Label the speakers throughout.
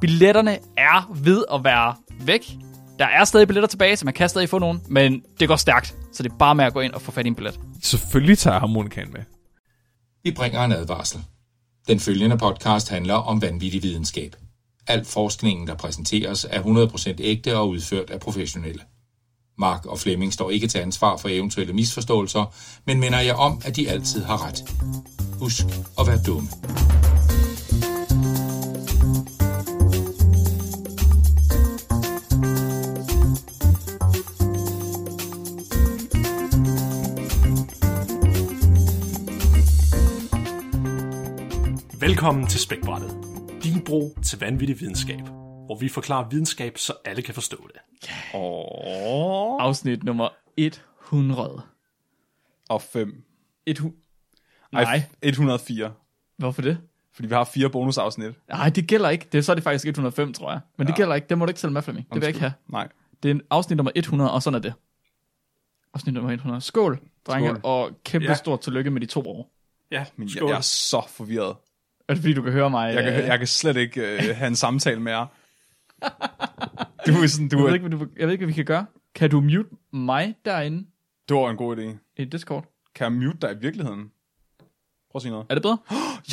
Speaker 1: Billetterne er ved at være væk. Der er stadig billetter tilbage, så man kan stadig få nogen, men det går stærkt. Så det er bare med at gå ind og få fat i en billet.
Speaker 2: Selvfølgelig tager jeg harmonikaen med.
Speaker 3: Vi bringer en advarsel. Den følgende podcast handler om vanvittig videnskab. Al forskningen, der præsenteres, er 100% ægte og udført af professionelle. Mark og Flemming står ikke til ansvar for eventuelle misforståelser, men minder jer om, at de altid har ret. Husk at være dumme.
Speaker 4: Velkommen til Spækbrættet. Din bro til vanvittig videnskab, hvor vi forklarer videnskab, så alle kan forstå det.
Speaker 1: Afsnit nummer 100.
Speaker 5: og 5.
Speaker 1: Et hu-
Speaker 5: Ej,
Speaker 1: Nej,
Speaker 5: 104.
Speaker 1: hvorfor det?
Speaker 5: Fordi vi har fire bonusafsnit.
Speaker 1: Nej, det gælder ikke. Det, så er det faktisk 105, tror jeg. Men ja. det gælder ikke. Det må du ikke sælge med, Flemming. Det vil jeg ikke have.
Speaker 5: Nej.
Speaker 1: Det er en afsnit nummer 100, og sådan er det. Afsnit nummer 100. Skål, drenge, Skål.
Speaker 5: Skål.
Speaker 1: og kæmpe ja.
Speaker 4: Ja.
Speaker 1: stort tillykke med de to år.
Speaker 4: Ja,
Speaker 5: Men jeg,
Speaker 4: skål.
Speaker 5: jeg er så forvirret.
Speaker 1: Er det fordi, du kan høre mig?
Speaker 5: Jeg kan,
Speaker 1: øh,
Speaker 5: jeg kan slet ikke øh, have en samtale med jer. Du, er sådan, du,
Speaker 1: jeg, ved
Speaker 5: er,
Speaker 1: ikke, hvad du, jeg ved ikke, hvad vi kan gøre. Kan du mute mig derinde
Speaker 5: det var en god idé.
Speaker 1: i Discord?
Speaker 5: Kan jeg mute dig i virkeligheden? Prøv at sige noget.
Speaker 1: Er det bedre?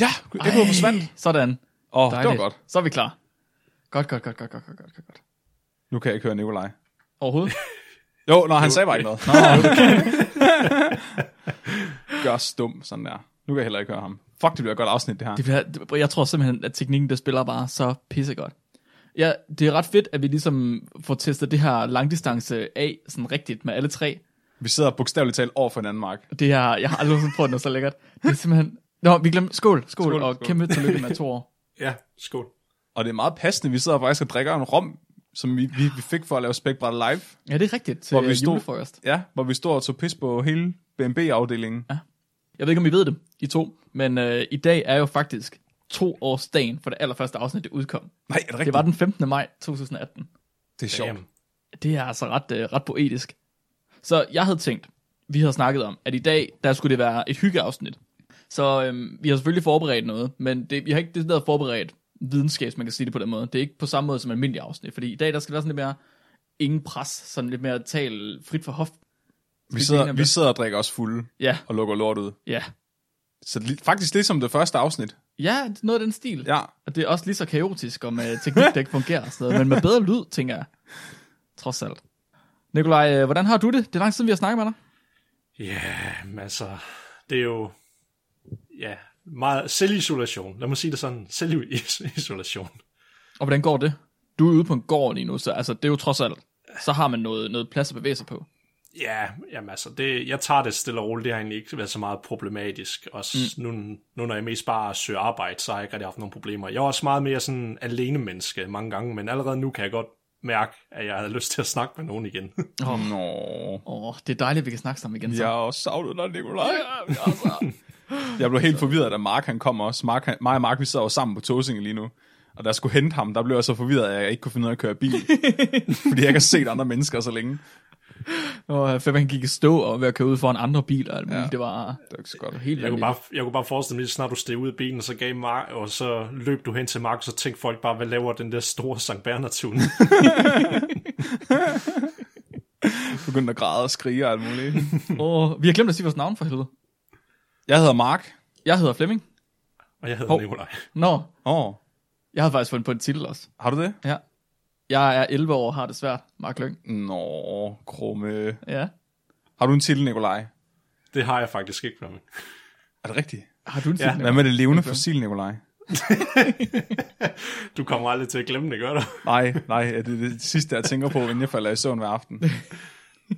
Speaker 5: Ja, det kunne forsvandt.
Speaker 1: Sådan.
Speaker 5: Åh, oh, det var
Speaker 1: Dejligt.
Speaker 5: godt.
Speaker 1: Så er vi klar. Godt, godt, godt, godt, godt, godt, godt, godt, godt.
Speaker 5: Nu kan jeg ikke høre Nikolaj.
Speaker 1: Overhovedet?
Speaker 5: Jo, når han sagde bare ikke noget. Nå, okay. Gør os dum, sådan der. Nu kan jeg heller ikke høre ham. Fuck, det bliver et godt afsnit, det her.
Speaker 1: Det bliver, det- jeg tror simpelthen, at teknikken, der spiller bare så pissegodt. Ja, det er ret fedt, at vi ligesom får testet det her langdistance af sådan rigtigt med alle tre.
Speaker 5: Vi sidder bogstaveligt talt over for hinanden, Mark.
Speaker 1: Det her, jeg har aldrig nogensinde prøvet noget så lækkert. Det er simpelthen... Nå, vi glemte... Skål, skål, skål
Speaker 5: Skål,
Speaker 1: og
Speaker 5: skål.
Speaker 1: kæmpe tillykke med to år.
Speaker 4: Ja, skål.
Speaker 5: Og det er meget passende, vi sidder faktisk og drikker en rom, som vi, vi, vi fik for at lave Spækbræt Live.
Speaker 1: Ja, det er rigtigt til
Speaker 5: Hvor vi
Speaker 1: øh,
Speaker 5: stod-
Speaker 1: julefrokost.
Speaker 5: Ja, hvor vi stod og tog pis på hele BNB-afdelingen. Ja.
Speaker 1: Jeg ved ikke, om I ved det, I to, men øh, i dag er jo faktisk to års dagen for det allerførste afsnit, det udkom.
Speaker 5: Nej, er det rigtigt?
Speaker 1: Det var den 15. maj 2018.
Speaker 5: det er sjovt.
Speaker 4: Damn.
Speaker 1: Det er altså ret, øh, ret poetisk. Så jeg havde tænkt, vi havde snakket om, at i dag, der skulle det være et hyggeafsnit. Så øhm, vi har selvfølgelig forberedt noget, men det, vi har ikke det der forberedt videnskabs, man kan sige det på den måde. Det er ikke på samme måde som almindelige afsnit, fordi i dag, der skal være sådan lidt mere ingen pres, sådan lidt mere tal frit for hof.
Speaker 5: Vi
Speaker 1: blive
Speaker 5: sidder,
Speaker 1: enige om
Speaker 5: vi
Speaker 1: det?
Speaker 5: sidder og drikker os fulde
Speaker 1: Ja,
Speaker 5: og lukker lort ud.
Speaker 1: ja.
Speaker 5: Så li- faktisk ligesom det første afsnit.
Speaker 1: Ja, noget af den stil.
Speaker 5: Ja,
Speaker 1: Og det er også lige så kaotisk, og med teknik, der ikke fungerer og sådan noget, men med bedre lyd, tænker jeg. Trods alt. Nikolaj, øh, hvordan har du det? Det er lang tid siden, vi har snakket med dig.
Speaker 4: Ja, men altså, det er jo ja, meget selvisolation. Lad mig sige det sådan, selvisolation.
Speaker 1: Og hvordan går det? Du er ude på en gård lige nu, så altså, det er jo trods alt, så har man noget, noget plads at bevæge sig på.
Speaker 4: Ja, jamen altså, det, jeg tager det stille og roligt. Det har egentlig ikke været så meget problematisk. Også mm. nu, nu, når jeg mest bare søger arbejde, så har jeg ikke rigtig haft nogle problemer. Jeg er også meget mere sådan alene menneske mange gange, men allerede nu kan jeg godt mærke, at jeg havde lyst til at snakke med nogen igen.
Speaker 1: Åh, oh,
Speaker 5: Nå.
Speaker 1: oh, det er dejligt, at vi kan snakke sammen igen.
Speaker 5: Jeg
Speaker 1: Så.
Speaker 5: har også savnet dig, Nikolaj.
Speaker 1: Altså,
Speaker 5: Jeg blev helt forvirret, da Mark han kom også. Mark, han, mig og Mark, vi sidder jo sammen på Tåsinge lige nu. Og da jeg skulle hente ham, der blev jeg så forvirret, at jeg ikke kunne finde ud af at køre bil. fordi jeg ikke har set andre mennesker så længe.
Speaker 1: og for man gik i stå og ved at køre ud foran andre biler. og alt muligt. Det var
Speaker 5: Det er ikke så godt.
Speaker 1: helt
Speaker 4: Jeg
Speaker 1: vanvittigt.
Speaker 4: kunne, bare, jeg kunne bare forestille mig, at snart du steg ud af bilen, og så, gav Mark, og så løb du hen til Mark, og så tænkte folk bare, hvad laver den der store Sankt Bernard-tune?
Speaker 5: Begyndte at græde og skrige og alt muligt.
Speaker 1: Åh, vi har glemt at sige vores navn for helvede.
Speaker 5: Jeg hedder Mark.
Speaker 1: Jeg hedder Flemming.
Speaker 4: og jeg hedder
Speaker 5: Hov.
Speaker 4: Nikolaj.
Speaker 1: Nå,
Speaker 5: Åh, oh,
Speaker 1: jeg havde faktisk fundet på en titel også.
Speaker 5: har du det?
Speaker 1: Ja. Jeg er 11 år og har det svært, Mark Lyng.
Speaker 5: Nå, krumme.
Speaker 1: Ja.
Speaker 5: Har du en titel, Nikolaj?
Speaker 4: Det har jeg faktisk ikke, Flemming.
Speaker 5: Er det rigtigt?
Speaker 1: Har du en titel?
Speaker 4: Ja,
Speaker 5: Hvad med det levende fossil, Nikolaj?
Speaker 4: Du kommer aldrig til at glemme det, gør du?
Speaker 5: Nej, nej, ja, det er det sidste, jeg tænker på, inden jeg falder i søvn hver aften.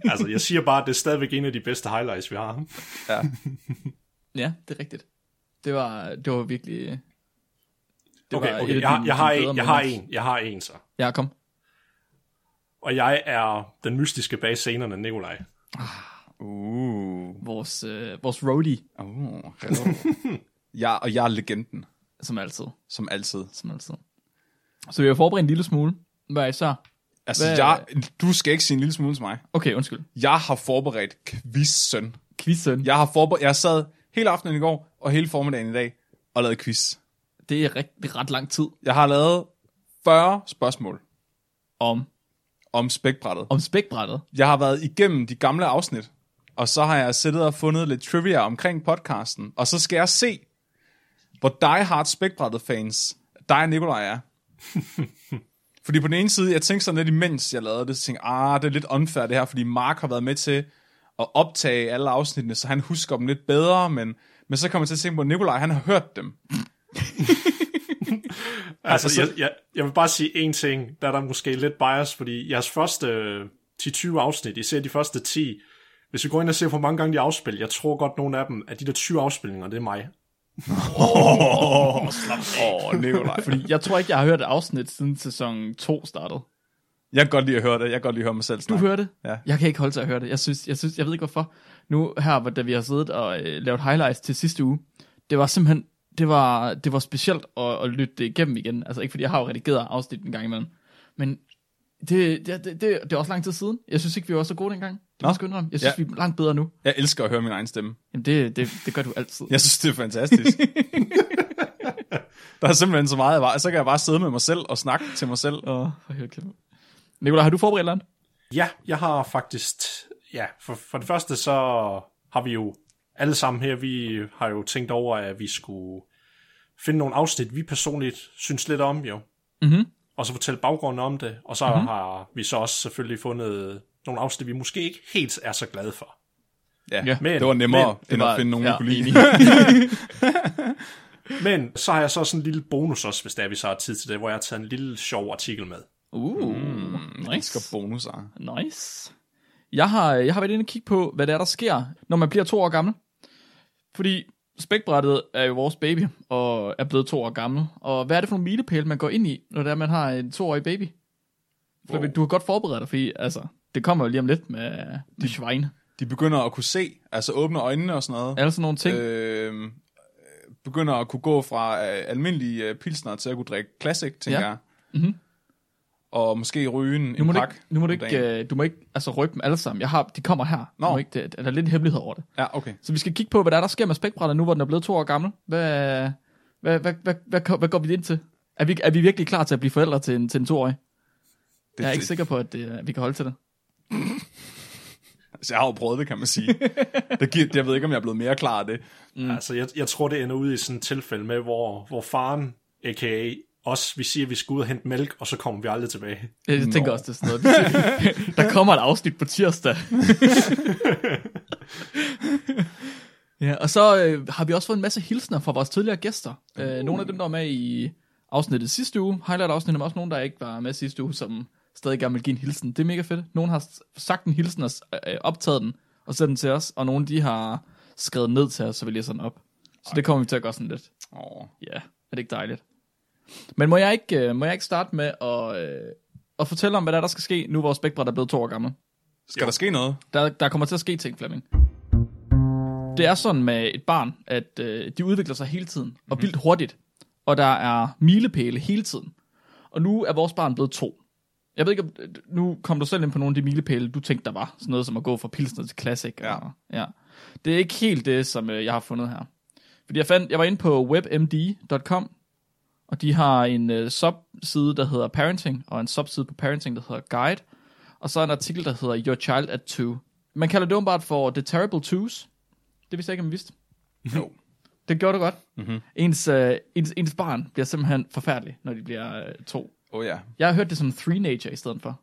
Speaker 4: altså, jeg siger bare, at det er stadigvæk en af de bedste highlights, vi har.
Speaker 5: Ja.
Speaker 1: Ja, det er rigtigt. Det var, det var virkelig...
Speaker 4: Okay,
Speaker 1: var
Speaker 4: okay,
Speaker 1: et af
Speaker 4: jeg,
Speaker 1: dine-
Speaker 4: jeg, har
Speaker 1: dine bedre
Speaker 4: en, jeg har
Speaker 1: minder.
Speaker 4: en, jeg har en så.
Speaker 1: Ja, kom.
Speaker 4: Og jeg er den mystiske bag scenerne, Nikolaj.
Speaker 5: Uh.
Speaker 1: Vores, øh, vores roadie,
Speaker 5: Oh, hello. jeg, og jeg er legenden,
Speaker 1: som altid.
Speaker 5: som altid.
Speaker 1: Som altid. Så vi har forberedt en lille smule. Hvad er så?
Speaker 5: Altså,
Speaker 1: Hvad-
Speaker 5: jeg, du skal ikke sige en lille smule til mig.
Speaker 1: Okay, undskyld.
Speaker 5: Jeg har forberedt quizzen.
Speaker 1: Quizzen. Ja.
Speaker 5: Jeg har forberedt, jeg sad hele aftenen i går og hele formiddagen i dag og lavede quiz.
Speaker 1: Det er rigtig, ret lang tid
Speaker 5: Jeg har lavet 40 spørgsmål
Speaker 1: om,
Speaker 5: om spækbrættet.
Speaker 1: om spækbrættet.
Speaker 5: Jeg har været igennem de gamle afsnit, og så har jeg siddet og fundet lidt trivia omkring podcasten, og så skal jeg se, hvor die hard spækbrættet fans dig og Nikolaj er. fordi på den ene side, jeg tænkte sådan lidt imens jeg lavede det, så tænkte jeg, ah, det er lidt unfair det her, fordi Mark har været med til at optage alle afsnittene, så han husker dem lidt bedre, men, men så kommer jeg til at tænke på, at Nikolaj, han har hørt dem.
Speaker 4: Altså, jeg, jeg, jeg vil bare sige én ting, der er der måske lidt bias, fordi jeres første øh, 10-20 afsnit, især de første 10, hvis vi går ind og ser, hvor mange gange de afspil, jeg tror godt, nogle af dem, at de der 20 afspilninger, det er mig.
Speaker 5: Åh, oh, Nikolaj. Fordi
Speaker 1: Jeg tror ikke, jeg har hørt et afsnit siden sæson 2 startede.
Speaker 5: jeg kan godt lide at høre det, jeg kan godt lide at høre mig selv
Speaker 1: Du
Speaker 5: snakke.
Speaker 1: hører det?
Speaker 5: Ja.
Speaker 1: Jeg kan ikke holde til at høre det. Jeg synes, jeg synes, jeg ved ikke hvorfor. Nu her, hvor da vi har siddet og øh, lavet highlights til sidste uge, det var simpelthen, det var, det var specielt at, at lytte det igennem igen. Altså ikke fordi jeg har jo redigeret afsnit en gang imellem. Men det, det, det, det, det er også lang tid siden. Jeg synes ikke, vi var så gode dengang. Det må jeg sgu indrømme. Jeg synes,
Speaker 5: Ja.
Speaker 1: vi er langt bedre nu.
Speaker 5: Jeg elsker at høre min egen stemme.
Speaker 1: Jamen det, det, det gør du altid.
Speaker 5: Jeg synes, det er fantastisk. der er simpelthen så meget, jeg bare, så kan jeg bare sidde med mig selv og snakke til mig selv. Og...
Speaker 1: Åh, for helvede. Nicolaj, har du forberedt noget?
Speaker 4: Ja, jeg har faktisk... Ja, for, for det første så har vi jo alle sammen her, vi har jo tænkt over, at vi skulle finde nogle afsnit, vi personligt synes lidt om, jo.
Speaker 1: Mhm.
Speaker 4: Og så fortælle baggrunden om det. Og så mm-hmm. har vi så også selvfølgelig fundet nogle afsnit, vi måske ikke helt er så glade for.
Speaker 5: Ja,
Speaker 1: Ja.
Speaker 5: men, det var nemmere,
Speaker 4: Men-
Speaker 5: men,
Speaker 1: det
Speaker 5: end
Speaker 1: var-
Speaker 5: at finde nogen,
Speaker 1: ja,
Speaker 5: ja, kunne lide.
Speaker 4: Men så har jeg så sådan en lille bonus også, hvis der er, vi så har tid til det, hvor jeg har taget en lille sjov artikel med.
Speaker 1: Uh,
Speaker 5: Jeg Mm, elsker bonusar.
Speaker 1: Nice. Jeg har, jeg har været inde og kigge på, hvad det er, der sker, når man bliver to år gammel. Fordi spækbrættet er jo vores baby, og er blevet to år gammel. Og hvad er det for nogle milepæle, man går ind i, når det er, man har en toårig baby? For du har godt forberedt dig, fordi altså, det kommer jo lige om lidt med, med svin.
Speaker 5: De begynder at kunne se, altså åbne øjnene og sådan noget.
Speaker 1: Er der sådan nogle ting? Øh,
Speaker 5: Øh, begynder at kunne gå fra øh, almindelige øh, pilsner til at kunne drikke classic, tænker
Speaker 1: Ja. Mhm.
Speaker 5: ja. jeg. Mm-hmm. Og måske ryge en,
Speaker 1: nu må
Speaker 5: en
Speaker 1: du
Speaker 5: pakke.
Speaker 1: ikke, nu må du
Speaker 5: om dagen.
Speaker 1: ikke, øh, du må ikke altså, røbe dem alle sammen. Jeg har, de kommer her.
Speaker 5: Nå.
Speaker 1: Du må ikke, det, der er lidt hemmelighed over det.
Speaker 5: Ja, okay.
Speaker 1: Så vi skal kigge på, hvad der, er, der sker med spækbrættet nu, hvor den er blevet to år gammel. Hvad, hvad, hvad, hvad, hvad, hvad går vi ind til? Er vi, er vi virkelig klar til at blive forældre til en, til en toårig?
Speaker 5: Det,
Speaker 1: Jeg er ikke
Speaker 5: det-
Speaker 1: sikker på, at, det, at vi kan holde til det.
Speaker 5: Altså, jeg har jo prøvet det, kan man sige. det giver, jeg ved ikke, om jeg er blevet mere klar af det.
Speaker 4: Mm. Altså, jeg, jeg tror, det ender ud i sådan et tilfælde med, hvor, hvor faren, a.k.a. os, vi siger, at vi skal ud og hente mælk, og så kommer vi aldrig tilbage.
Speaker 1: Øh, Jeg Nå. tænker også, det er sådan noget. Der kommer et afsnit på tirsdag. ja, og så øh, har vi også fået en masse hilsner fra vores tidligere gæster. Øh, nogle af dem, der var med i afsnittet sidste uge, highlight-afsnittet, men også nogle, der ikke var med sidste uge, som stadig gerne vil give en hilsen. Det er mega fedt. Nogle har s- sagt en hilsen og s- øh, optaget den og sendt den til os, og nogle de har skrevet ned til os, så vi læser den op. Så det kommer vi til at gøre sådan lidt.
Speaker 5: Åh.
Speaker 1: Ja, er det ikke dejligt? Men må jeg ikke, øh, må jeg ikke starte med at, øh, at fortælle om, hvad der, er, der skal ske, nu hvor spækbræt er blevet to år gammel?
Speaker 5: Skal der ske noget?
Speaker 1: Der, der kommer til at ske ting, Flemming. Det er sådan med et barn, at øh, de udvikler sig hele tiden, og vildt hurtigt. Og der er milepæle hele tiden. Og nu er vores barn blevet to. Jeg ved ikke, om, øh, nu kom du selv ind på nogle af de milepæle, du tænkte, der var. Sådan noget som at gå fra pilsner til classic.
Speaker 5: Ja.
Speaker 1: Og, ja. Det er ikke helt det, som øh, jeg har fundet her. Fordi jeg, fandt, jeg var inde på webmd.com, og de har en øh, subside, der hedder Parenting, og en subside på Parenting, der hedder Guide. Og så en artikel, der hedder Your Child at Two. Man kalder det åbenbart for The Terrible Twos. Det vidste jeg ikke, om man vidste.
Speaker 5: Jo. Mhm.
Speaker 1: Det gjorde du godt. Mm-hmm. Ens, øh, ens, ens barn bliver simpelthen forfærdelig, når de bliver øh, to.
Speaker 5: Åh oh, ja.
Speaker 1: Jeg har hørt det som three-nature i stedet for.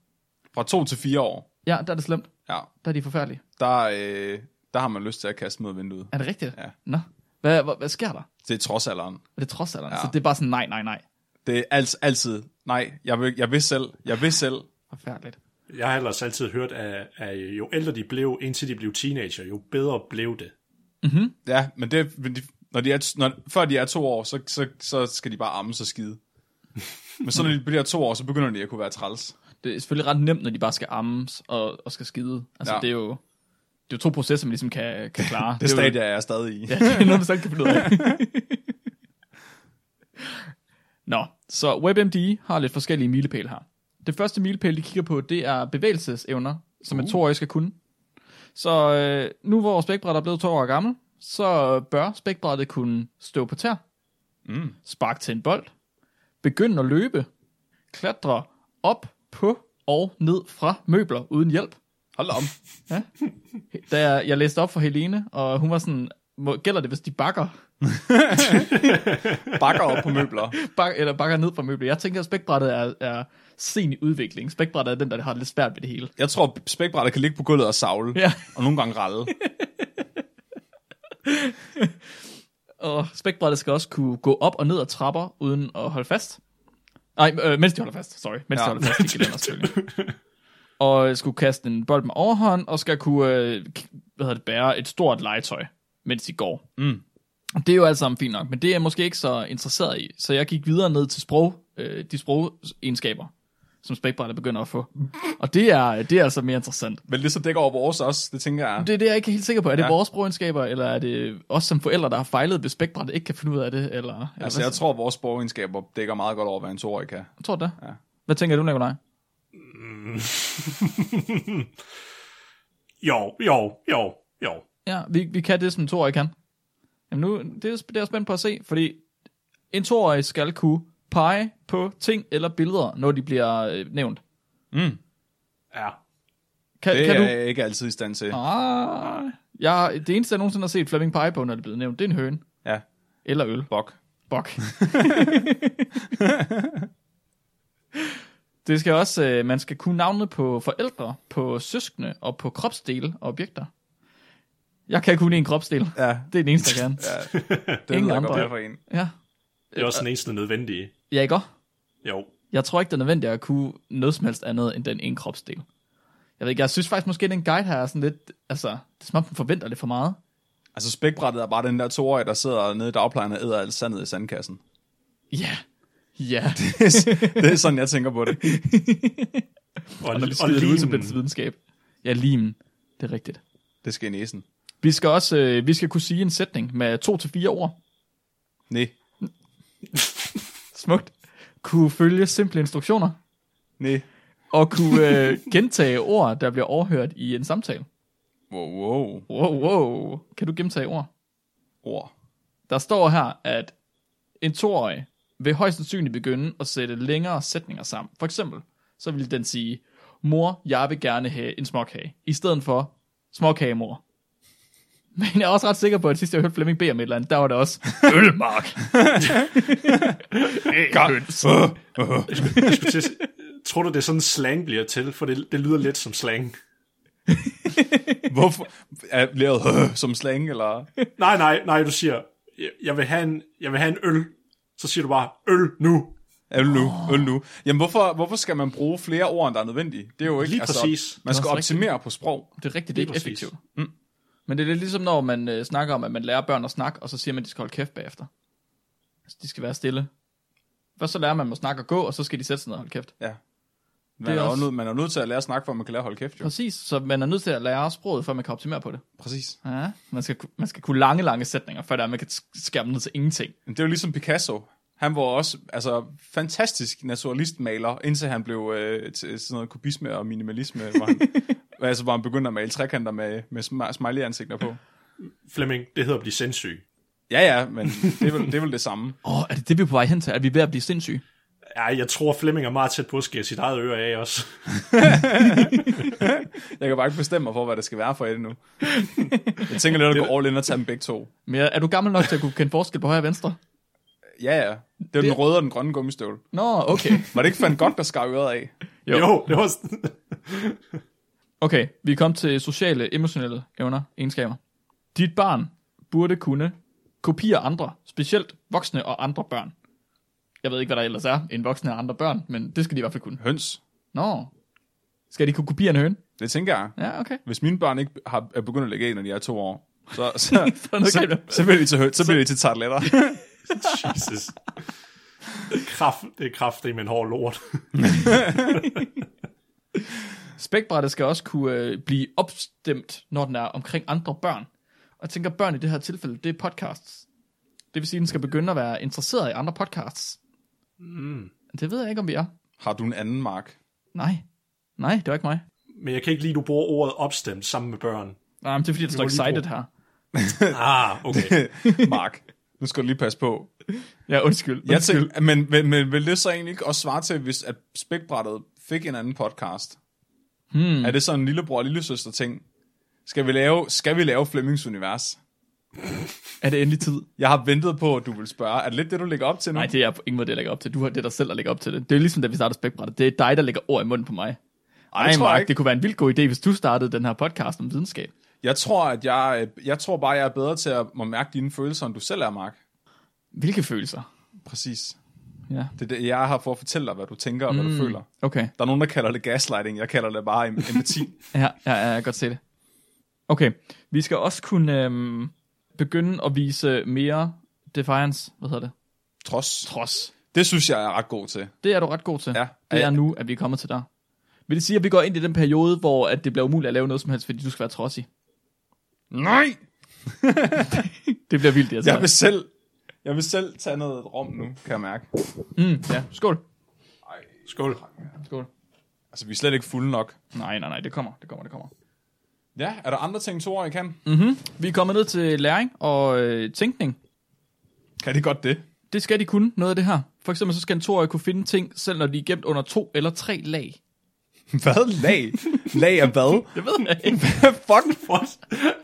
Speaker 5: Fra to til fire år,
Speaker 1: Ja, der er det slemt.
Speaker 5: ja,
Speaker 1: Der er de forfærdelige.
Speaker 5: der, øh, der har man lyst til at kaste mod vinduet.
Speaker 1: Er det rigtigt?
Speaker 5: Ja.
Speaker 1: Nå. Hvad, hvad, hvad sker der?
Speaker 5: Det er trods alderen.
Speaker 1: Er det trods alderen? Ja.
Speaker 5: Ja.
Speaker 1: Så det er bare sådan, nej, nej, nej.
Speaker 5: Det er alt, altid, nej, jeg vil, jeg vil selv, jeg vil selv.
Speaker 1: Forfærdeligt.
Speaker 4: Jeg har ellers altid hørt, at, at jo ældre de blev, indtil de blev teenager, jo bedre blev det.
Speaker 5: Ja, men det, men de, når de er, når, før de er to år, så, så, så skal de bare amme sig skide. Men så når de bliver to år, så begynder de at kunne være træls.
Speaker 1: det er selvfølgelig ret nemt, når de bare skal ammes og, og skal skide. Altså,
Speaker 5: Ja.
Speaker 1: ja. det er jo det er jo to processer, man ligesom kan, kan klare.
Speaker 5: Det
Speaker 1: er jo-
Speaker 5: stadie er jeg stadig i.
Speaker 1: Ja, det er noget, man selv kan finde ud af. Nå, så WebMD har lidt forskellige milepæle her. Det første milepæl, de kigger på, det er bevægelsesevner, som en toårig skal kunne. Så øh, nu hvor spækbrættet er blevet to år gammel, så bør spækbrættet kunne stå på tær, mm. sparke til en bold, begynde at løbe, klatre op på og ned fra møbler uden hjælp.
Speaker 5: Hold da op.
Speaker 1: Da jeg, jeg læste op for Helene, og hun var sådan, "Må- gælder det, hvis de bakker?
Speaker 5: Bakker op på møbler.
Speaker 1: bak, eller bakker ned fra møblet. Jeg tænker, at spækbrættet er, er sen i udviklingen. Spækbrættet er den, der har det lidt svært ved det hele.
Speaker 5: Jeg tror, spækbrættet kan ligge på gulvet og savle.
Speaker 1: Ja.
Speaker 5: Og nogle gange ralle.
Speaker 1: Og spækbrættet skal også kunne gå op og ned ad trapper, uden at holde fast. Nej, øh, mens de holder fast. Sorry, mens ja.
Speaker 5: Ja.
Speaker 1: de holder fast i gelænder selvfølgelig. Og skulle kaste en bold med overhånd, og skal kunne øh, k- hvad hedder det, bære et stort legetøj, mens de går.
Speaker 5: Mm.
Speaker 1: Det er jo alt sammen fint nok, men det er jeg måske ikke så interesseret i. Så jeg gik videre ned til sprog, øh, de sprogegenskaber, som spækbrættet begynder at få. Og det er, det er altså mere interessant.
Speaker 5: Men det så dækker over vores også, det tænker jeg.
Speaker 1: Det er det, jeg ikke er helt sikker på. Er det
Speaker 5: Ja.
Speaker 1: ja. vores sprogegenskaber, eller er det os som forældre, der har fejlet ved spækbrættet, ikke kan finde ud af det? Eller, eller
Speaker 5: Altså,
Speaker 1: hvad?
Speaker 5: jeg tror, vores borgeregenskaber dækker meget godt over, hvad en toårig kan.
Speaker 1: jeg tror det.
Speaker 5: Ja.
Speaker 1: Ja. Hvad tænker du, Nikolaj?
Speaker 4: Jo, jo, jo, jo.
Speaker 1: Ja, vi, vi kan det, som toårige kan. Jamen nu, det er, det er jeg spændt på at se, fordi en toårig skal kunne pege på ting eller billeder, når de bliver øh, nævnt.
Speaker 4: Ja.
Speaker 1: Kan,
Speaker 5: Det
Speaker 1: kan
Speaker 5: er
Speaker 1: du?
Speaker 5: jeg ikke altid i stand til.
Speaker 1: Ah, jeg, det eneste, jeg nogensinde har set Flemming pege på, når det er blevet nævnt, det er en høne.
Speaker 5: Ja,
Speaker 1: Eller øl.
Speaker 5: bok.
Speaker 1: Bok. det skal også, øh, man skal kunne navne på forældre, på søskende og på kropsdele og objekter. Jeg kan kun en kropsdel.
Speaker 5: Ja,
Speaker 1: Det er den eneste, jeg kan.
Speaker 5: det Ingen ved jeg
Speaker 1: andre.
Speaker 5: godt, hvad for en.
Speaker 1: Ja.
Speaker 4: Det er også den eneste nødvendige.
Speaker 1: ja, ikke også?
Speaker 4: Jo.
Speaker 1: Jeg tror ikke, det er nødvendigt at kunne noget som helst andet end den ene kropsdel. Jeg ved ikke, jeg synes faktisk måske, at den guide her er sådan lidt, altså, det er som om, den forventer lidt for meget.
Speaker 5: Altså, spækbrættet er bare den der toårig, der sidder nede i dagplejen og æder alt sandet i sandkassen.
Speaker 1: Ja. Ja.
Speaker 5: det er sådan, jeg tænker på det.
Speaker 4: Og, og,
Speaker 1: Og når vi
Speaker 4: og
Speaker 1: skider det ud til
Speaker 4: limen.
Speaker 1: dens videnskab. Ja, limen. Det er rigtigt.
Speaker 5: Det skal i næsen.
Speaker 1: Vi skal også øh, vi skal kunne sige en sætning med to til fire ord.
Speaker 5: Nej,
Speaker 1: Smukt. Kunne følge simple instruktioner.
Speaker 5: nej.
Speaker 1: Og kunne øh, gentage ord, der bliver overhørt i en samtale.
Speaker 5: Wow, wow.
Speaker 1: Wow, wow. Kan du gentage ord?
Speaker 5: Ord.
Speaker 1: Der står her, at en toårig vil højst sandsynligt begynde at sætte længere sætninger sammen. For eksempel, så vil den sige, mor, jeg vil gerne have en småkage, i stedet for småkage, mor. Men jeg er også ret sikker på, at sidst jeg hørte Flemming B. om et eller andet, der var det også ølmark.
Speaker 5: God.
Speaker 4: Jeg skulle til, at s- tror du, det er sådan slang bliver til? For det, det lyder lidt som slang.
Speaker 5: Hvorfor? Er læret øh, som slang, eller?
Speaker 4: Nej, nej, nej, du siger, "Jeg- jeg vil have en, jeg vil have en øl. Så siger du bare, øl nu.
Speaker 5: Øl nu, øl nu. Jamen, hvorfor, hvorfor skal man bruge flere ord, end der er nødvendigt? Det er jo ikke... altså,
Speaker 4: Lige præcis.
Speaker 5: Man skal
Speaker 1: Det er også
Speaker 5: optimere på sprog.
Speaker 1: Det er rigtigt, det er ikke
Speaker 4: Lige præcis.
Speaker 1: effektivt. Mm. Men det er lidt ligesom, når man øh, snakker om, at man lærer børn at snakke, og så siger man, at de skal holde kæft bagefter. Altså, de skal være stille. Først så lærer man dem at snakke og gå, og så skal de sætte sig ned og holde kæft.
Speaker 5: Ja. Man,
Speaker 1: Det
Speaker 5: er,
Speaker 1: er
Speaker 5: jo
Speaker 1: også-
Speaker 5: nød, man er nødt til at lære at snakke, for at man kan lære at holde kæft, jo.
Speaker 1: Præcis, så man er nødt til at lære sproget, før man kan optimere på det.
Speaker 5: Præcis.
Speaker 1: Ja. Man, skal, ku- man skal kunne lange, lange sætninger, før det er, man kan sk- skære dem ned til ingenting.
Speaker 5: Men Det er jo ligesom Picasso. Han var også altså, fantastisk naturalistmaler, indtil han blev øh, til sådan noget kubisme og minimalisme, hvor han, altså, hvor han begyndte at male trekanter med, med sma- smiley-ansigter på.
Speaker 4: Flemming, det hedder at blive sindssyg.
Speaker 5: Ja, ja, men det er vel det, er vel det samme.
Speaker 1: Åh, oh, er det det, vi er på vej hen til? Er vi ved at blive sindssyge?
Speaker 4: Ja, jeg tror, Flemming er meget tæt på at skære sit eget øre af også.
Speaker 5: Jeg kan bare ikke bestemme mig for, hvad det skal være for et nu. Jeg tænker lidt at gå all in og tage dem begge to.
Speaker 1: Men er er du gammel nok til at kunne kende forskel på højre og venstre?
Speaker 5: Ja, ja. Det er jo den røde og den grønne gummistøvle.
Speaker 1: Nå, okay.
Speaker 5: Var det ikke fandt godt, der skar øret af?
Speaker 1: Jo.
Speaker 4: Jo, jo det var... s-
Speaker 1: Okay, vi er kommet til sociale, emotionelle evner, egenskaber. Dit barn burde kunne kopiere andre, specielt voksne og andre børn. Jeg ved ikke, hvad der ellers er, en voksne og andre børn, men det skal de i hvert fald kunne.
Speaker 5: Høns.
Speaker 1: Nå, skal de kunne kopiere en høne?
Speaker 5: Det tænker jeg.
Speaker 1: Ja, okay.
Speaker 5: Hvis mine børn ikke har, er begyndt at lægge æg, når de er to år, så, så, så,
Speaker 1: noget galt
Speaker 5: så,
Speaker 1: med-
Speaker 5: så bliver de til hø- så bliver de til tartletter.
Speaker 4: Jesus. Kraft, det er kraft, det er min hård lort.
Speaker 1: Spækbrættet skal også kunne øh, blive opstemt, når den er omkring andre børn. Og jeg tænker, børn i det her tilfælde, det er podcasts. Det vil sige, at den skal begynde at være interesseret i andre podcasts. Mm. Det ved jeg ikke, om vi er.
Speaker 5: Har du en anden, Mark?
Speaker 1: Nej. Nej, det var ikke mig.
Speaker 4: Men jeg kan ikke lide, at du bruger ordet opstemt sammen med børn.
Speaker 1: Nej, men det er fordi, der står
Speaker 4: må lige
Speaker 1: excited
Speaker 4: bruge-
Speaker 1: her.
Speaker 4: Ah, okay.
Speaker 5: Mark, nu skal du lige passe på.
Speaker 1: Ja, undskyld.
Speaker 5: Jeg
Speaker 1: undskyld.
Speaker 5: tænker, men, men, men vil det så egentlig ikke også svare til, hvis at spækbrættet fik en anden podcast? Hmm. Er det sådan en lillebror og lillesøster ting? Skal vi lave, skal vi lave Flemmings Univers?
Speaker 1: Er det endelig tid?
Speaker 5: Jeg har ventet på, at du vil spørge. Er det lidt det, du lægger op til nu?
Speaker 1: Nej, det er på ingen måde det, jeg lægger op til. Du har det er dig selv, der lægger op til det. Det er ligesom, da vi startede spækbrættet. Det er dig, der lægger ord i munden på mig. Ej,
Speaker 5: det tror jeg
Speaker 1: Mark,
Speaker 5: ikke.
Speaker 1: det kunne være en vild god idé, hvis du startede den her podcast om videnskab.
Speaker 5: Jeg tror, at jeg, øh, jeg tror bare, jeg er bedre til at må mærke dine følelser, end du selv er, Mark.
Speaker 1: Hvilke følelser?
Speaker 5: Præcis.
Speaker 1: Ja. Hmm.
Speaker 5: Det er det, jeg er her for at fortælle dig, hvad du tænker og hvad
Speaker 1: Mm.
Speaker 5: du føler.
Speaker 1: Okay.
Speaker 5: Der er nogen, der kalder det gaslighting. Jeg kalder det bare em- empati.
Speaker 1: Ja, ja, ja, jeg kan godt se det. Okay, vi skal også kunne øhm, begynde at vise mere defiance, hvad hedder det?
Speaker 5: Trods.
Speaker 1: Trods.
Speaker 5: Det synes jeg, jeg er ret god til.
Speaker 1: Det er du ret god til.
Speaker 5: Ja.
Speaker 1: Det er nu, at vi er kommet til der. Vil det sige, at vi går ind i den periode, hvor at det bliver umuligt at lave noget som helst, fordi du skal være trodsig?
Speaker 5: Nej!
Speaker 1: Det bliver vildt, det altså.
Speaker 5: Jeg vil selv, jeg vil selv tage noget rum nu, kan jeg mærke.
Speaker 1: Mm, ja. Skål.
Speaker 4: Skål.
Speaker 1: Skål.
Speaker 5: Altså, vi er slet ikke fulde nok.
Speaker 1: Nej, nej, nej, det kommer, det kommer, det kommer.
Speaker 5: Ja, er der andre ting, to I kan?
Speaker 1: Vi er kommet ned til læring og øh, tænkning.
Speaker 5: Kan det godt det?
Speaker 1: Det skal de kunne, noget af det her. For eksempel så skal en toårig kunne finde ting, selv når de er gemt under to eller tre lag.
Speaker 5: Hvad? Lag? Lag af hvad?
Speaker 1: Det ved jeg ikke.
Speaker 5: Fuck!
Speaker 4: What?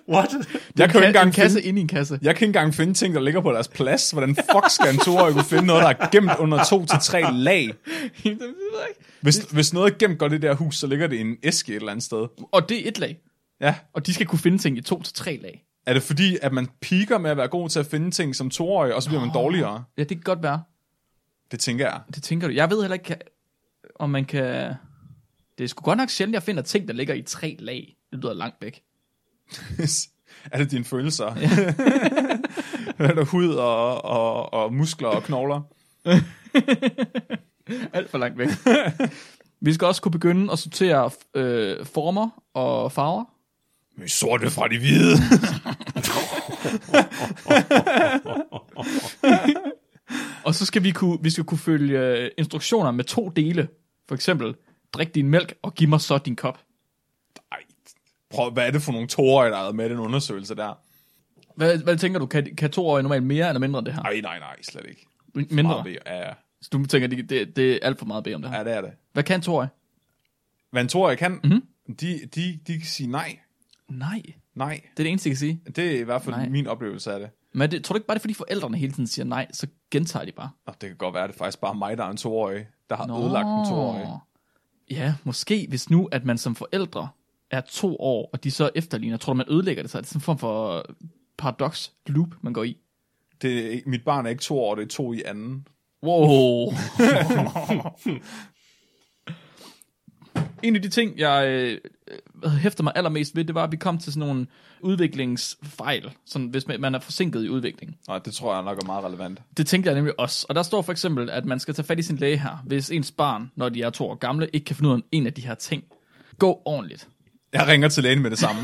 Speaker 4: What?
Speaker 5: Jeg kan, jo ikke
Speaker 1: en
Speaker 5: engang
Speaker 1: kasse
Speaker 5: finde,
Speaker 1: ind i en kasse.
Speaker 5: jeg kan ikke engang finde ting, der ligger på deres plads. Hvordan fuck skal en toårig kunne finde noget, der er gemt under to til tre lag?
Speaker 1: det ved jeg ikke.
Speaker 5: Hvis, hvis noget er gemt godt i det der hus, så ligger det i en æske et eller andet sted.
Speaker 1: Og det er et lag.
Speaker 5: Ja.
Speaker 1: Og de skal kunne finde ting i to til tre lag.
Speaker 5: Er det fordi, at man piker med at være god til at finde ting som toårig, og så bliver man dårligere?
Speaker 1: Ja, det kan godt være.
Speaker 5: Det tænker jeg.
Speaker 1: Det tænker du. Jeg ved heller ikke, om man kan... Det er sgu godt nok sjældent, jeg finder ting, der ligger i tre lag. Det lyder langt væk.
Speaker 5: er det dine følelser? er der hud og, og, og muskler og knogler?
Speaker 1: Alt for langt væk. Vi skal også kunne begynde at sortere øh, former og farver.
Speaker 5: Men sorte fra de hvide.
Speaker 1: Og så skal vi kunne, vi skal kunne følge øh, instruktioner med to dele. For eksempel, drik din mælk og giv mig så din kop.
Speaker 5: Ej, prøv, hvad er det for nogle toårige, der har været med i den undersøgelse der?
Speaker 1: Hvad, hvad tænker du, kan, kan to år normalt mere eller mindre end det her?
Speaker 5: Ej, nej, nej, slet ikke.
Speaker 1: mindre.
Speaker 5: Meget ja, ja.
Speaker 1: Så du tænker, det, det, det er alt for meget at bede om det her.
Speaker 5: ja, det er det.
Speaker 1: Hvad kan to år?
Speaker 5: Hvad en toårig kan, mm-hmm. de, de, de kan sige nej.
Speaker 1: Nej,
Speaker 5: Nej,
Speaker 1: det er det eneste, jeg kan sige.
Speaker 5: det er i hvert fald
Speaker 1: Nej.
Speaker 5: nej. min oplevelse af det.
Speaker 1: Men det, tror du ikke bare, det er fordi forældrene hele tiden siger nej, så gentager de bare.
Speaker 5: Og det kan godt være, at det er faktisk bare mig, der er en toårig, der har ødelagt en toårig.
Speaker 1: Ja, måske hvis nu, at man som forældre er to år, og de så efterligner, tror du, man ødelægger det så? Er det sådan en form for øh, paradox loop, man går i?
Speaker 5: Det er, ikke- mit barn er ikke to år, det er to i anden.
Speaker 1: Wow. en af de ting, jeg øh, øh, hæfter mig allermest ved, det var, at vi kom til sådan nogle udviklingsfejl, sådan, hvis man man er forsinket i udviklingen.
Speaker 5: Nej, det tror jeg nok er meget relevant.
Speaker 1: Det tænkte jeg nemlig også. Og der står for eksempel, at man skal tage fat i sin læge her, hvis ens barn, når de er to år gamle, ikke kan finde ud af en af de her ting. Gå ordentligt.
Speaker 5: Jeg ringer til lægen med det samme.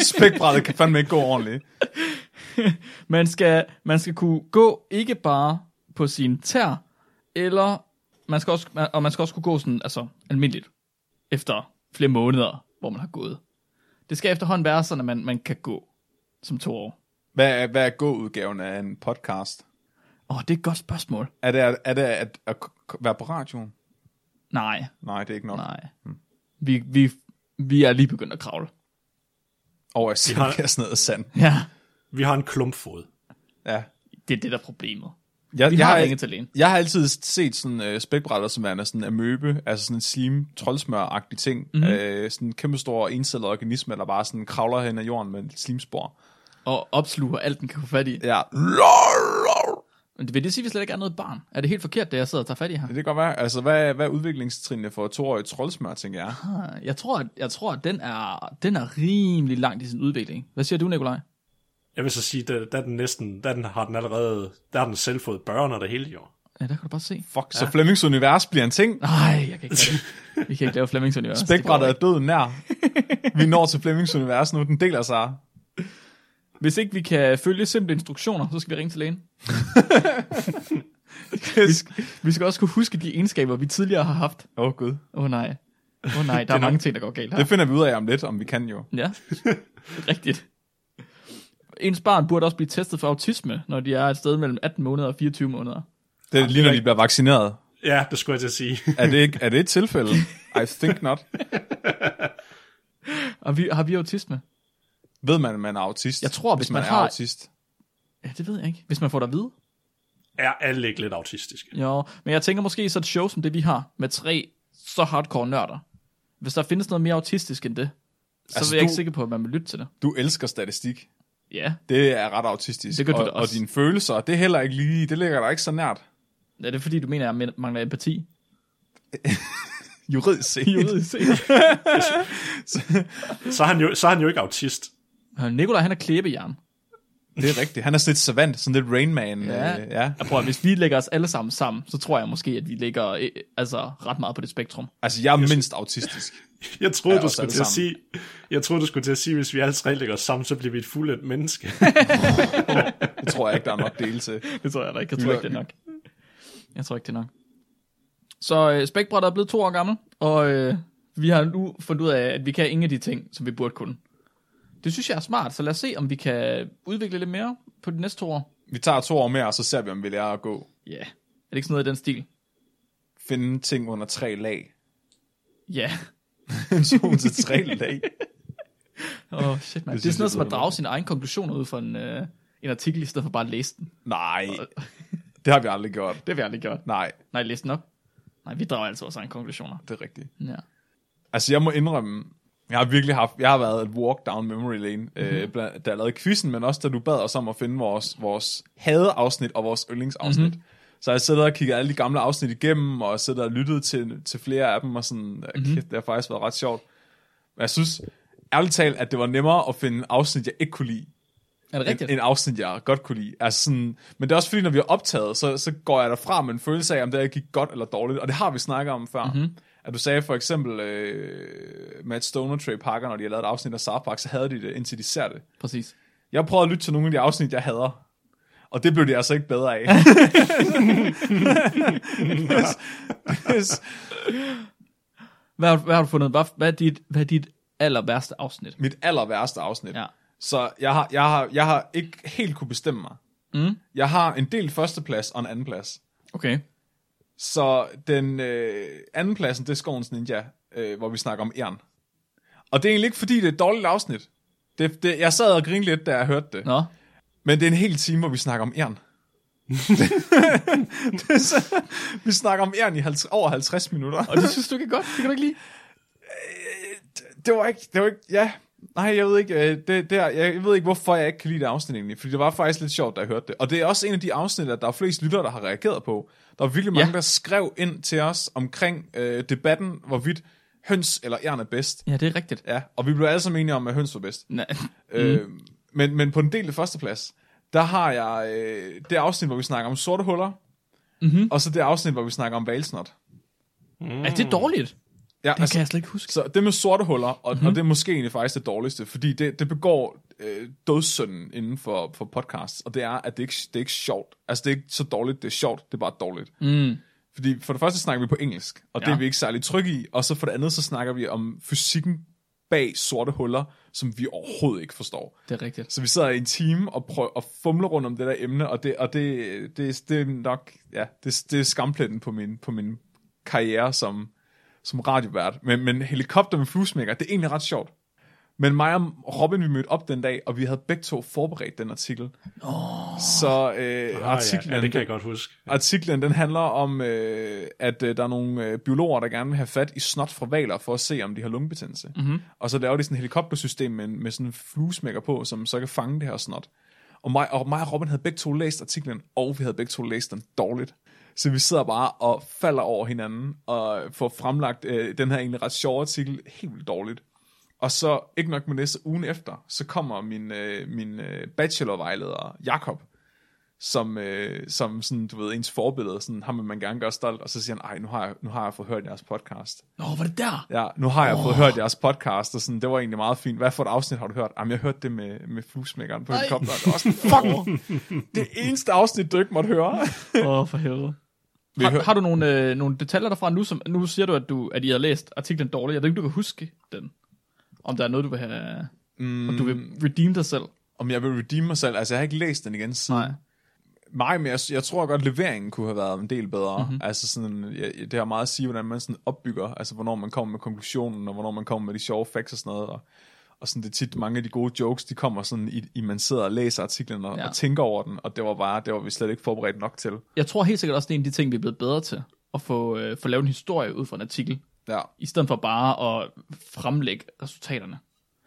Speaker 5: Spækbrættet kan fandme ikke gå ordentligt.
Speaker 1: Man skal, man skal kunne gå ikke bare på sine tær, eller man skal også, og man skal også kunne gå sådan, altså, almindeligt efter flere måneder, hvor man har gået. Det skal efterhånden være sådan, at man, man kan gå som to år.
Speaker 5: Hvad er, hvad er gå-udgaven af en podcast?
Speaker 1: Åh, oh, det er et godt spørgsmål.
Speaker 5: Er det, er det at, at k- være på radioen?
Speaker 1: Nej,
Speaker 5: Nej, det er ikke nok.
Speaker 1: nej. Vi, vi, vi er lige begyndt at kravle.
Speaker 5: Over i sandkassen noget sand.
Speaker 1: Ja,
Speaker 4: Vi har en klumpfod.
Speaker 5: Ja.
Speaker 1: det er det, der er problemet.
Speaker 5: Jeg,
Speaker 1: Vi
Speaker 5: jeg,
Speaker 1: har
Speaker 5: har,
Speaker 1: ringet til lægen.
Speaker 5: jeg har altid set sådan øh, spækbrætter som værende sådan en amøbe, altså sådan en slim, troldsmør-agtig ting.
Speaker 1: Mhm.
Speaker 5: Mm-hmm. Øh, sådan en kæmpestor encellet organisme, der bare sådan kravler hen ad jorden med et slimspor.
Speaker 1: Og opsluger alt, den kan få fat i.
Speaker 5: Ja. Lol.
Speaker 1: Men det vil det sige, at vi slet ikke er noget barn? Er det helt forkert, det jeg sidder og tager fat i her?
Speaker 5: Det kan godt være. Altså, hvad, hvad er udviklingstrinene for toårige troldsmør, tænker jeg?
Speaker 1: Ah, Jeg tror, at, jeg tror, at den, er, den er rimelig langt i sin udvikling. Hvad siger du, Nikolaj?
Speaker 4: Jeg vil så sige, der, der, er den næsten, der den har den allerede, der har den selv fået børn og det hele jo.
Speaker 1: Ja, der kan du bare se.
Speaker 5: Fuck, så Flemmings univers bliver en ting.
Speaker 1: Nej, jeg kan ikke lave det. Vi kan ikke lave Flemmings univers. Det går
Speaker 5: Spækbrættet er døden nær. Vi når til Flemmings univers nu. Den deler sig.
Speaker 1: ikke. Hvis ikke vi kan følge simple instruktioner, så skal vi ringe til lægen. vi, skal, vi skal også kunne huske de egenskaber, vi tidligere har haft.
Speaker 5: Åh, oh, gud.
Speaker 1: Åh oh, nej. Åh oh, nej, der er mange ting, der går galt her.
Speaker 5: Det finder vi ud af om lidt, om vi kan jo.
Speaker 1: Ja, rigtigt. Ens barn burde også blive testet for autisme, når de er et sted mellem 18 måneder og 24 måneder.
Speaker 5: Det er
Speaker 1: Ah,
Speaker 5: lige, når de bliver vaccineret.
Speaker 4: Ja, det skulle jeg til at sige.
Speaker 5: Er det, ikke, er det et tilfælde? I think not.
Speaker 1: Og vi, har vi autisme?
Speaker 5: Ved man, at man er autist?
Speaker 1: Jeg tror, hvis
Speaker 5: man,
Speaker 1: man
Speaker 5: er
Speaker 1: har-
Speaker 5: autist.
Speaker 1: Ja, det ved jeg ikke. Hvis man får det at vide.
Speaker 4: er alle ikke lidt autistiske?
Speaker 1: Jo, men jeg tænker måske så et show som det, vi har, med tre så hardcore nørder. Hvis der findes noget mere autistisk end det, så
Speaker 5: Altså,
Speaker 1: altså, er jeg
Speaker 5: du-
Speaker 1: ikke sikker på, at man vil lytte til det.
Speaker 5: Du elsker statistik.
Speaker 1: Ja,
Speaker 5: Det er ret autistisk.
Speaker 1: Det gør du
Speaker 5: og,
Speaker 1: da også.
Speaker 5: Og dine følelser, det er heller ikke lige, det ligger der ikke så nært.
Speaker 1: er det fordi, du mener, at jeg mangler empati?
Speaker 5: Juridisk set.
Speaker 1: Juridisk set.
Speaker 4: Så er han jo, så er han jo ikke autist.
Speaker 1: Øh, Nikolaj, han er klæbejern.
Speaker 5: Det er rigtigt. Han er sådan lidt savant, sådan lidt Rain Man.
Speaker 1: Ja.
Speaker 5: Øh, ja.
Speaker 1: Jeg prøver, hvis vi lægger os alle sammen sammen, så tror jeg måske, at vi ligger øh, altså, ret meget på det spektrum.
Speaker 5: Altså, jeg er mindst autistisk.
Speaker 4: Jeg troede,
Speaker 5: Ja,
Speaker 4: ja, du
Speaker 5: os
Speaker 4: skulle
Speaker 5: alle
Speaker 4: til at
Speaker 5: sammen.
Speaker 4: sige, jeg troede, du skulle til at sige, hvis vi alle tre lægger os sammen, så bliver vi et fuldt menneske.
Speaker 5: Det tror jeg ikke, der er nok dele til.
Speaker 1: Det tror jeg da ikke. Jeg tror ikke, det er nok. Jeg tror ikke, det er nok. Så øh, spækbrættet er blevet to år gammel, og øh, vi har nu fundet ud af, at vi kan ingen af de ting, som vi burde kunne. Det synes jeg er smart, så lad os se, om vi kan udvikle lidt mere på de næste to år.
Speaker 5: Vi tager to år mere, og så ser vi, om vi lærer at gå.
Speaker 1: Ja. Yeah. Er det ikke sådan noget i den stil?
Speaker 5: Finde ting under tre lag.
Speaker 1: Ja.
Speaker 5: to til tre lag.
Speaker 1: Åh, oh, shit, man. Det, det er
Speaker 5: synes
Speaker 1: sådan noget
Speaker 5: jeg
Speaker 1: som at
Speaker 5: lyder
Speaker 1: drage sine egne konklusioner ud fra en, øh, en artikel, i stedet for bare at læse den.
Speaker 5: Nej, det har vi aldrig gjort.
Speaker 1: Det har vi aldrig gjort.
Speaker 5: Nej,
Speaker 1: Nej, læs den op. Nej, vi drager altså vores egne konklusioner.
Speaker 5: det er rigtigt.
Speaker 1: Ja.
Speaker 5: Altså, jeg må indrømme, jeg har virkelig haft, jeg har været et walk down memory lane, mm-hmm. øh, blandt- da jeg lavede quizzen, men også da du bad os om at finde vores, vores hadeafsnit og vores yndlingsafsnit. Mm-hmm. Så jeg sidder og kigger alle de gamle afsnit igennem, og jeg sidder og lyttet til, til flere af dem, og sådan, mm-hmm. kæft, det har faktisk været ret sjovt. Men jeg synes, ærligt talt, at det var nemmere at finde afsnit, jeg ikke kunne lide,
Speaker 1: Er det rigtigt?
Speaker 5: en, en afsnit, jeg godt kunne lide. Altså sådan, men det er også fordi, når vi har optaget, så, så går jeg derfra med en følelse af, om det her gik godt eller dårligt. Og det har vi snakket om før.
Speaker 1: Mhm.
Speaker 5: Mm-hmm. At du sagde for eksempel, øh, Matt Stone og Trey Parker, når de har lavet et afsnit af South Park, så havde de det, indtil de ser det.
Speaker 1: Præcis.
Speaker 5: Jeg prøvede at lytte til nogle af de afsnit, jeg hader. Og det blev det altså ikke bedre af. Yes. Yes.
Speaker 1: Hvad, har- hvad har du fundet? Hvad, hvad, er dit, hvad er dit aller værste afsnit?
Speaker 5: Mit aller værste afsnit.
Speaker 1: Ja.
Speaker 5: Så jeg har, jeg, har, jeg har ikke helt kunne bestemme mig.
Speaker 1: Mm.
Speaker 5: Jeg har en del førsteplads og en andenplads.
Speaker 1: Okay.
Speaker 5: Så den øh, anden pladsen, det er Skovens Ninja, øh, hvor vi snakker om æren. Og det er egentlig ikke, fordi det er et dårligt afsnit. Det, det, jeg sad og grinede lidt, da jeg hørte det.
Speaker 1: Nå.
Speaker 5: Men det er en hel time, hvor vi snakker om æren. det er så, vi snakker om æren i 50, over 50 minutter.
Speaker 1: Og det synes du ikke er godt? Det kan du ikke lide?
Speaker 5: det var ikke, det var ikke, ja. Nej, jeg ved ikke, øh, det, der, jeg ved ikke, hvorfor jeg ikke kan lide det afsnit egentlig, fordi det var faktisk lidt sjovt, da jeg hørte det. Og det er også en af de afsnit, at der er flest lyttere, der har reageret på. Der er virkelig mange,
Speaker 1: Ja.
Speaker 5: der skrev ind til os omkring øh, debatten, hvorvidt høns eller ærn er bedst.
Speaker 1: Ja, det er rigtigt.
Speaker 5: Ja, og vi blev alle sammen enige om, at høns var bedst.
Speaker 1: Nej.
Speaker 5: Mm. Øh, men, men på den del af førsteplads, der har jeg øh, det afsnit, hvor vi snakker om sorte huller, mm-hmm. og så det afsnit, hvor vi snakker om valsnot.
Speaker 1: Er det dårligt? Altså-
Speaker 5: Ja, altså,
Speaker 1: Det kan jeg slet ikke huske. Mhm.
Speaker 5: Så det med sorte huller, og, mm-hmm. og det er måske egentlig faktisk det dårligste, fordi det, det begår øh, dødssynden inden for, for podcasts, og det er, at det ikke det er ikke sjovt. Altså, det er ikke så dårligt, det er sjovt, det er bare dårligt.
Speaker 1: Mm.
Speaker 5: Fordi for det første snakker vi på engelsk, og ja. det
Speaker 1: Ja.
Speaker 5: er vi ikke særlig trygge i, og så for det andet, så snakker vi om fysikken bag sorte huller, som vi overhovedet ikke forstår.
Speaker 1: Det er rigtigt.
Speaker 5: Så vi sidder i en time og, prøver, og fumler rundt om det der emne, og det, og det, det, det er nok ja, det, det er skampletten på min, på min karriere som, som radiovært. Men, men helikopter med fluesmækker, det er egentlig ret sjovt. Men mig og Robin, vi mødte op den dag, og vi havde begge to forberedt den artikel. Oh. Så øh,
Speaker 4: Ah, ja,
Speaker 5: artiklen,
Speaker 4: ja, det kan jeg godt huske.
Speaker 5: artiklen, den handler om, øh, at øh, der er nogle øh, biologer, der gerne vil have fat i snot fra valer, for at se, om de har lungebetændelse. Mm-hmm. Og så laver de sådan et helikoptersystem med, en- med sådan en fluesmækker på, som så kan fange det her snot. Og mig, og mig og Robin havde begge to læst artiklen, og vi havde begge to læst den dårligt. Så vi sidder bare og falder over hinanden, og får fremlagt øh, den her egentlig ret sjove artikel helt vildt dårligt. Og så, ikke nok med næste ugen efter, så kommer min, øh, min øh, bachelorvejleder, Jakob som, øh, som sådan, du ved, ens forbillede, sådan, ham vil man gerne gøre stolt, og så siger han, ej, nu har jeg, nu har jeg fået hørt jeres podcast.
Speaker 1: Nå, var det der?
Speaker 5: Ja, nu har jeg oh. fået hørt jeres podcast, og sådan, det var egentlig meget fint. Hvad for et afsnit har du hørt? Jamen, jeg hørte det med, med fluesmækkeren på helikopteren. Det var sådan, fuck, det eneste afsnit, du ikke måtte høre.
Speaker 1: Åh, oh, for helvede. Har, har du nogle, øh, nogle detaljer derfra nu? Som, nu siger du, at, du, at I har læst artiklen dårligt. Jeg ved ikke, du kan huske den. Om der er noget, du vil have... Mm. Om du vil redeem dig selv.
Speaker 5: Om jeg vil redeem mig selv, altså jeg har ikke læst den igen siden.
Speaker 1: Nej.
Speaker 5: Nej, men jeg, jeg tror godt, leveringen kunne have været en del bedre.
Speaker 1: Mhm.
Speaker 5: Mm-hmm. Altså sådan, jeg, det har meget at sige, hvordan man sådan opbygger, altså hvornår man kommer med konklusionen, og hvornår man kommer med de sjove facts og sådan noget, og, og sådan det er tit mange af de gode jokes, de kommer sådan, i, i man sidder og læser artiklen og,
Speaker 1: Ja.
Speaker 5: ja. og tænker over den, og det var bare, det var vi slet ikke forberedt nok til.
Speaker 1: Jeg tror helt sikkert også, det er en af de ting, vi er blevet bedre til. At få, øh, få lavet en historie ud fra en artikel.
Speaker 5: Ja,
Speaker 1: I stedet for bare at fremlægge resultaterne.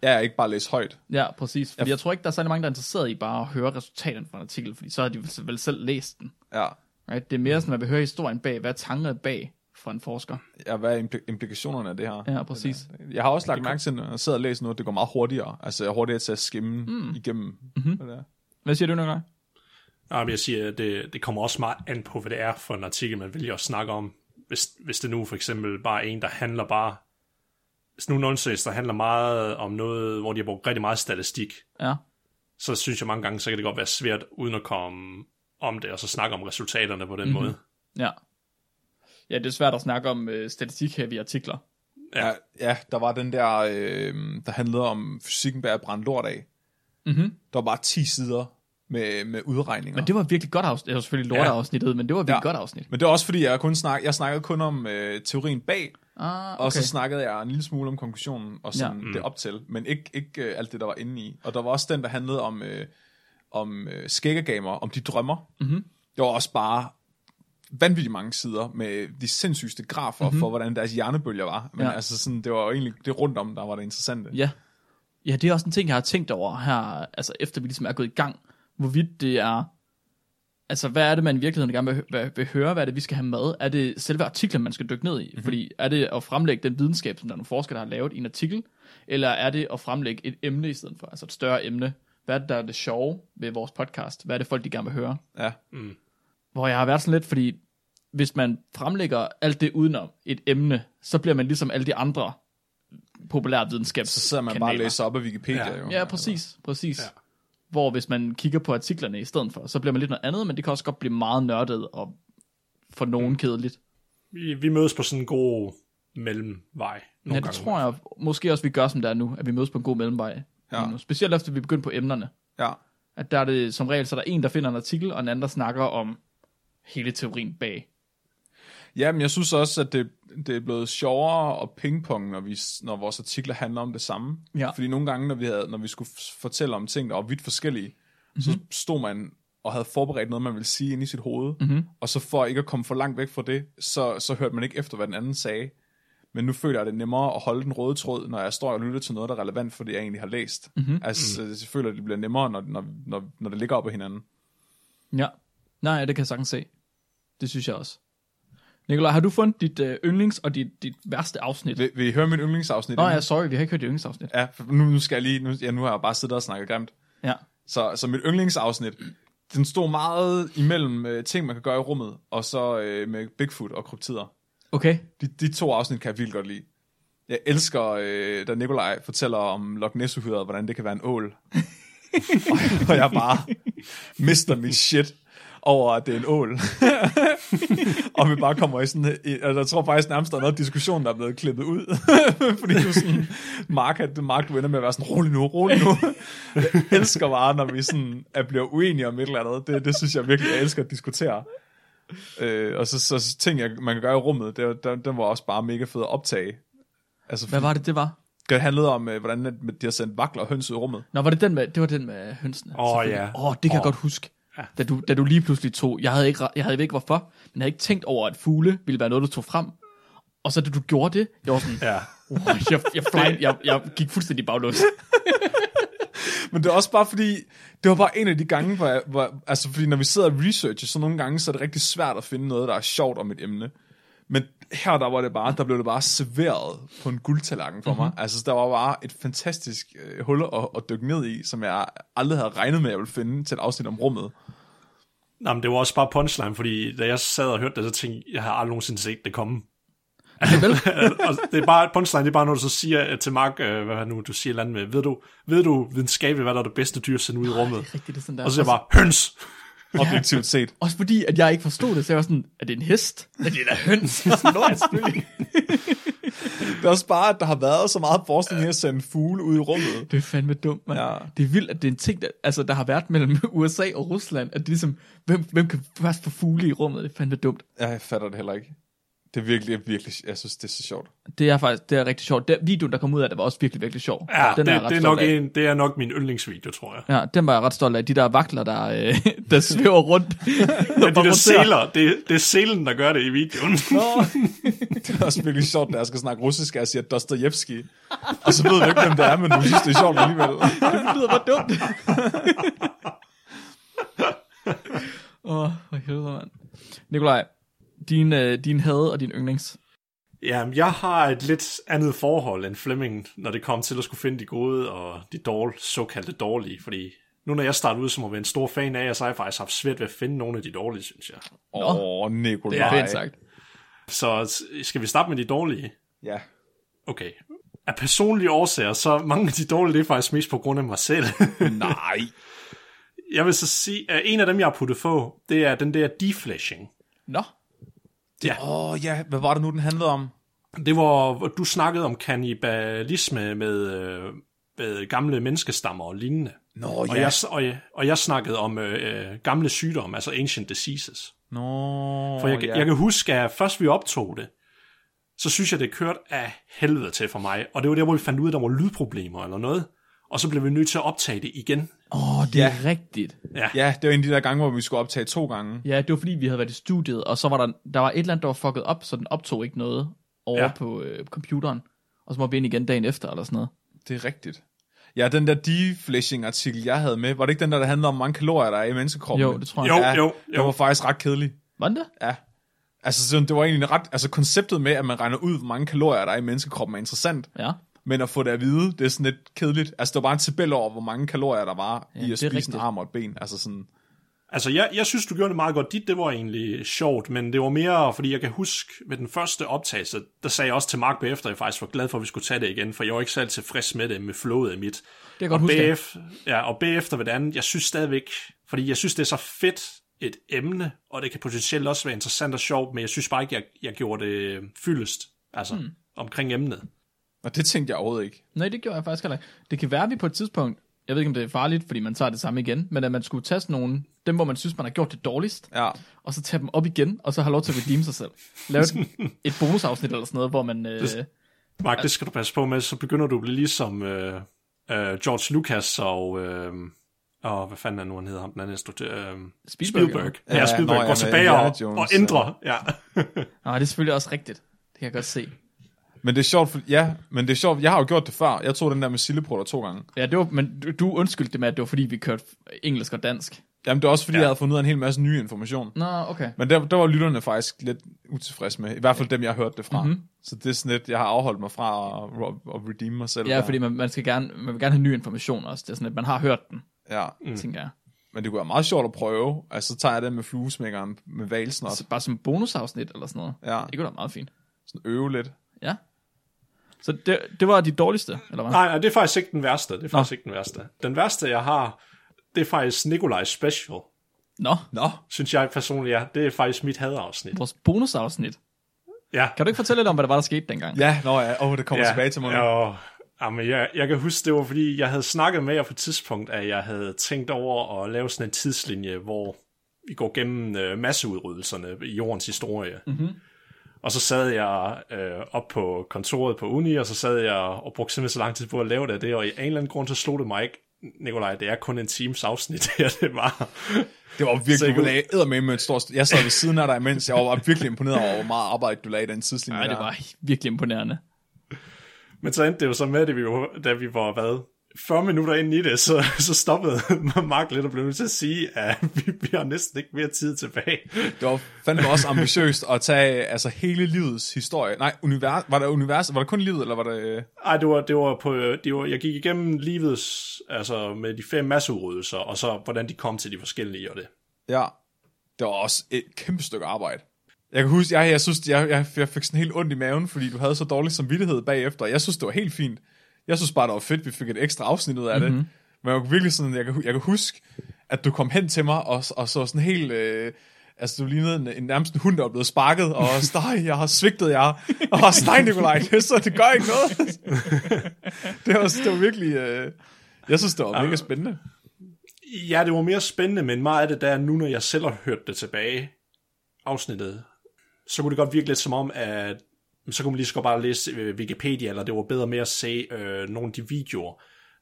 Speaker 5: ja ikke bare læse højt.
Speaker 1: Ja, præcis. Fordi jeg tror ikke, der er særlig mange, der er interesseret i bare at høre resultaterne fra en artikel, fordi så har de vel- vel selv læst den.
Speaker 5: Ja,
Speaker 1: Right? Det er mere sådan, at man vil høre historien bag, hvad er tankerne bag fra en forsker.
Speaker 5: ja hvad er impl- implikationerne af det her?
Speaker 1: Ja, præcis.
Speaker 5: Jeg har også lagt mærke til, når jeg sidder og læser noget, det går meget hurtigere. Altså jeg er hurtigere til at skimme mm. igennem. Mm-hmm. Det er.
Speaker 1: Hvad siger du nu, Nikolaj?
Speaker 4: Jamen, jeg siger, at det, det kommer også meget an på, hvad det er for en artikel, man vælger at snakke om. Hvis, hvis det nu for eksempel bare er en, der handler bare... Hvis nu nonsens, der handler meget om noget, hvor de har brugt rigtig meget statistik,
Speaker 1: Ja.
Speaker 4: så synes jeg mange gange, så kan det godt være svært, uden at komme om det, og så snakke om resultaterne på den mm-hmm. måde.
Speaker 1: Ja. Ja, det er svært at snakke om øh, statistik her i artikler.
Speaker 4: Ja.
Speaker 5: Ja, ja, der var den der, øh, der handlede om fysikken bag at brænde lort af.
Speaker 1: Mhm.
Speaker 5: Der var bare 10 sider med, med udregninger.
Speaker 1: Men det var et virkelig godt afsnit. Det var selvfølgelig lort afsnittet, men det var et virkelig ja. godt afsnit.
Speaker 5: Men det er også fordi, jeg, kun snak, jeg snakkede kun om øh, teorien bag,
Speaker 1: Ah, okay.
Speaker 5: og så snakkede jeg en lille smule om konklusionen, og sådan ja. det op til, men ikke, ikke øh, alt det, der var inde i. Og der var også den, der handlede om, øh, om øh, skæggegamer, om de drømmer.
Speaker 1: Mhm.
Speaker 5: Mm-hmm. Det var også bare vanvittigt mange sider med de sindssygeste grafer mm-hmm. for, hvordan deres hjernebølger var. Men
Speaker 1: Mhm. Ja.
Speaker 5: ja. altså sådan, det var jo egentlig det rundt om, der var det interessante.
Speaker 1: Ja. Ja, det er også en ting, jeg har tænkt over her, altså efter vi ligesom er gået i gang, hvorvidt det er, altså hvad er det, man i virkeligheden gerne vil, vil, vil høre, hvad er det, vi skal have med? Er det selve artiklen, man skal dykke ned i?
Speaker 5: Mhm.
Speaker 1: Mm-hmm. Fordi er det at fremlægge den videnskab, som der er nogle forskere, der har lavet i en artikel, eller er det at fremlægge et emne i stedet for, altså et større emne? Hvad er det, der er det sjove ved vores podcast? Hvad er det, folk de gerne vil høre?
Speaker 5: Ja.
Speaker 1: hvor jeg har været sådan lidt, fordi hvis man fremlægger alt det udenom et emne, så bliver man ligesom alle de andre populære videnskabs
Speaker 5: Så sidder man bare og læser op af Wikipedia
Speaker 4: Ja.
Speaker 5: jo.
Speaker 1: Ja, præcis, præcis. Ja. Hvor hvis man kigger på artiklerne i stedet for, så bliver man lidt noget andet, men det kan også godt blive meget nørdet og for
Speaker 4: Mm.
Speaker 1: nogen kedeligt.
Speaker 4: Vi, vi mødes på sådan en god mellemvej. Nogle
Speaker 1: Ja, det
Speaker 4: gange.
Speaker 1: tror jeg måske også, vi gør, som det er nu, at vi mødes på en god mellemvej.
Speaker 5: Ja.
Speaker 1: Ja. Specielt efter vi er begyndt på emnerne.
Speaker 5: Ja.
Speaker 1: At der er det som regel, så er der en, der finder en artikel, og en anden, der snakker om hele teorien bag.
Speaker 5: Ja, men jeg synes også, at det, det er blevet sjovere at pingpong, når, vi, når vores artikler handler om det samme.
Speaker 1: Ja.
Speaker 5: Fordi nogle gange, når vi, havde, når vi skulle f- fortælle om ting, der var vidt forskellige, mm-hmm.
Speaker 1: Mhm.
Speaker 5: så stod man og havde forberedt noget, man ville sige ind i sit hoved.
Speaker 1: Mhm.
Speaker 5: Mm-hmm. Og så for ikke at komme for langt væk fra det, så, så hørte man ikke efter, hvad den anden sagde. Men nu føler jeg det er nemmere at holde den røde tråd, når jeg står og lytter til noget, der er relevant for det, jeg egentlig har læst. Mm-hmm.
Speaker 1: Mhm.
Speaker 5: Altså, jeg føler, at det bliver nemmere, når, når, når, når det ligger op ad hinanden.
Speaker 1: Ja. Nej, det kan jeg sagtens se. Det synes jeg også. Nikolaj, har du fundet dit øh, yndlings- og dit, dit værste afsnit?
Speaker 5: Vil, vil I høre mit yndlingsafsnit?
Speaker 1: Nå
Speaker 5: inden?
Speaker 1: ja, sorry, vi har ikke hørt dit yndlingsafsnit.
Speaker 5: ja, for nu, nu skal jeg lige, nu, ja, nu har jeg bare siddet og snakket grimt.
Speaker 1: Ja.
Speaker 5: Så, så mit yndlingsafsnit, den stod meget imellem øh, ting, man kan gøre i rummet, og så øh, med Bigfoot og kryptider.
Speaker 1: Okay.
Speaker 5: De, de to afsnit kan jeg vildt godt lide. Jeg elsker, øh, da Nikolaj fortæller om Loch ness hvordan det kan være en ål. og, og jeg bare mister mit shit over, at det er en ål. og vi bare kommer i sådan... I, altså, jeg tror faktisk nærmest, der er noget diskussion, der er blevet klippet ud. Fordi du sådan... Mark, at- Mark, du ender med at være sådan, rolig nu, rolig nu. jeg elsker bare, når vi sådan er, bliver uenige om et eller andet. Det, det synes jeg virkelig, jeg elsker at diskutere. Øh, og så, så, så ting, jeg, man kan gøre i rummet, det, den, den var også bare mega fed at optage. Altså,
Speaker 1: Hvad var det, det var?
Speaker 5: det handlede om, øh, hvordan at de har sendt vakler og høns ud i rummet.
Speaker 1: Nå, var det den med, det var den med hønsene?
Speaker 4: Åh,
Speaker 1: selvfølgelig.
Speaker 4: ja.
Speaker 1: Åh, oh, det kan oh. jeg godt huske. Ja. Da, du, da du lige pludselig tog, jeg havde, ikke, re- jeg havde ikke hvorfor, men jeg havde ikke tænkt over, at fugle ville være noget, du tog frem. Og så da du gjorde det, jeg var sådan,
Speaker 4: Ja.
Speaker 1: oh, jeg, jeg, fly, jeg, jeg gik fuldstændig baglås.
Speaker 5: Men det er også bare fordi, det var bare en af de gange, hvor, jeg, hvor altså fordi når vi sidder og researcher, så nogle gange, så er det rigtig svært at finde noget, der er sjovt om et emne. Men her, der var det bare, der blev det bare serveret på en guldtallerken for mig. Mm-hmm. Altså, der var bare et fantastisk øh, hul at, at dykke ned i, som jeg aldrig havde regnet med, at jeg ville finde til et afsnit om rummet.
Speaker 4: Nå, men det var også bare punchline, fordi da jeg sad og hørte det, så tænkte jeg, jeg har aldrig nogensinde set det komme.
Speaker 1: vel?
Speaker 4: og det er bare, punchline, det er bare, når du så siger øh, til Mark, øh, hvad er det nu, du siger et eller andet med, ved du, ved du videnskabeligt, hvad der er det bedste dyr at sende ud i rummet?
Speaker 1: Rigtigt, det er sådan der.
Speaker 4: Og så siger jeg bare, høns!
Speaker 5: objektivt set.
Speaker 1: Også fordi, at jeg ikke forstod det, så jeg var sådan, er det en hest? Er det en høns? Og sådan, "Nå, ja, selvfølgelig."
Speaker 5: Det er også bare, at der har været så meget forskning i at sende fugle ud i rummet.
Speaker 1: det er fandme dumt, man.
Speaker 5: Ja.
Speaker 1: Ja. Det er vildt, at det er en ting, der, altså, der har været mellem USA og Rusland, at det er ligesom, hvem, hvem kan først få fugle i rummet? Det er fandme dumt.
Speaker 5: Jeg fatter det heller ikke. Det er virkelig, virkelig, jeg synes, det er så sjovt.
Speaker 1: Det er faktisk det er rigtig sjovt. Den videoen, der kom ud af det, var også virkelig, virkelig sjov.
Speaker 4: Ja,
Speaker 1: den
Speaker 4: det,
Speaker 1: er jeg ret
Speaker 4: det, er
Speaker 1: stolt
Speaker 4: nok
Speaker 1: af.
Speaker 4: en, det er nok min yndlingsvideo, tror jeg.
Speaker 1: Ja, den var jeg ret stolt af. De der vakler, der, øh, der svæver rundt.
Speaker 4: Ja, de der sæler, det, det er sælen, der gør det i videoen.
Speaker 5: Det er også virkelig sjovt, når jeg skal snakke russisk, at jeg siger Dostoyevsky. Og så ved jeg ikke, hvem det er, men du synes, det er sjovt alligevel.
Speaker 1: Det lyder bare dumt. Åh, oh, hvor helvede, mand. Nikolaj, din, øh, din had og din yndlings.
Speaker 4: Jamen, jeg har et lidt andet forhold end Flemming, når det kom til at skulle finde de gode og de dårlige, såkaldte dårlige, fordi nu når jeg starter ud som at være en stor fan af jer, så har jeg faktisk haft svært ved at finde nogle af de dårlige, synes jeg.
Speaker 5: Åh, oh, Nikolaj.
Speaker 1: Det er pænt sagt.
Speaker 4: Så s- skal vi starte med de dårlige?
Speaker 5: Ja.
Speaker 4: Okay. Af personlige årsager, så er mange af de dårlige, det er faktisk mest på grund af mig selv.
Speaker 5: Nej.
Speaker 4: jeg vil så sige, at en af dem, jeg har puttet på, det er den der deflashing.
Speaker 1: Nå,
Speaker 5: Åh, oh, ja. Hvad var det nu, den handlede om?
Speaker 4: Det var, hvor du snakkede om kannibalisme med, øh, med gamle menneskestammer og lignende.
Speaker 5: Nå,
Speaker 4: Og, jeg, og, jeg, og jeg snakkede om øh, øh, gamle sygdomme, altså ancient diseases.
Speaker 5: Nå,
Speaker 4: For jeg,
Speaker 5: ja.
Speaker 4: jeg kan huske, at først vi optog det, så synes jeg, det kørte af helvede til for mig. Og det var der, hvor vi fandt ud af, at der var lydproblemer eller noget. Og så blev vi nødt til at optage det igen.
Speaker 1: oh, det er ja. rigtigt.
Speaker 5: Ja, det var en af de der gange, hvor vi skulle optage to gange.
Speaker 1: Ja, det var fordi, vi havde været i studiet, og så var der, der var et eller andet, der var fucket op, så den optog ikke noget over
Speaker 4: Ja.
Speaker 1: ja. på øh, computeren. Og så må vi ind igen dagen efter, eller sådan noget.
Speaker 5: Det er rigtigt. Ja, den der deflashing-artikel, jeg havde med, var det ikke den der, der handlede om, hvor mange kalorier der er i menneskekroppen?
Speaker 1: Jo, det tror jeg.
Speaker 4: Jo,
Speaker 5: ja,
Speaker 4: jo,
Speaker 5: Det
Speaker 4: jo.
Speaker 5: var faktisk ret kedeligt.
Speaker 1: Var den det?
Speaker 5: Ja. Altså, sådan, det var egentlig en ret... Altså, konceptet med, at man regner ud, hvor mange kalorier der er i menneskekroppen, er interessant.
Speaker 1: Ja.
Speaker 5: Men at få det at vide, det er sådan lidt kedeligt. Altså, der var bare en tabel over, hvor mange kalorier der var ja, i
Speaker 1: det er
Speaker 5: at spise rigtigt.
Speaker 1: rigtigt.
Speaker 5: en arm og et ben. Altså sådan...
Speaker 4: Altså, jeg, jeg synes, du gjorde det meget godt. Dit, det var egentlig sjovt, men det var mere, fordi jeg kan huske ved den første optagelse, der sagde jeg også til Mark bagefter, at jeg faktisk var glad for, at vi skulle tage det igen, for jeg var ikke selv tilfreds med det, med flowet af mit.
Speaker 1: Det kan jeg godt
Speaker 4: og
Speaker 1: huske, ja.
Speaker 4: bagef- ja, og bagefter ved det andet, jeg synes stadigvæk, fordi jeg synes, det er så fedt et emne, og det kan potentielt også være interessant og sjovt, men jeg synes bare ikke, jeg, jeg gjorde det fyldest, altså
Speaker 1: Hmm.
Speaker 4: mm. omkring emnet.
Speaker 5: Og det tænkte jeg overhovedet ikke.
Speaker 1: Nej, det gjorde jeg faktisk heller ikke. Det kan være, at vi på et tidspunkt, jeg ved ikke, om det er farligt, fordi man tager det samme igen, men at man skulle tage sådan nogle, dem hvor man synes, man har gjort det dårligst,
Speaker 5: Ja.
Speaker 1: og så tage dem op igen, og så have lov til at redeem sig selv. Lave et, et bonusafsnit eller sådan noget, hvor man... Øh,
Speaker 4: Mark, det skal du passe på med, så begynder du at blive ligesom øh, øh, George Lucas og, øh, og hvad fanden er nu, han hedder ham, den anden instruktør, øh,
Speaker 1: Spielberg,
Speaker 4: Spielberg.
Speaker 5: ja.
Speaker 4: Ja,
Speaker 5: Ja,
Speaker 4: ja, Spielberg
Speaker 5: nå,
Speaker 4: går
Speaker 5: ja, med
Speaker 4: tilbage
Speaker 5: Indiana
Speaker 4: og,
Speaker 5: Jones,
Speaker 4: og ændrer. Ja.
Speaker 1: nej, Ah, det er selvfølgelig også rigtigt. Det kan jeg godt se.
Speaker 5: Men det er sjovt, for, ja, men det er sjovt. Jeg har jo gjort det før. Jeg tog den der med sildeprutter to gange.
Speaker 1: Ja, det var, men du, du undskyldte det med, at det var fordi, vi kørte engelsk og dansk.
Speaker 5: Jamen, det er også fordi, ja.
Speaker 4: Ja.
Speaker 5: jeg havde fundet ud af en hel masse ny information.
Speaker 1: Nå, okay.
Speaker 5: Men der, der var lytterne faktisk lidt utilfredse med. I hvert fald dem, jeg hørte det fra.
Speaker 1: Mhm.
Speaker 5: Mm-hmm. Så det er sådan lidt, jeg har afholdt mig fra at, at, at redeem mig selv.
Speaker 1: Ja,
Speaker 5: der.
Speaker 1: fordi man, man, skal gerne, man vil gerne have ny information også. Det er sådan, at man har hørt den,
Speaker 5: Ja,
Speaker 1: mm. tænker jeg.
Speaker 5: men det kunne være meget sjovt at prøve. Altså, så tager jeg den med fluesmækkeren, med valsnot.
Speaker 1: Så bare som bonusafsnit eller sådan noget.
Speaker 5: Ja,
Speaker 1: Det kunne da være meget fint.
Speaker 5: sådan øve lidt.
Speaker 1: Ja. Så det, det var de dårligste, eller hvad?
Speaker 4: Nej, nej, det er faktisk ikke den værste. Det er faktisk ikke den værste. Den værste, jeg har, det er faktisk Nikolaj Special,
Speaker 1: Nå,
Speaker 5: Nå,
Speaker 4: synes jeg personligt er. Det er faktisk mit hadafsnit.
Speaker 1: vores bonusafsnit.
Speaker 4: Ja.
Speaker 1: Kan du ikke fortælle lidt om, hvad der var, der skete dengang?
Speaker 5: ja, nå ja. Åh, oh, det kommer tilbage til mig nu.
Speaker 4: Ja, jamen, jeg, jeg kan huske, det var fordi, jeg havde snakket med jer på et tidspunkt, at jeg havde tænkt over at lave sådan en tidslinje, hvor vi går gennem øh, masseudryddelserne i jordens historie.
Speaker 5: Mhm.
Speaker 4: Mm-hmm. Og så sad jeg øh, op på kontoret på uni, og så sad jeg og brugte simpelthen så lang tid på at lave det, og det, og i en eller anden grund, så slog det mig ikke, Nikolaj, det er kun en times afsnit, det her, det var.
Speaker 5: Det var virkelig, du lagde eddermame med et stort... Jeg sad ved siden af dig imens, jeg var virkelig imponeret over, hvor meget arbejde du lagde i den tidslinje.
Speaker 1: Nej, det
Speaker 5: der.
Speaker 1: var virkelig imponerende.
Speaker 4: Men så endte det jo så med, at vi jo, da vi var, hvad, 40 minutter ind i det, så, så stoppede Mark lidt og blev nødt til at sige, at vi, vi har næsten ikke mere tid tilbage.
Speaker 5: Det var fandme også ambitiøst at tage altså, hele livets historie. Nej, univers, var det univers, var det kun livet, eller var det... øh,
Speaker 4: Ej, det var, det var på, det var, jeg gik igennem livets, altså med de fem masseudryddelser, og så hvordan de kom til de forskellige og det.
Speaker 5: Ja, Det var også et kæmpe stykke arbejde. Jeg kan huske, jeg, jeg synes, jeg, jeg, jeg fik sådan helt ondt i maven, fordi du havde så dårlig samvittighed bagefter. Jeg synes, det var helt fint. Jeg synes bare, det var fedt, vi fik et ekstra afsnit ud af det.
Speaker 4: Mhm.
Speaker 5: Mm-hmm. Men jeg kunne virkelig sådan, jeg kan, hu- jeg kan huske, at du kom hen til mig, og, og så sådan helt... Øh, altså, du lignede en, en, nærmest en hund, der var blevet sparket, og nej, jeg har svigtet jer. Og også, nej, Nikolaj, det, så det gør ikke noget. det, var, det var virkelig... Øh, jeg synes, det var mega spændende.
Speaker 4: Ja, det var mere spændende, men meget af det der, nu når jeg selv har hørt det tilbage, afsnittet, så kunne det godt virke lidt som om, at så kunne man lige så godt bare læse øh, Wikipedia, eller det var bedre med at se øh, nogle af de videoer,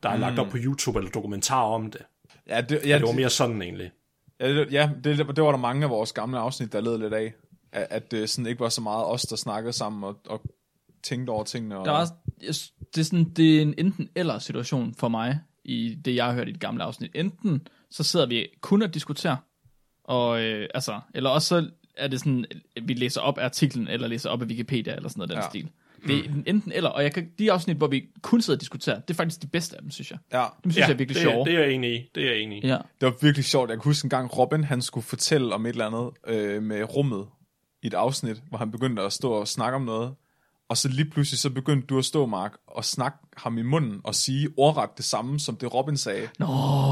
Speaker 4: der er mm. lagt op på YouTube, eller dokumentarer om det.
Speaker 5: Ja, det,
Speaker 4: Ja,
Speaker 5: ja,
Speaker 4: det var mere sådan egentlig.
Speaker 5: Ja, det, ja det, det var der mange af vores gamle afsnit, der led lidt af, at, at det sådan ikke var så meget os, der snakkede sammen og, og tænkte over tingene. Og,
Speaker 1: Der er, også- jeg s- det, er sådan, det er en enten eller situation for mig, i det jeg har hørt i det gamle afsnit. Enten så sidder vi kun og diskuterer, og, øh, altså, eller også så er det sådan, at vi læser op af artiklen, eller læser op af Wikipedia, eller sådan noget af den
Speaker 5: Ja.
Speaker 1: ja. stil. Det er enten eller, og jeg kan, de afsnit, hvor vi kun sidder og diskuterer, det er faktisk de bedste af dem, synes jeg.
Speaker 5: Ja,
Speaker 1: Dem synes ja, jeg er virkelig
Speaker 4: det,
Speaker 1: sjove.
Speaker 4: det er jeg enig i. Det er jeg enig i.
Speaker 1: Ja.
Speaker 5: det var virkelig sjovt. Jeg kan huske en gang, Robin han skulle fortælle om et eller andet øh, med rummet i et afsnit, hvor han begyndte at stå og snakke om noget. Og så lige pludselig, så begyndte du at stå, Mark, og snakke ham i munden og sige ordret det samme, som det Robin sagde.
Speaker 1: Nå,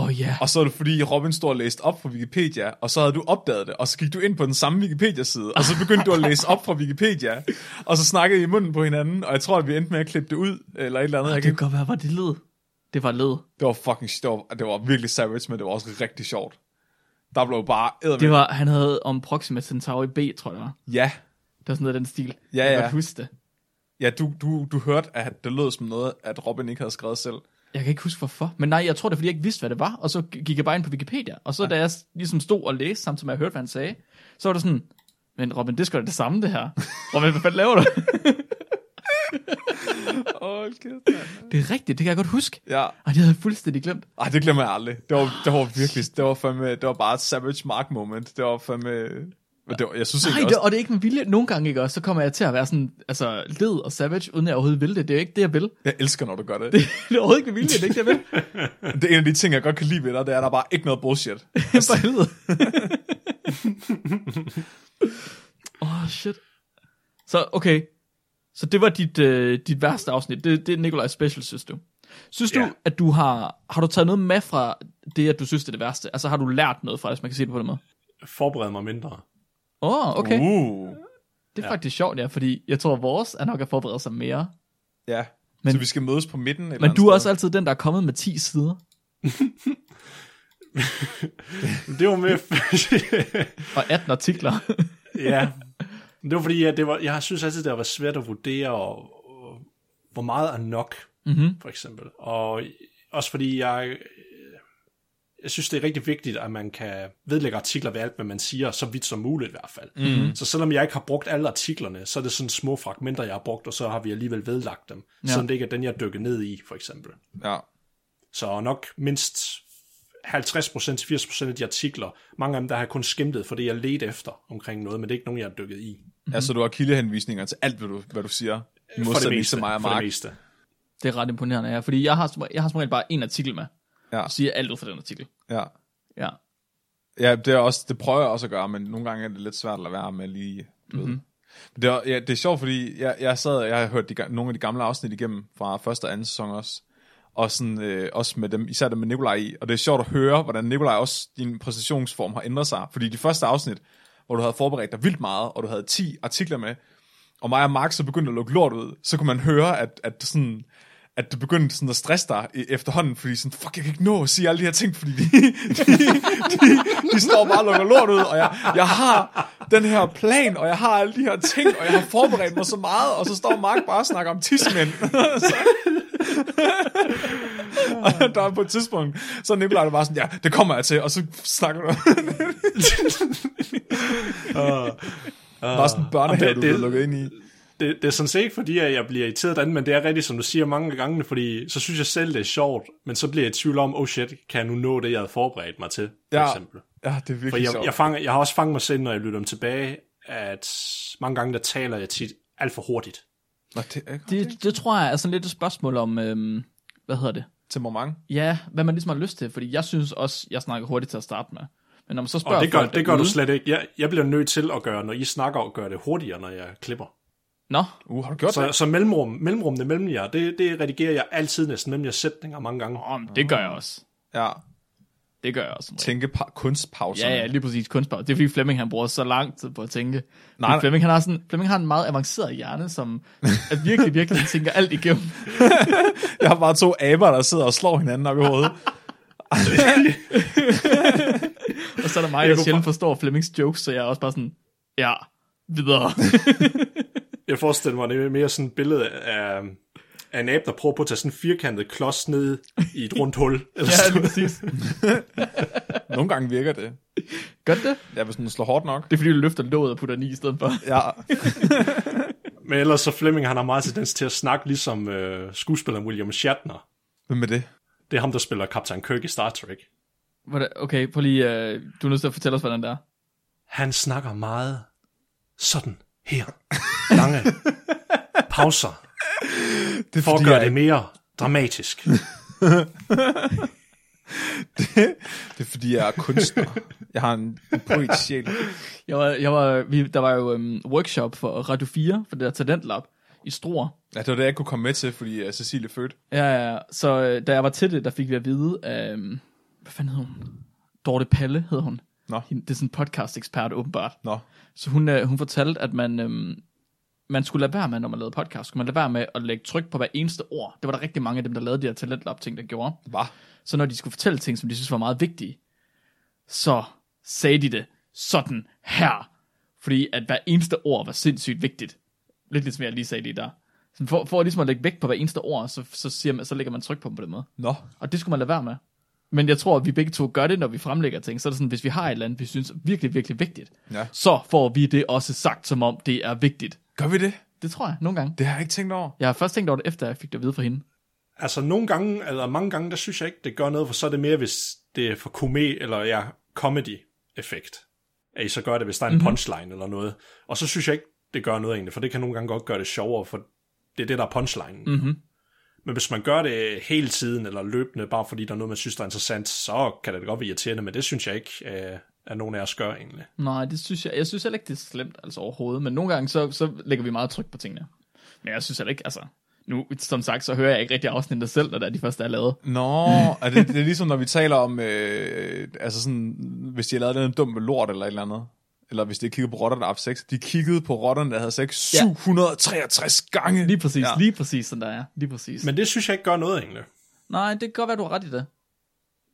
Speaker 1: ja.
Speaker 5: Og så er det fordi, Robin stod og læste op fra Wikipedia, og så havde du opdaget det, og så gik du ind på den samme Wikipedia-side, og så begyndte du at læse op fra Wikipedia, og så snakkede I i munden på hinanden, og jeg tror, at vi endte med at klippe det ud, eller et eller andet. Jeg
Speaker 1: Det kan
Speaker 5: kan...
Speaker 1: godt være, var det led. Det var led.
Speaker 5: Det var fucking det var, det var virkelig savage, men det var også rigtig sjovt. Der blev bare eddermame-
Speaker 1: Det var, han havde om Proxima Centauri B, tror jeg det var.
Speaker 5: Ja,
Speaker 1: Det var sådan noget af den stil.
Speaker 5: Ja,
Speaker 1: Jeg kan
Speaker 5: ja.
Speaker 1: godt huske det.
Speaker 5: ja du, du, du hørte, at det lød som noget, at Robin ikke havde skrevet selv.
Speaker 1: Jeg kan ikke huske hvorfor. Men nej, jeg tror det er, fordi jeg ikke vidste, hvad det var. Og så gik jeg bare ind på Wikipedia. Og så ja. da jeg s- ligesom stod og læste, samtidig med at jeg hørte, hvad han sagde, så var det sådan, men Robin, det skal da det samme, det her. Robin, hvad fanden laver du?
Speaker 5: Åh, kæft.
Speaker 1: det er rigtigt, det kan jeg godt huske.
Speaker 5: Ja.
Speaker 1: Og det havde jeg fuldstændig glemt.
Speaker 5: Ej, det glemmer jeg aldrig. Det var, det var virkelig, det var fandme, det var bare et savage mark moment. Det var fandme, men det var, jeg synes
Speaker 1: Nej,
Speaker 5: ikke
Speaker 1: det, og det er ikke med vilje. Nogle gange, ikke også, så kommer jeg til at være sådan, altså, led og savage, uden jeg overhovedet vil det. Det er jo ikke det, jeg vil.
Speaker 5: Jeg elsker, når du gør det.
Speaker 1: det er overhovedet ikke med vilje, det er ikke det, jeg vil.
Speaker 5: Det er en af de ting, jeg godt kan lide ved dig, det er, at der er bare ikke noget bullshit. Altså,
Speaker 1: For helvede. Åh, oh, shit. Så, okay. Så det var dit, øh, dit værste afsnit. Det, det er Nikolajs special, synes du. Synes du,
Speaker 4: Ja.
Speaker 1: at du har... Har du taget noget med fra det, at du synes, det er det værste? Altså, har du lært noget fra det, hvis man kan sige det på den måde?
Speaker 4: Forbered mig mindre.
Speaker 1: Åh, oh, okay. Uh.
Speaker 5: Uh.
Speaker 1: Det er faktisk sjovt, ja, fordi jeg tror, vores er nok at forberede sig mere.
Speaker 5: Ja, men,
Speaker 1: Men-
Speaker 5: så vi skal mødes på midten. Eller
Speaker 1: Men
Speaker 5: andet
Speaker 1: du er
Speaker 5: sted.
Speaker 1: også altid den, der er kommet med 10 sider.
Speaker 4: Det var med...
Speaker 1: Og 18 artikler.
Speaker 4: ja. Men Det var fordi, jeg, det var, jeg synes altid, det har været svært at vurdere, og, og, hvor meget er nok, mm-hmm. for eksempel. Og også fordi, jeg, øh, jeg synes, det er rigtig vigtigt, at man kan vedlægge artikler ved alt, hvad man siger, så vidt som muligt i hvert fald. Mm-hmm. Så selvom jeg ikke har brugt alle artiklerne, så er det sådan små fragmenter, jeg har brugt, og så har vi alligevel vedlagt dem, ja. selvom det ikke er den, jeg dykker ned i, for eksempel.
Speaker 5: Ja.
Speaker 4: Så nok mindst 50-80% af de artikler, mange af dem, der har jeg kun skimtet for det, jeg ledte efter omkring noget, men det er ikke nogen, jeg har dykket i.
Speaker 1: Mhm.
Speaker 5: Altså, du har kildehenvisninger til alt, hvad du, hvad du siger.
Speaker 4: For det
Speaker 5: Modsætning
Speaker 4: meste.
Speaker 5: til mig og
Speaker 4: for det
Speaker 5: Mark.
Speaker 4: meste.
Speaker 1: Det er ret imponerende, ja. Fordi jeg har, som- jeg har som regel bare en artikel med.
Speaker 5: Ja.
Speaker 1: Og siger alt ud fra den artikel.
Speaker 5: Ja.
Speaker 1: Ja.
Speaker 5: ja, det, er også, det prøver jeg også at gøre, men nogle gange er det lidt svært at lade være med lige... Mm-hmm. Det, er, ja, det er sjovt, fordi jeg, jeg sad, jeg har hørt de, ga- nogle af de gamle afsnit igennem fra første og anden sæson også. Og sådan, øh, også med dem, især dem med Nikolaj i. Og det er sjovt at høre, hvordan Nikolaj også, din præstationsform har ændret sig. Fordi de første afsnit, hvor du havde forberedt dig vildt meget, og du havde 10 artikler med, og mig og Mark så begyndte at lukke lort ud, så kunne man høre, at, at, sådan, at det begyndte sådan at stresse dig i- efterhånden, fordi sådan, fuck, jeg kan ikke nå at sige alle de her ting, fordi de, de, de, de står bare og lukker lort ud, og jeg, jeg har den her plan, og jeg har alle de her ting, og jeg har forberedt mig så meget, og så står Mark bare og snakker om tidsmænd. Så- og der er på et tidspunkt, så er Nicolaj der bare sådan, ja, det kommer jeg til, og så snakker du. bare sådan en børnehave,
Speaker 4: og
Speaker 5: du
Speaker 4: det-
Speaker 5: er blevet
Speaker 4: det-
Speaker 5: lukket ind i.
Speaker 4: Det, det er sådan set ikke fordi, at jeg bliver irriteret af den, men det er rigtigt, som du siger mange gange, fordi så synes jeg selv, det er sjovt, men så bliver jeg i tvivl om, oh shit, kan jeg nu nå det, jeg havde forberedt mig til, for
Speaker 5: Ja.
Speaker 4: eksempel.
Speaker 5: Ja, det er
Speaker 4: For
Speaker 5: virkelig
Speaker 4: jeg,
Speaker 5: sjovt.
Speaker 4: jeg, fanger, jeg har også fanget mig selv, når jeg lytter dem tilbage, at mange gange, der taler jeg tit alt for hurtigt.
Speaker 5: Nå, det er ikke
Speaker 1: Det, det tror jeg er sådan lidt et spørgsmål om, øhm, hvad hedder det?
Speaker 5: temperament.
Speaker 1: Ja, hvad man ligesom har lyst til, fordi jeg synes også, jeg snakker hurtigt til at starte med. Men når man så spørger
Speaker 4: Og det gør,
Speaker 1: folk
Speaker 4: det gør du
Speaker 5: Mhm.
Speaker 1: derude-
Speaker 4: slet ikke. Jeg, jeg bliver nødt til at gøre, når I snakker, og gøre det hurtigere, når jeg klipper.
Speaker 1: Nå,
Speaker 5: Uh, har du gjort
Speaker 4: Så, så mellemrum, mellemrummene mellem jer, det, det redigerer jeg altid næsten mellem jeres sætninger mange gange.
Speaker 1: om, det gør jeg også.
Speaker 5: Ja.
Speaker 1: Det gør jeg også. som regel.
Speaker 5: Tænke pa- kunstpauser.
Speaker 1: Ja, ja, lige præcis kunstpause. Det er fordi Flemming, han bruger så lang tid på at tænke.
Speaker 5: Nej, nej.
Speaker 1: Nej, Flemming, han har sådan, Flemming har en meget avanceret hjerne, som at virkelig, virkelig tænker alt igennem.
Speaker 5: Jeg har bare to aber, der sidder og slår hinanden op i hovedet.
Speaker 1: Og så er der mig, der sjældent forstår Flemmings jokes, så jeg er også bare sådan, ja, videre.
Speaker 4: Jeg forestiller mig, det er mere sådan et billede af, af en abe, der prøver på at tage sådan en firkantet klods ned i et rundt hul.
Speaker 1: ja,
Speaker 4: Eller
Speaker 1: lige
Speaker 4: sådan.
Speaker 1: præcis.
Speaker 5: Nogle gange virker det.
Speaker 1: Gør det? det?
Speaker 5: Ja, hvis den slår hårdt nok.
Speaker 1: Det er fordi, du løfter låget og putter ni i stedet for.
Speaker 5: Ja,
Speaker 4: Men ellers så Flemming, han har meget tendens til at snakke ligesom øh, skuespilleren William Shatner.
Speaker 5: hvem er det?
Speaker 4: Det er ham, der spiller Captain Kirk i Star Trek.
Speaker 1: Hvordan- Okay, prøv lige, øh, du er nødt til at fortælle os, hvordan det er.
Speaker 4: Han snakker meget sådan her. Lange pauser.
Speaker 5: Det er
Speaker 4: For at
Speaker 5: fordi,
Speaker 4: gøre
Speaker 5: jeg,
Speaker 4: det mere dramatisk.
Speaker 5: det er fordi, jeg er kunstner. Jeg har en en poet sjæl.
Speaker 1: Jeg var, jeg var, vi, der var jo øhm, workshop for Radio 4, for det der Talentlab, i Struer.
Speaker 5: Ja, det var det, jeg ikke kunne komme med til, fordi uh, Cecilie fødte.
Speaker 1: Ja, ja, så øh, da jeg var til det, der fik vi at vide, øhm, hvad fanden hed hun? Dorte Palle hed hun.
Speaker 5: Nå.
Speaker 1: Hende- Det er sådan en podcast ekspert åbenbart.
Speaker 5: Nå.
Speaker 1: Så hun, øh, hun fortalte, at man, øhm, man skulle lade være med, når man lavede podcast, skulle man lade være med at lægge tryk på hver eneste ord. Det var der rigtig mange af dem, der lavede de her talentlab-ting, der gjorde.
Speaker 5: Hva?
Speaker 1: Så når de skulle fortælle ting, som de synes var meget vigtige, så sagde de det sådan her. Fordi at hver eneste ord var sindssygt vigtigt. Lidt ligesom jeg lige sagde lige der. Så For, for ligesom at lægge vægt på hver eneste ord, så, så, siger man, så lægger man tryk på dem på den måde.
Speaker 5: Nå.
Speaker 1: Og det skulle man lade være med. Men jeg tror, at vi begge to gør det, når vi fremlægger ting. Så er det sådan, hvis vi har et eller andet, vi synes er virkelig, virkelig vigtigt,
Speaker 5: Ja.
Speaker 1: så får vi det også sagt, som om det er vigtigt.
Speaker 5: Gør vi det?
Speaker 1: Det tror jeg, nogle gange.
Speaker 5: Det har jeg ikke tænkt over.
Speaker 1: Jeg har først tænkt over det, efter jeg fik det at vide fra hende.
Speaker 4: Altså nogle gange, eller mange gange, der synes jeg ikke, det gør noget, for så er det mere, hvis det er for komé, eller ja, comedy-effekt. At I så gør det, hvis der er en punchline eller noget. Og så synes jeg ikke, det gør noget egentlig, for det kan nogle gange godt gøre det sjovere, for det er det, der er punchlinen. Mm-hmm. Men hvis man gør det hele tiden, eller løbende, bare fordi der er noget, man synes, der er interessant, så kan det da godt være irriterende, men det synes jeg ikke, øh, at nogen af os gør egentlig.
Speaker 1: Nej, det synes jeg, jeg synes heller ikke, det er slemt altså overhovedet, men nogle gange, så, så lægger vi meget tryk på tingene. Men jeg synes heller ikke, altså, nu, som sagt, så hører jeg ikke rigtig afsnittet selv, når det er de første, der er lavet.
Speaker 5: Nå, er det, det er ligesom, når vi taler om, øh, altså sådan, hvis de har lavet noget dumt med lort eller et eller andet. Eller hvis de kiggede på rotterne, der har haft sex. De kiggede på rotterne, der havde sex 763 gange.
Speaker 1: Lige præcis,
Speaker 5: Ja.
Speaker 1: ja. lige præcis, sådan der er. Lige præcis. Men...
Speaker 4: Men det synes jeg ikke gør noget egentlig.
Speaker 5: Altså,
Speaker 1: Nej, det kan godt være, du har ret i det.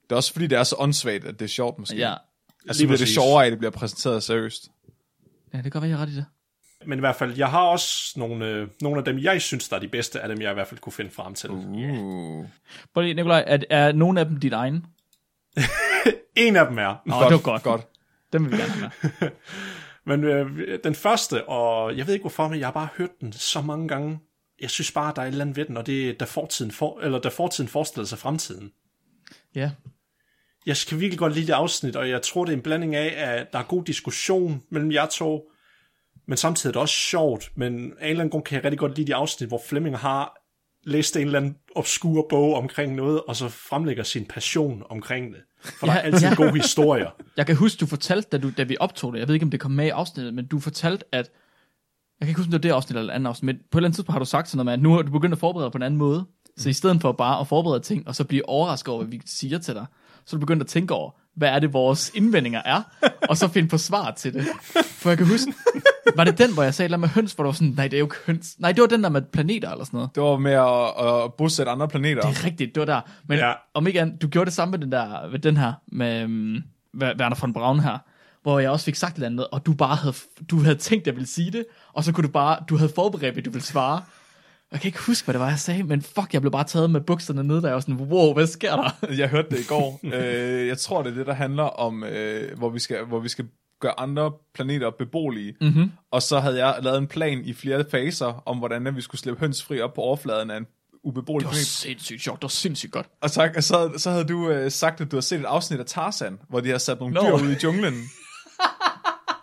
Speaker 5: Det er også fordi, det er så åndssvagt, at det er sjovt måske.
Speaker 1: Ja,
Speaker 5: altså,
Speaker 4: lige
Speaker 5: bliver det
Speaker 4: præcis.
Speaker 5: sjovere, at det bliver præsenteret seriøst.
Speaker 1: ja det kan godt være, jeg har ret i det.
Speaker 4: Men i hvert fald, jeg har også nogle, øh, nogle af dem, jeg synes, der er de bedste, af dem, jeg i hvert fald kunne finde frem til.
Speaker 5: Uh.
Speaker 1: Prøv lige, Nikolaj, er, er nogen af dem dit egen? Åh,
Speaker 4: En af dem er,
Speaker 1: oh, det var godt.
Speaker 5: Godt.
Speaker 1: Dem vil vi gerne have med.
Speaker 4: Men øh, den første, og jeg ved ikke hvorfor, men jeg har bare hørt den så mange gange. Jeg synes bare, der er et eller andet ved den, og det er, da fortiden, for, eller da fortiden forestiller sig fremtiden.
Speaker 1: Ja,
Speaker 4: Jeg skal virkelig godt lide det afsnit, og jeg tror, det er en blanding af, at der er god diskussion mellem jer to, men samtidig er det også sjovt, men af en eller anden grund kan jeg rigtig godt lide de afsnit, hvor Flemming har læst en eller anden obskur bog omkring noget, og så fremlægger sin passion omkring det. For der er
Speaker 1: Ja,
Speaker 4: altid
Speaker 1: ja.
Speaker 4: gode historier.
Speaker 1: Jeg kan huske, du fortalte, da, du, da vi optog det, jeg ved ikke, om det kom med i afsnittet, men du fortalte, at, jeg kan ikke huske, om det var det afsnit eller et andet afsnit, men på et eller andet tidspunkt har du sagt sådan noget med, at nu har du begyndt at forberede dig på en anden måde, så i stedet for bare at forberede ting, og så blive overrasket over, hvad vi siger til dig, så er du begyndt at tænke over, hvad er det, vores indvendinger er, og så finde på svar til det. For jeg kan huske, var det den, hvor jeg sagde et eller andet med høns, hvor du var sådan, nej, det er jo ikke høns. Nej, det var den der med planeter eller sådan noget.
Speaker 5: Det var med at, at bosætte andre planeter.
Speaker 1: Det er rigtigt, det var der. Men
Speaker 4: Ja.
Speaker 1: ja. om ikke andet, du gjorde det samme med den, der, med den her, med um, Werner von Braun her, hvor jeg også fik sagt et eller andet, og du bare havde, du havde tænkt, at jeg ville sige det, og så kunne du bare, du havde forberedt, at du ville svare. Jeg kan ikke huske, hvad det var, jeg sagde, men fuck, jeg blev bare taget med bukserne ned, der jeg var sådan, wow, hvad sker der?
Speaker 5: Jeg hørte det i går. øh, jeg tror, det er det, der handler om, øh, hvor, vi skal, hvor vi skal gøre andre planeter beboelige.
Speaker 1: Mhm.
Speaker 5: Mm-hmm. Og så havde jeg lavet en plan i flere faser om, hvordan at vi skulle slippe høns fri op på overfladen af en ubeboelig
Speaker 1: Det var
Speaker 5: planet.
Speaker 1: sindssygt sjovt, det var sindssygt godt.
Speaker 5: Og så, og så, så havde du øh, sagt, at du havde set et afsnit af Tarzan, hvor de har sat nogle
Speaker 1: Nå.
Speaker 5: no. dyr ud i junglen.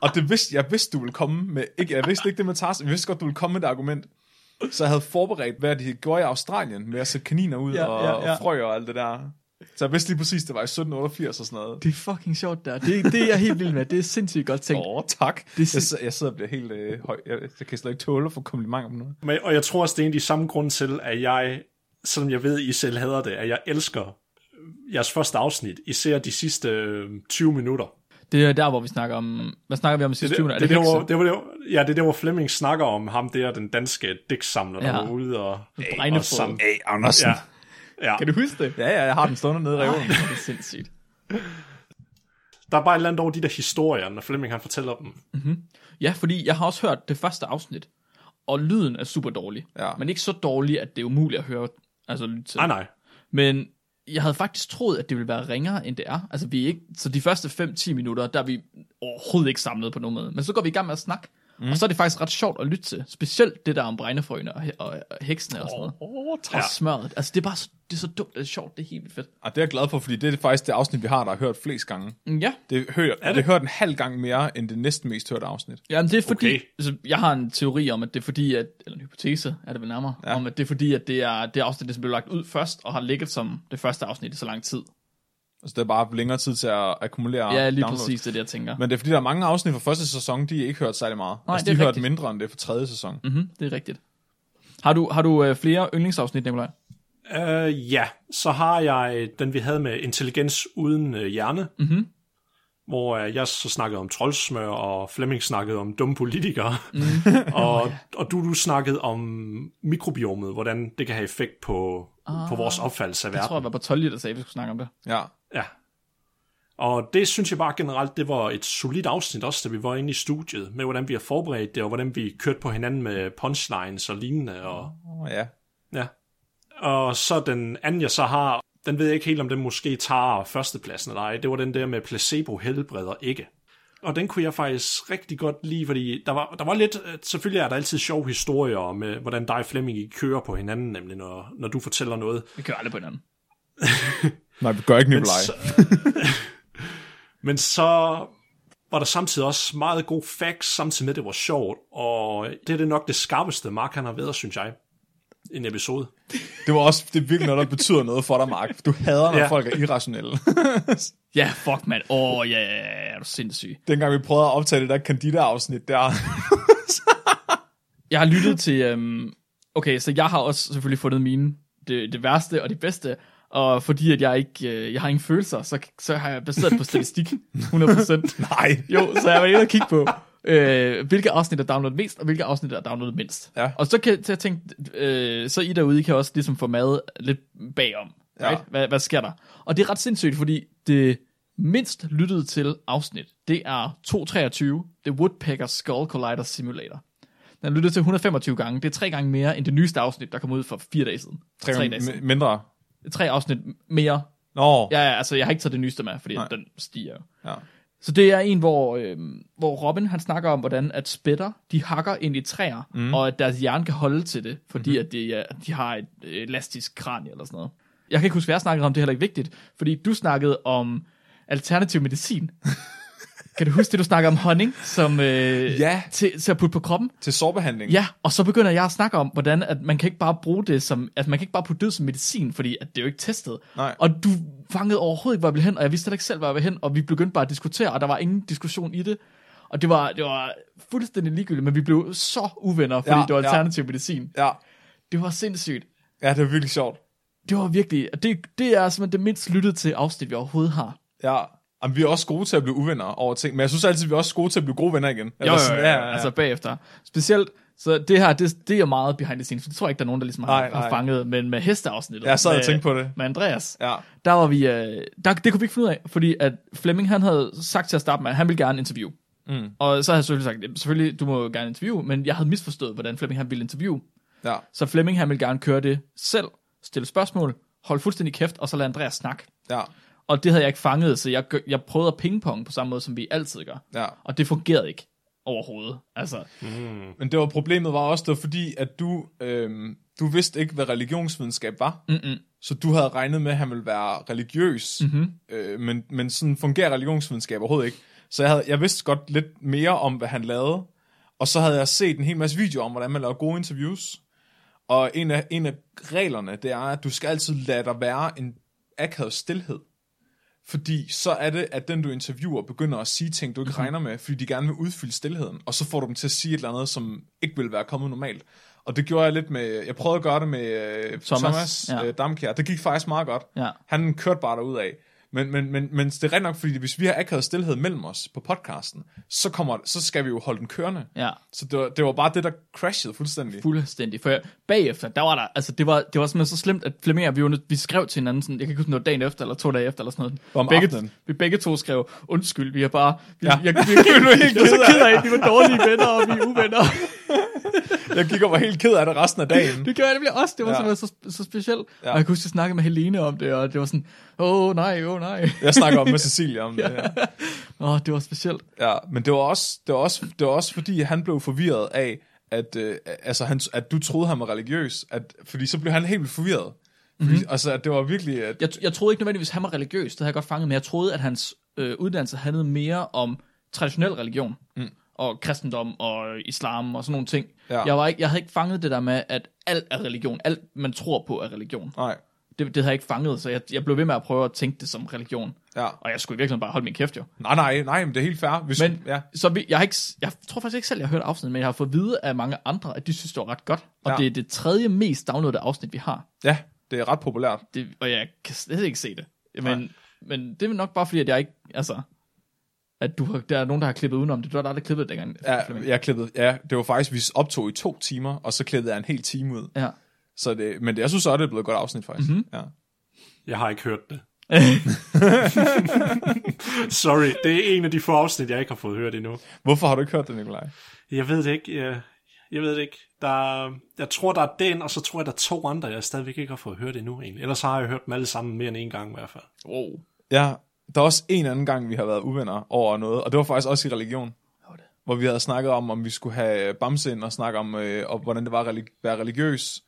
Speaker 5: og det vidste, jeg vidste, du ville komme med. Ikke, jeg vidste ikke det med Tarzan, jeg vidste godt, du ville komme med det argument. Så jeg havde forberedt, hvad de gjorde i Australien med at sætte kaniner ud ja, og, ja, ja. og frøer og alt det der. Så jeg vidste lige præcis, det var i 1788 og sådan noget.
Speaker 1: Det er fucking sjovt der. Det, det er jeg helt vild med. Det er sindssygt godt tænkt.
Speaker 5: Åh, oh, tak.
Speaker 1: Det er
Speaker 5: Det jeg, sidder, jeg sidder og bliver helt øh, høj. Jeg, jeg kan slet ikke tåle at få komplimenter på noget.
Speaker 4: Men, og jeg tror også, det er en af de samme grunde til, at jeg, selvom jeg ved, I selv hader det, at jeg elsker jeres første afsnit, især de sidste øh, 20 minutter.
Speaker 1: Det er der, hvor vi snakker om... Hvad snakker vi om i sidste 20
Speaker 4: Det,
Speaker 1: minutter?
Speaker 4: det, det,
Speaker 1: hekse?
Speaker 4: var, det, var, det var, ja, det er der, hvor Flemming snakker om ham der, den danske digtsamler, der
Speaker 1: Ja.
Speaker 4: var ude og,
Speaker 1: Bregnefod.
Speaker 4: og sam,
Speaker 5: Hey, Andersen.
Speaker 4: ja,
Speaker 5: Ja.
Speaker 4: ja.
Speaker 1: Kan du huske det?
Speaker 5: ja, ja, jeg har den stående nede i
Speaker 1: Ej,
Speaker 5: reolen.
Speaker 1: det er sindssygt.
Speaker 4: Der er bare et eller andet over de der historier, når Flemming han fortæller dem.
Speaker 1: Ja, fordi jeg har også hørt det første afsnit, og lyden er super dårlig.
Speaker 5: Ja.
Speaker 1: Men ikke så dårlig, at det er umuligt at høre, altså lytte til.
Speaker 4: Nej, nej.
Speaker 1: Men jeg havde faktisk troet, at det ville være ringere, end det er. Altså, vi er ikke, så de første 5-10 minutter, der er vi overhovedet ikke samlet på nogen måde. Men så går vi i gang med at snakke, mm. og så er det faktisk ret sjovt at lytte til. Specielt det der om bregnefrøene og, he- og, og heksene og sådan noget.
Speaker 5: Åh, tak.
Speaker 1: Og smørret. Altså, det er bare så, det er så dumt, det er sjovt, det er helt vildt fedt.
Speaker 5: Og det er jeg glad for, fordi det er faktisk det afsnit, vi har, der har hørt flest gange.
Speaker 1: Mm, Ja,
Speaker 5: Det er hørt, det? det er hørt en halv gang mere, end det næsten mest hørte afsnit.
Speaker 1: Jamen det er fordi,
Speaker 4: Okay.
Speaker 1: okay. altså, jeg har en teori om, at det er fordi, at, eller en hypotese er det vel nærmere, ja. om at det er fordi, at det er det afsnit, der blev lagt ud først, og har ligget som det første afsnit i så lang tid.
Speaker 5: Altså, det er bare haft længere tid til at akkumulere
Speaker 1: Ja, lige
Speaker 5: Ah, downloads.
Speaker 1: præcis det, er det, jeg tænker. Men,
Speaker 5: Men det er fordi, der er mange afsnit fra første sæson, de er ikke hørt særlig meget.
Speaker 1: Nej,
Speaker 5: altså,
Speaker 1: det er
Speaker 5: de har hørt
Speaker 1: rigtigt.
Speaker 5: mindre end det fra tredje sæson. Mm.
Speaker 1: mm-hmm, det er rigtigt. Har du, har du øh, flere yndlingsafsnit, Nikolaj?
Speaker 4: Øh, ja, så har jeg den, vi havde med intelligens uden øh, hjerne, mm-hmm. hvor øh, jeg så snakkede om troldsmør, og Flemming snakkede om dumme politikere, mm. og, oh, ja. og du, du snakkede om mikrobiomet, hvordan det kan have effekt på, ah, på vores opfattelse af
Speaker 1: Jeg tror,
Speaker 4: verden.
Speaker 1: jeg var på 12 der sagde, at vi skulle snakke om det.
Speaker 5: Ja.
Speaker 4: Ja. Og det synes jeg bare generelt, det var et solidt afsnit også, da vi var inde i studiet, med hvordan vi har forberedt det, og hvordan vi kørte på hinanden med punchlines og lignende, og...
Speaker 5: Oh, ja.
Speaker 4: Ja. Og så den anden, jeg så har, den ved jeg ikke helt, om den måske tager førstepladsen eller ej. Det var den der med placebo helbreder ikke. Og den kunne jeg faktisk rigtig godt lide, fordi der var, der var lidt, øh, selvfølgelig er der altid sjove historier med, hvordan dig og Flemming I kører på hinanden, nemlig når, når du fortæller noget.
Speaker 1: Vi kører aldrig på hinanden.
Speaker 5: Nej, vi gør ikke Nikolaj.
Speaker 4: Så, men så var der samtidig også meget god facts, samtidig med, at det var sjovt, og det er det nok det skarpeste, Mark han har været, synes jeg, i en episode.
Speaker 5: Det var også det er virkelig noget, der betyder noget for dig, Mark. Du hader, når
Speaker 4: Ja.
Speaker 5: ja. folk er irrationelle.
Speaker 1: Ja, fuck, mand. Åh, oh, ja, ja, ja, er du sindssyg.
Speaker 5: Dengang vi prøvede at optage det der Candida-afsnit der.
Speaker 1: Jeg har lyttet til... Øhm, okay, så jeg har også selvfølgelig fundet mine. Det, det værste og det bedste. Og fordi at jeg ikke øh, jeg har ingen følelser, så, så har jeg baseret på statistik. 100%.
Speaker 5: Nej.
Speaker 1: Jo, så jeg var inde og kigge på, øh, hvilke afsnit der er downloadet mest, og hvilke afsnit der er downloadet mindst.
Speaker 5: Ja.
Speaker 1: Og så kan så jeg tænke, øh, så I derude I kan også ligesom få mad lidt bagom. Right?
Speaker 5: Ja.
Speaker 1: Hvad, hvad sker der? Og det er ret sindssygt, fordi det mindst lyttede til afsnit, det er 223, The Woodpecker Skull Collider Simulator. Den er lyttet til 125 gange. Det er tre gange mere end det nyeste afsnit, der kom ud for fire dage siden. Tre, tre, dage
Speaker 5: Tre
Speaker 1: siden.
Speaker 5: m- mindre.
Speaker 1: tre afsnit mere.
Speaker 5: Nå, ja.
Speaker 1: Ja, ja, altså jeg har ikke taget det nyeste med, fordi
Speaker 5: Nej.
Speaker 1: Nej. den stiger jo.
Speaker 5: Ja.
Speaker 1: Så det er en, hvor, øh, hvor Robin han snakker om, hvordan at spætter, de hakker ind i træer, mm. og at deres hjerne kan holde til det, fordi mm. at de, ja, de har et øh, elastisk kranie eller sådan noget. Jeg kan ikke huske, hvad jeg snakkede om, det er heller ikke vigtigt, fordi du snakkede om alternativ medicin. kan du huske det, du snakker om honning, som øh,
Speaker 5: Ja.
Speaker 1: til, til at putte på kroppen?
Speaker 5: til sårbehandling.
Speaker 1: Ja, og så begynder jeg at snakke om, hvordan at man kan ikke bare bruge det som, at man kan ikke bare putte det som medicin, fordi at det er jo ikke testet.
Speaker 5: Nej.
Speaker 1: Og du fangede overhovedet ikke, hvor jeg ville hen, og jeg vidste heller ikke selv, hvor jeg ville hen, og vi begyndte bare at diskutere, og der var ingen diskussion i det. Og det var, det var fuldstændig ligegyldigt, men vi blev så uvenner, fordi
Speaker 5: Ja,
Speaker 1: ja, det var
Speaker 5: ja.
Speaker 1: alternativ ja. medicin.
Speaker 5: ja.
Speaker 1: Det var sindssygt.
Speaker 5: Ja, det er virkelig sjovt.
Speaker 1: Det var virkelig, og det, det er simpelthen det mindst lyttede til afsnit, vi overhovedet har.
Speaker 5: Ja. Jamen, vi er også gode til at blive uvenner over ting, men jeg synes altid, vi er også gode til at blive gode venner igen.
Speaker 1: Jo,
Speaker 5: Eller
Speaker 1: jo,
Speaker 5: sådan,
Speaker 1: jo, jo, ja, ja. altså bagefter. Specielt, så det her, det, det er meget behind the scenes, for det tror jeg ikke, der er nogen, der ligesom har,
Speaker 5: Nej, nej.
Speaker 1: har fanget, men med hesteafsnittet.
Speaker 5: Jeg sad og
Speaker 1: med-
Speaker 5: tænkte på det.
Speaker 1: Med Andreas.
Speaker 5: Ja.
Speaker 1: Der var vi, øh, der, det kunne vi ikke finde ud af, fordi at Flemming, han havde sagt til at starte med, at han ville gerne interview. Mm. Og så havde jeg selvfølgelig sagt, "Jamen, selvfølgelig, du må gerne interviewe, men jeg havde misforstået, hvordan Flemming han ville interviewe.
Speaker 5: Ja.
Speaker 1: Så Flemming, han ville gerne køre det selv, stille spørgsmål, holde fuldstændig kæft, og så lade Andreas snakke.
Speaker 5: Ja.
Speaker 1: Og det havde jeg ikke fanget, så jeg, gør- jeg prøvede at pingpong på samme måde, som vi altid gør.
Speaker 5: Ja.
Speaker 1: Og det fungerede ikke overhovedet. Altså,
Speaker 5: Men det var problemet var også, det var fordi, at du, øhm, du vidste ikke, hvad religionsvidenskab var. Mm-mm. Så du havde regnet med, at han ville være religiøs. Mm-hmm. Øh, men, men sådan fungerer religionsvidenskab overhovedet ikke. Så jeg, havde, jeg vidste godt lidt mere om, hvad han lavede. Og så havde jeg set en hel masse videoer om, hvordan man laver gode interviews. Og en af, en af reglerne, det er, at du skal altid lade der være en akavet stillhed. Fordi så er det, at den du interviewer begynder at sige ting, du ikke regner med, fordi de gerne vil udfylde stillheden. Og så får du dem til at sige et eller andet, som ikke ville være kommet normalt. Og det gjorde jeg lidt med, jeg prøvede at gøre det med øh, Thomas, Thomas
Speaker 1: ja.
Speaker 5: ja. øh, Damkjær. Det gik faktisk meget godt.
Speaker 1: Ja.
Speaker 5: Han kørte bare derud af. Men, men, men, men det er rent nok, fordi hvis vi har akavet stillhed mellem os på podcasten, så, kommer, så skal vi jo holde den kørende.
Speaker 1: Ja.
Speaker 5: Så det var, det var bare det, der crashede fuldstændig.
Speaker 1: Fuldstændig. For jeg, bagefter, der var der, altså det var, det var simpelthen så slemt, at Flemming og vi, var nødt- vi skrev til hinanden sådan, jeg kan ikke huske, om det var dagen efter, eller to dage efter, eller sådan noget.
Speaker 5: Om
Speaker 1: begge,
Speaker 5: aftenen.
Speaker 1: Vi begge to skrev, undskyld, vi er bare, vi, ja.
Speaker 5: Ja.
Speaker 1: jeg, jeg, jeg, jeg, jeg,
Speaker 5: nu helt
Speaker 1: jeg, er så
Speaker 5: ked
Speaker 1: ked
Speaker 5: af
Speaker 1: af, at vi var dårlige venner, og vi er uvenner.
Speaker 5: Jeg gik og var helt ked af det resten af dagen.
Speaker 1: Det gjorde jeg nemlig også, det var
Speaker 5: Ja.
Speaker 1: ja. så, så specielt. Ja.
Speaker 5: Ja.
Speaker 1: Og jeg kunne huske, at jeg snakkede med Helene om det, og det var sådan, åh oh, nej, åh oh, nej.
Speaker 5: Jeg snakker om med Cecilia om det her.
Speaker 1: Åh, oh, det var specielt.
Speaker 5: Ja, men det var også, det var også, det var også fordi han blev forvirret af, at, øh, altså, han, at du troede, han var religiøs. At, fordi så blev han helt vildt forvirret. Fordi, mm-hmm. Altså, at det var virkelig... At,
Speaker 1: Mhm. Jeg, jeg troede ikke nødvendigvis, at han var religiøs, det havde jeg godt fanget, men jeg troede, at hans øh, uddannelse handlede mere om traditionel religion, mm. og kristendom, og islam, og sådan nogle ting.
Speaker 5: Ja.
Speaker 1: Jeg, var ikke, jeg havde ikke fanget det der med, at alt er religion, alt man tror på er religion.
Speaker 5: Nej,
Speaker 1: Det, det havde jeg ikke fanget, så jeg, jeg blev ved med at prøve at tænke det som religion.
Speaker 5: ja.
Speaker 1: Og jeg skulle virkelig bare holde min kæft jo.
Speaker 5: Nej, nej, nej, men det er helt fair. Hvis,
Speaker 1: Men
Speaker 5: ja.
Speaker 1: ja. så vi, jeg, har ikke, s- jeg tror faktisk ikke selv, jeg har hørt afsnittet, men jeg har fået at vide af mange andre, at de synes, det var ret godt. Og ja.
Speaker 5: Ja.
Speaker 1: det er det tredje mest downloadede afsnit, vi har.
Speaker 5: ja, det er ret populært.
Speaker 1: Det, og jeg kan slet ikke se det.
Speaker 5: Nej.
Speaker 1: Men, men det er nok bare fordi, at jeg ikke... Altså, at du har, der er nogen, der har klippet udenom det. Du har da aldrig klippet det dengang. Flemming.
Speaker 5: Ja, jeg klippede, ja, det var faktisk, vi optog i to timer, og så klippede jeg en hel time ud.
Speaker 1: ja.
Speaker 5: Så det, men det, jeg synes så, det er blevet et godt afsnit, faktisk. Mm-hmm. Ja.
Speaker 4: Jeg har ikke hørt det. Sorry, det er en af de få afsnit, jeg ikke har fået hørt endnu.
Speaker 5: Hvorfor har du ikke hørt det, Nikolaj?
Speaker 4: Jeg ved det ikke. Jeg, jeg ved det ikke. Der, jeg tror, der er den, og så tror jeg, der er to andre, jeg stadigvæk ikke har fået hørt endnu. Egentlig. Ellers har jeg hørt dem alle sammen mere end en gang i hvert fald.
Speaker 1: Wow.
Speaker 5: Ja, der er også en anden gang, vi har været uvenner over noget, og det var faktisk også i religion. Hvor vi havde snakket om, om vi skulle have bamse ind og snakke om, øh, og hvordan det var at relig- være religiøs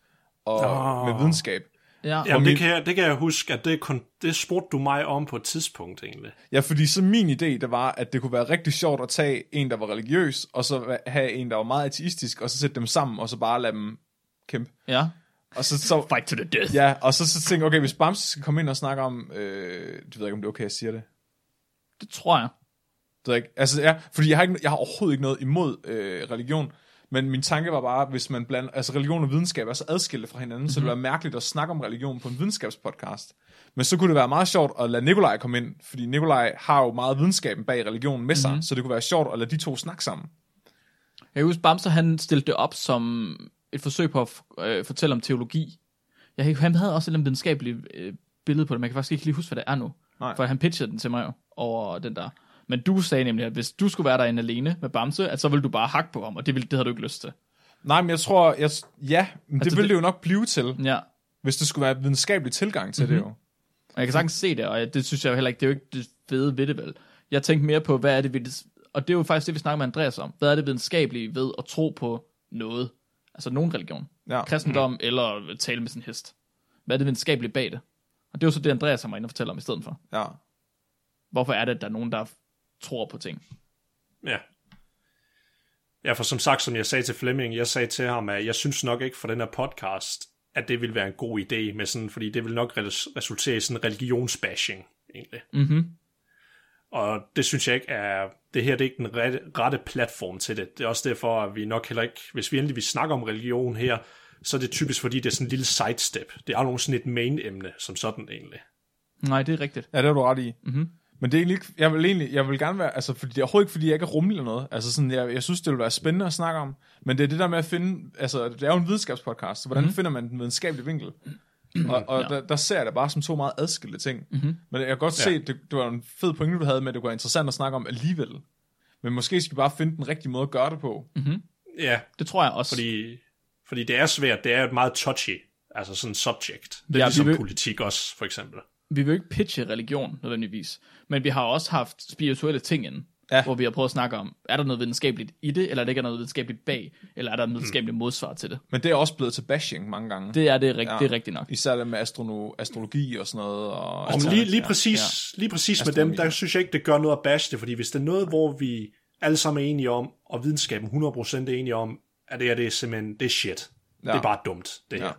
Speaker 5: og
Speaker 4: Åh.
Speaker 5: oh. med videnskab.
Speaker 1: Ja. ja.
Speaker 4: Jamen,
Speaker 5: min-
Speaker 4: det, kan jeg, det kan jeg huske, at det, kon- det spurgte du mig om på et tidspunkt egentlig.
Speaker 5: Ja, fordi så min idé, det var, at det kunne være rigtig sjovt at tage en, der var religiøs, og så va- have en, der var meget ateistisk, og så sætte dem sammen, og så bare lade dem kæmpe.
Speaker 1: ja.
Speaker 5: Og så, så
Speaker 1: Fight to the death.
Speaker 5: Ja, og så, så tænkte jeg, okay, hvis Bamse skal komme ind og snakke om, øh, det ved jeg ikke, om det er okay, jeg siger det.
Speaker 1: Det tror jeg.
Speaker 5: Det ved jeg ikke. Altså, ja, fordi jeg har, ikke, jeg har overhovedet ikke noget imod øh, religion, men min tanke var bare, hvis man blander, altså religion og videnskab er så adskilte fra hinanden, mm-hmm.
Speaker 1: Mhm.
Speaker 5: så det ville være mærkeligt at snakke om religion på en videnskabspodcast. Men så kunne det være meget sjovt at lade Nikolaj komme ind, fordi Nikolaj har jo meget videnskaben bag religionen med sig,
Speaker 1: Mhm.
Speaker 5: mm-hmm. så det kunne være sjovt at lade de to snakke sammen.
Speaker 1: Jeg kan huske, Bamser, han stillede det op som et forsøg på at f- øh, fortælle om teologi. Jeg kan, ikke- han havde også et eller andet videnskabeligt øh, billede på det, men jeg kan faktisk ikke lige huske, hvad det er nu.
Speaker 5: Nej.
Speaker 1: For han pitchede den til mig jo, over den der. Men du sagde nemlig, at hvis du skulle være derinde alene med Bamse, at så ville du bare hakke på ham, og det, ville, det havde du ikke lyst til.
Speaker 5: Nej, men jeg tror, jeg, ja, men det
Speaker 1: Altså,
Speaker 5: altså, ville
Speaker 1: det-
Speaker 5: det jo nok blive til,
Speaker 1: Ja.
Speaker 5: hvis det skulle være en videnskabelig tilgang til mm-hmm.
Speaker 1: Mhm.
Speaker 5: det jo.
Speaker 1: Og jeg kan sagtens se det, og jeg- det synes jeg jo heller ikke, det er jo ikke det fede ved det vel. Jeg tænkte mere på, hvad er det, vi, og det er jo faktisk det, vi snakker med Andreas om. Hvad er det videnskabelige ved at tro på noget? Altså nogen religion.
Speaker 5: Ja.
Speaker 1: Kristendom mm. eller tale med sin hest. Hvad er det videnskabelige bag det? Og det er jo så det, Andreas har mig inde og fortæller om i stedet for.
Speaker 5: Ja.
Speaker 1: Hvorfor er det, at der er nogen, der tror på ting?
Speaker 4: Ja. Ja, for som sagt, som jeg sagde til Flemming, jeg sagde til ham, at jeg synes nok ikke for den her podcast, at det ville være en god idé, med sådan, fordi det vil nok res- resultere i sådan en religionsbashing, egentlig.
Speaker 1: Mhm.
Speaker 4: Og det synes jeg ikke er, det her det er ikke den rette, rette platform til det. Det er også derfor, at vi nok heller ikke, hvis vi endelig vil snakke om religion her, så er det typisk, fordi det er sådan en lille sidestep. Det er aldrig nogen sådan et main-emne, som sådan egentlig.
Speaker 1: Nej, det er rigtigt.
Speaker 5: Ja, det har du ret i.
Speaker 1: Mhm.
Speaker 5: Men det er egentlig ikke, jeg vil egentlig, jeg vil gerne være, altså fordi det er overhovedet ikke, fordi jeg ikke er rummelig eller noget. Altså sådan, jeg, jeg synes, det ville være spændende at snakke om. Men det er det der med at finde, altså det er jo en videnskabspodcast, så hvordan mm. finder man den videnskabelige vinkel? Og, og ja. der, der, ser jeg det bare som to meget adskilte ting. Mm-hmm. Men jeg kan godt se,
Speaker 4: Ja.
Speaker 5: det, det, var en fed pointe, du havde med, at det kunne være interessant at snakke om alligevel. Men måske skal vi bare finde den rigtige måde at gøre det på. Mm.
Speaker 4: Ja,
Speaker 1: Det tror jeg også.
Speaker 4: fordi, fordi det er svært. Det er et meget touchy, altså sådan subject. Det
Speaker 1: Ja,
Speaker 4: er ja,
Speaker 1: vi
Speaker 4: ligesom
Speaker 1: vil-
Speaker 4: politik også, for eksempel.
Speaker 1: vi vil jo ikke pitche religion nødvendigvis, men vi har også haft spirituelle ting inden, ja.
Speaker 5: Ja.
Speaker 1: hvor vi har prøvet at snakke om, er der noget videnskabeligt i det, eller er der ikke noget videnskabeligt bag, eller er der noget videnskabeligt modsvar til det.
Speaker 5: Men det er også blevet til bashing mange gange.
Speaker 1: Det er det, rigt- ja.
Speaker 5: Ja.
Speaker 1: det er rigtigt nok.
Speaker 5: Især det med astrono- astrologi og sådan noget. Og altså,
Speaker 4: Om lige, lige præcis, Altså, ja. lige præcis med dem,
Speaker 5: Astronomi.
Speaker 4: der synes jeg ikke, det gør noget at bashe det, fordi hvis det er noget, hvor vi alle sammen er enige om, og videnskaben 100% er enige om, at det her det er simpelthen, det er shit. Ja. Det er bare dumt, det her.
Speaker 5: Ja.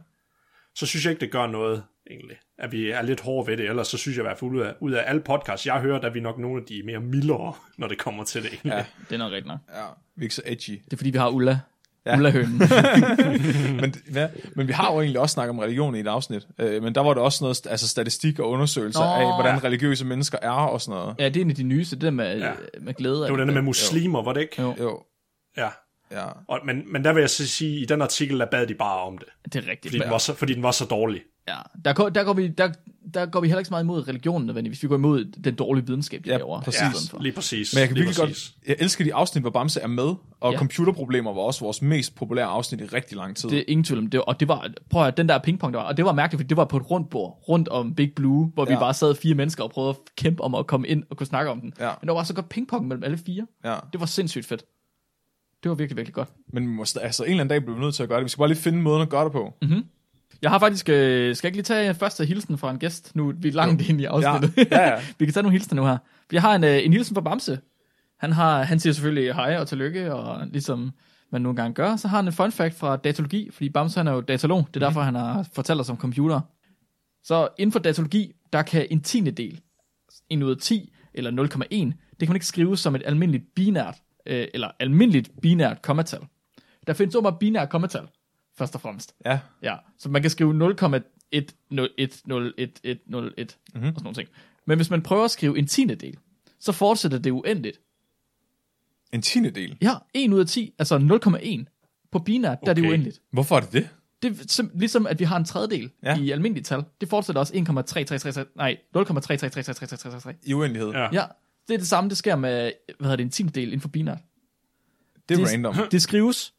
Speaker 4: Så synes jeg ikke, det gør noget egentlig. At vi er lidt hårde ved det, ellers så synes jeg i hvert fald, ud af, ud af alle podcasts, jeg har hørt, at vi nok nogle af de mere mildere, når det kommer til det egentlig. Ja.
Speaker 1: Det er nok rigtigt nok.
Speaker 5: Ja, vi er ikke så edgy.
Speaker 1: Det er fordi, vi har Ulla. Ja. Ulla-hønen.
Speaker 5: Men, ja, men vi har jo egentlig også snakket om religion i et afsnit. Øh, men der var det også noget st- altså statistik og undersøgelser
Speaker 1: Nå,
Speaker 5: Nå, af, hvordan religiøser mennesker er og sådan noget.
Speaker 1: ja, det er en af de nyeste, det der med, ja. med glæde.
Speaker 4: Det var den der med muslimer, var det ikke?
Speaker 1: Jo.
Speaker 5: Jo,
Speaker 4: Ja.
Speaker 5: ja.
Speaker 4: Og, men, men der vil jeg så sige, at i den artikel, der bad de bare om det.
Speaker 1: Det er rigtigt.
Speaker 4: Fordi, den var så, fordi den var så dårlig.
Speaker 1: Ja, der går, der, går vi, der, der går vi heller ikke så meget imod religionen nødvendigvis. Vi går imod den dårlige videnskab, de
Speaker 5: Ja,
Speaker 1: laver.
Speaker 5: præcis.
Speaker 1: i
Speaker 4: Ja,
Speaker 1: stedet for.
Speaker 4: lige præcis.
Speaker 5: Men jeg kan
Speaker 4: lige
Speaker 5: virkelig godt, jeg elsker de afsnit, hvor Bamse er med, og
Speaker 1: Ja.
Speaker 5: ja. computerproblemer var også vores mest populære afsnit i rigtig lang tid.
Speaker 1: Det er ingen tvivl om det. Og det var, prøv at høre, den der pingpong, der var, og det var mærkeligt, fordi det var på et rundt bord, rundt om Big Blue, hvor ja. vi
Speaker 5: Ja.
Speaker 1: bare sad fire mennesker og prøvede at kæmpe om at komme ind og kunne snakke om den.
Speaker 5: Ja.
Speaker 1: Men der var så godt pingpong mellem alle fire.
Speaker 5: Ja.
Speaker 1: Det var sindssygt fedt. Det var virkelig, virkelig godt.
Speaker 5: Men vi må, sta- altså, en eller anden dag bliver vi nødt til at gøre det. Vi skal bare lige finde måden at gøre det på.
Speaker 1: Mhm.
Speaker 5: Mm-hmm.
Speaker 1: Jeg har faktisk, øh, skal jeg ikke lige tage første hilsen fra en gæst? Nu er vi langt ind i afsnittet.
Speaker 5: Ja, ja, ja.
Speaker 1: vi kan tage nogle hilsener nu her. Jeg har en, øh, en hilsen fra Bamse. Han, har, han siger selvfølgelig hej og tillykke, og ligesom man nogle gange gør, så har han en fun fact fra datalogi, fordi Bamse han er jo datalog,
Speaker 5: Mhm.
Speaker 1: det er derfor, han har fortalt os om computer. Så inden for datalogi, der kan en tiende del, en ud af 10 eller 0,1, det kan man ikke skrive som et almindeligt binært, øh, eller almindeligt binært kommatal. Der findes åbenbart binært kommatal, først og fremmest.
Speaker 5: Ja.
Speaker 1: Ja, så man kan skrive 0,10101101 mm-hmm. og sådan nogle ting. Men hvis man prøver at skrive en tiende del, så fortsætter det uendeligt.
Speaker 5: En tiende del.
Speaker 1: Ja, 1 ud af 10, altså 0,1. På binært, der er det
Speaker 4: Okay.
Speaker 1: uendeligt.
Speaker 5: Hvorfor er det det?
Speaker 1: Det er sim- ligesom, at vi har en tredjedel ja.
Speaker 5: Ja.
Speaker 1: i almindelige tal. Det fortsætter også 1,333, nej, 0,33333333.
Speaker 5: I uendelighed.
Speaker 4: Ja.
Speaker 1: Ja, det er det samme, det sker med, hvad hedder det, en tiende del inden for binært.
Speaker 5: Det er
Speaker 1: Det-
Speaker 5: random.
Speaker 1: Det skrives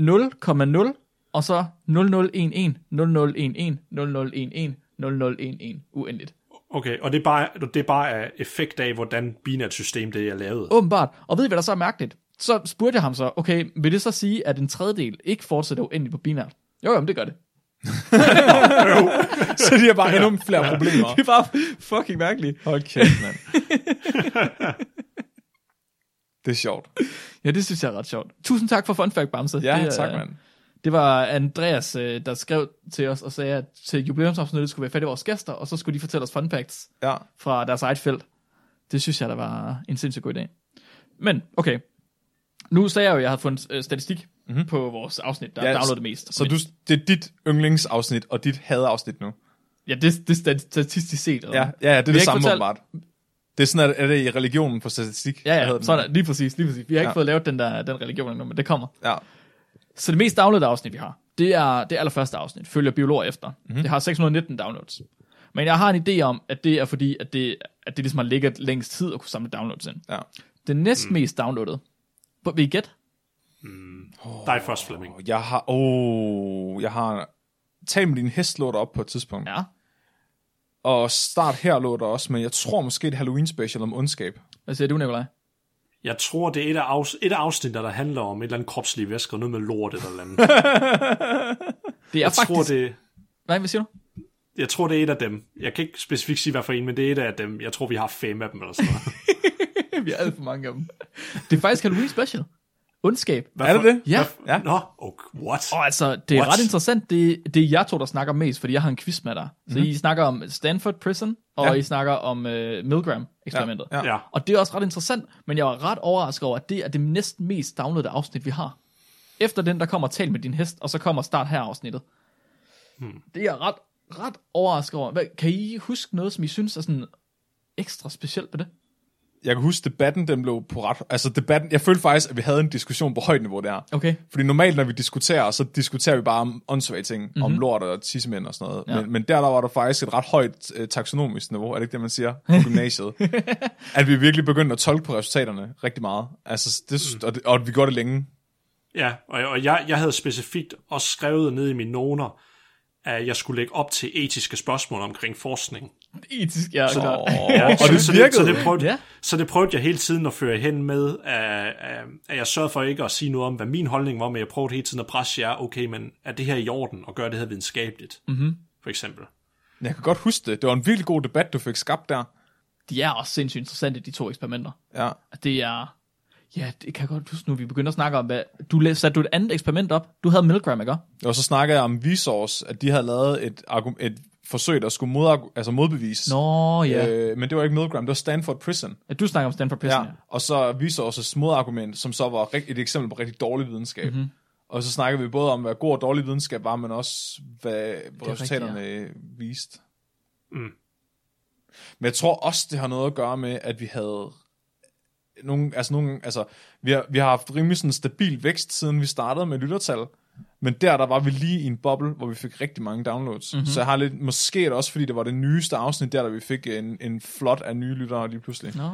Speaker 1: 0,0 og så 0011, 0011, 0011, 0011, uendeligt.
Speaker 4: Okay, og det er bare, det er bare af effekt af, hvordan binært system det er lavet.
Speaker 1: Åbenbart. Og ved I, hvad der så er mærkeligt? Så spurgte jeg ham så, okay, vil det så sige, at en tredjedel ikke fortsætter uendeligt på binært? Jo, jo, men det gør det.
Speaker 5: så de har bare endnu flere problemer.
Speaker 1: Det var fucking mærkeligt.
Speaker 5: Hold kæft, mand. det er sjovt.
Speaker 1: Ja, det synes jeg er ret sjovt. Tusind tak for fun fact, Bamse.
Speaker 5: Ja,
Speaker 1: det,
Speaker 5: det,
Speaker 1: er-
Speaker 5: tak, mand.
Speaker 1: Det var Andreas, øh, der skrev til os og sagde, at til jubilæumsafsnittet skulle vi have fat i vores gæster, og så skulle de fortælle os fun facts
Speaker 5: Ja.
Speaker 1: fra deres eget felt. Det synes jeg, der var en sindssygt god idé. Men, okay. Nu sagde jeg jo, at jeg havde fundet øh, statistik mm-hmm. på vores afsnit, der
Speaker 5: Mhm. Ja,
Speaker 1: er downloadet mest.
Speaker 5: Så
Speaker 1: Men-
Speaker 5: du, det er dit yndlingsafsnit og dit hadafsnit nu.
Speaker 1: Ja, det, det er statistisk set. eller
Speaker 5: Ja,
Speaker 1: hvad?
Speaker 5: ja, ja det
Speaker 1: Vi har
Speaker 5: er det
Speaker 1: ikke
Speaker 5: samme
Speaker 1: fortalt-
Speaker 5: åbenbart. Det er sådan, at er det i religionen for statistik?
Speaker 1: Ja,
Speaker 5: Hvad hedder
Speaker 1: ja,
Speaker 5: den?
Speaker 1: sådan, er- lige præcis, lige præcis. Vi har ikke ja.
Speaker 5: Ja.
Speaker 1: fået lavet den der den religion endnu, men det kommer.
Speaker 5: Ja.
Speaker 1: Så det mest downloadede afsnit, vi har, det er det allerførste afsnit, følger biologer efter. Mm-hmm. Det har 619 downloads. Men jeg har en idé om, at det er fordi, at det, at det ligesom har ligget længst tid at kunne samle downloads ind.
Speaker 5: ja.
Speaker 1: Det næst mest downloadede, hvor vi gæt,
Speaker 4: Dig først, Flemming.
Speaker 5: Og Jeg har... Oh, jeg har... Tal med din hest lå der op på et tidspunkt.
Speaker 1: er,
Speaker 5: Og start her lå der også, men jeg tror måske et Halloween special om ondskab.
Speaker 1: hvad siger du, Nikolaj?
Speaker 4: Jeg tror, det er et af, afs- et af afsnittene, der handler om et eller andet kropslige væsker, noget med lort eller noget andet.
Speaker 1: Det er
Speaker 4: jeg,
Speaker 1: faktisk...
Speaker 4: tror, det,
Speaker 1: Nej, hvad siger du?
Speaker 4: jeg tror, det er et af dem. Jeg kan ikke specifikt sige, hvad for en, men det er et af dem. Jeg tror, vi har fem af dem eller sådan noget.
Speaker 1: vi har alt for mange af dem. Det er faktisk Halloween special. Ondskab.
Speaker 4: Hvad
Speaker 5: Er det
Speaker 4: for-
Speaker 5: det?
Speaker 1: Ja.
Speaker 4: Hvad- Nå, okay, what?
Speaker 1: Og altså, det er
Speaker 4: What?
Speaker 1: What? ret interessant, det, det er jer to, der snakker mest, fordi jeg har en quiz med dig. Så mm-hmm. I snakker om Stanford Prison, og ja.
Speaker 5: Ja.
Speaker 1: I snakker om øh, Milgram-eksperimentet.
Speaker 5: Ja,
Speaker 4: Ja,
Speaker 1: Og det er også ret interessant, men jeg var ret overrasket over, at det er det næsten mest downloadede afsnit, vi har. Efter den, der kommer Tal med din hest, og så kommer Start her afsnittet. Hmm. Det er jeg ret, ret overrasket over. Hvad, kan I huske noget, som I synes er sådan ekstra specielt ved det?
Speaker 5: Jeg kan huske, debatten den blev på ret... Altså debatten... Jeg følte faktisk, at vi havde en diskussion på højt niveau der.
Speaker 1: Okay.
Speaker 5: Fordi normalt, når vi diskuterer, så diskuterer vi bare om åndssvage ting, mm-hmm. om lort og tissemænd og sådan noget. Ja. Men, men der, der var der faktisk et ret højt øh, taksonomisk niveau, er det ikke det, man siger, på gymnasiet? at vi virkelig begyndte at tolke på resultaterne rigtig meget. Altså, det, mm. og, det, og vi gjorde det længe.
Speaker 4: ja. Og, og jeg, jeg havde specifikt også skrevet ned i mine noter, at jeg skulle lægge op til etiske spørgsmål omkring forskning.
Speaker 1: Etisk, ja, så, klart.
Speaker 4: Ja,
Speaker 5: og det
Speaker 4: så,
Speaker 5: virkede.
Speaker 4: Så det, så det prøvede,
Speaker 1: Ja.
Speaker 4: ja. så det prøvede jeg hele tiden at føre hen med, at, at jeg sørgede for ikke at sige noget om, hvad min holdning var, men jeg prøvede hele tiden at presse jer, okay, men er det her i orden, og gør det her videnskabeligt, mm-hmm. for eksempel.
Speaker 5: Men Jeg kan godt huske det. Det var en virkelig god debat, du fik skabt der.
Speaker 1: De er også sindssygt interessante, de to eksperimenter.
Speaker 5: Ja.
Speaker 1: At det er... Ja, det kan jeg godt huske nu. Vi begynder at snakke om, hvad... Du læ- satte du et andet eksperiment op. Du havde Milgram, ikke?
Speaker 5: Og så snakkede jeg om Vsauce, at de havde lavet et, argum- et forsøg, der skulle mod, altså modbevise.
Speaker 1: Nå ja, øh,
Speaker 5: Øh, men det var ikke Milgram, det var Stanford Prison.
Speaker 1: du snakker om Stanford Prison.
Speaker 5: Ja.
Speaker 1: Ja.
Speaker 5: Og så Resources modargument, som så var rigt- et eksempel på rigtig dårlig videnskab. Mm-hmm. Og så snakkede vi både om, hvad god og dårlig videnskab var, men også, hvad resultaterne rigtigt, ja. viste. Mm. Men jeg tror også, det har noget at gøre med, at vi havde nogle, altså nogle, altså, vi har, vi har haft rimelig sådan stabil vækst, siden vi startede med lyttertal, men der, der var vi lige i en boble, hvor vi fik rigtig mange downloads. Mm-hmm. Så jeg har lidt, måske er det også, fordi det var det nyeste afsnit der, der vi fik en, en flot af nye lyttere lige pludselig.
Speaker 1: Nå.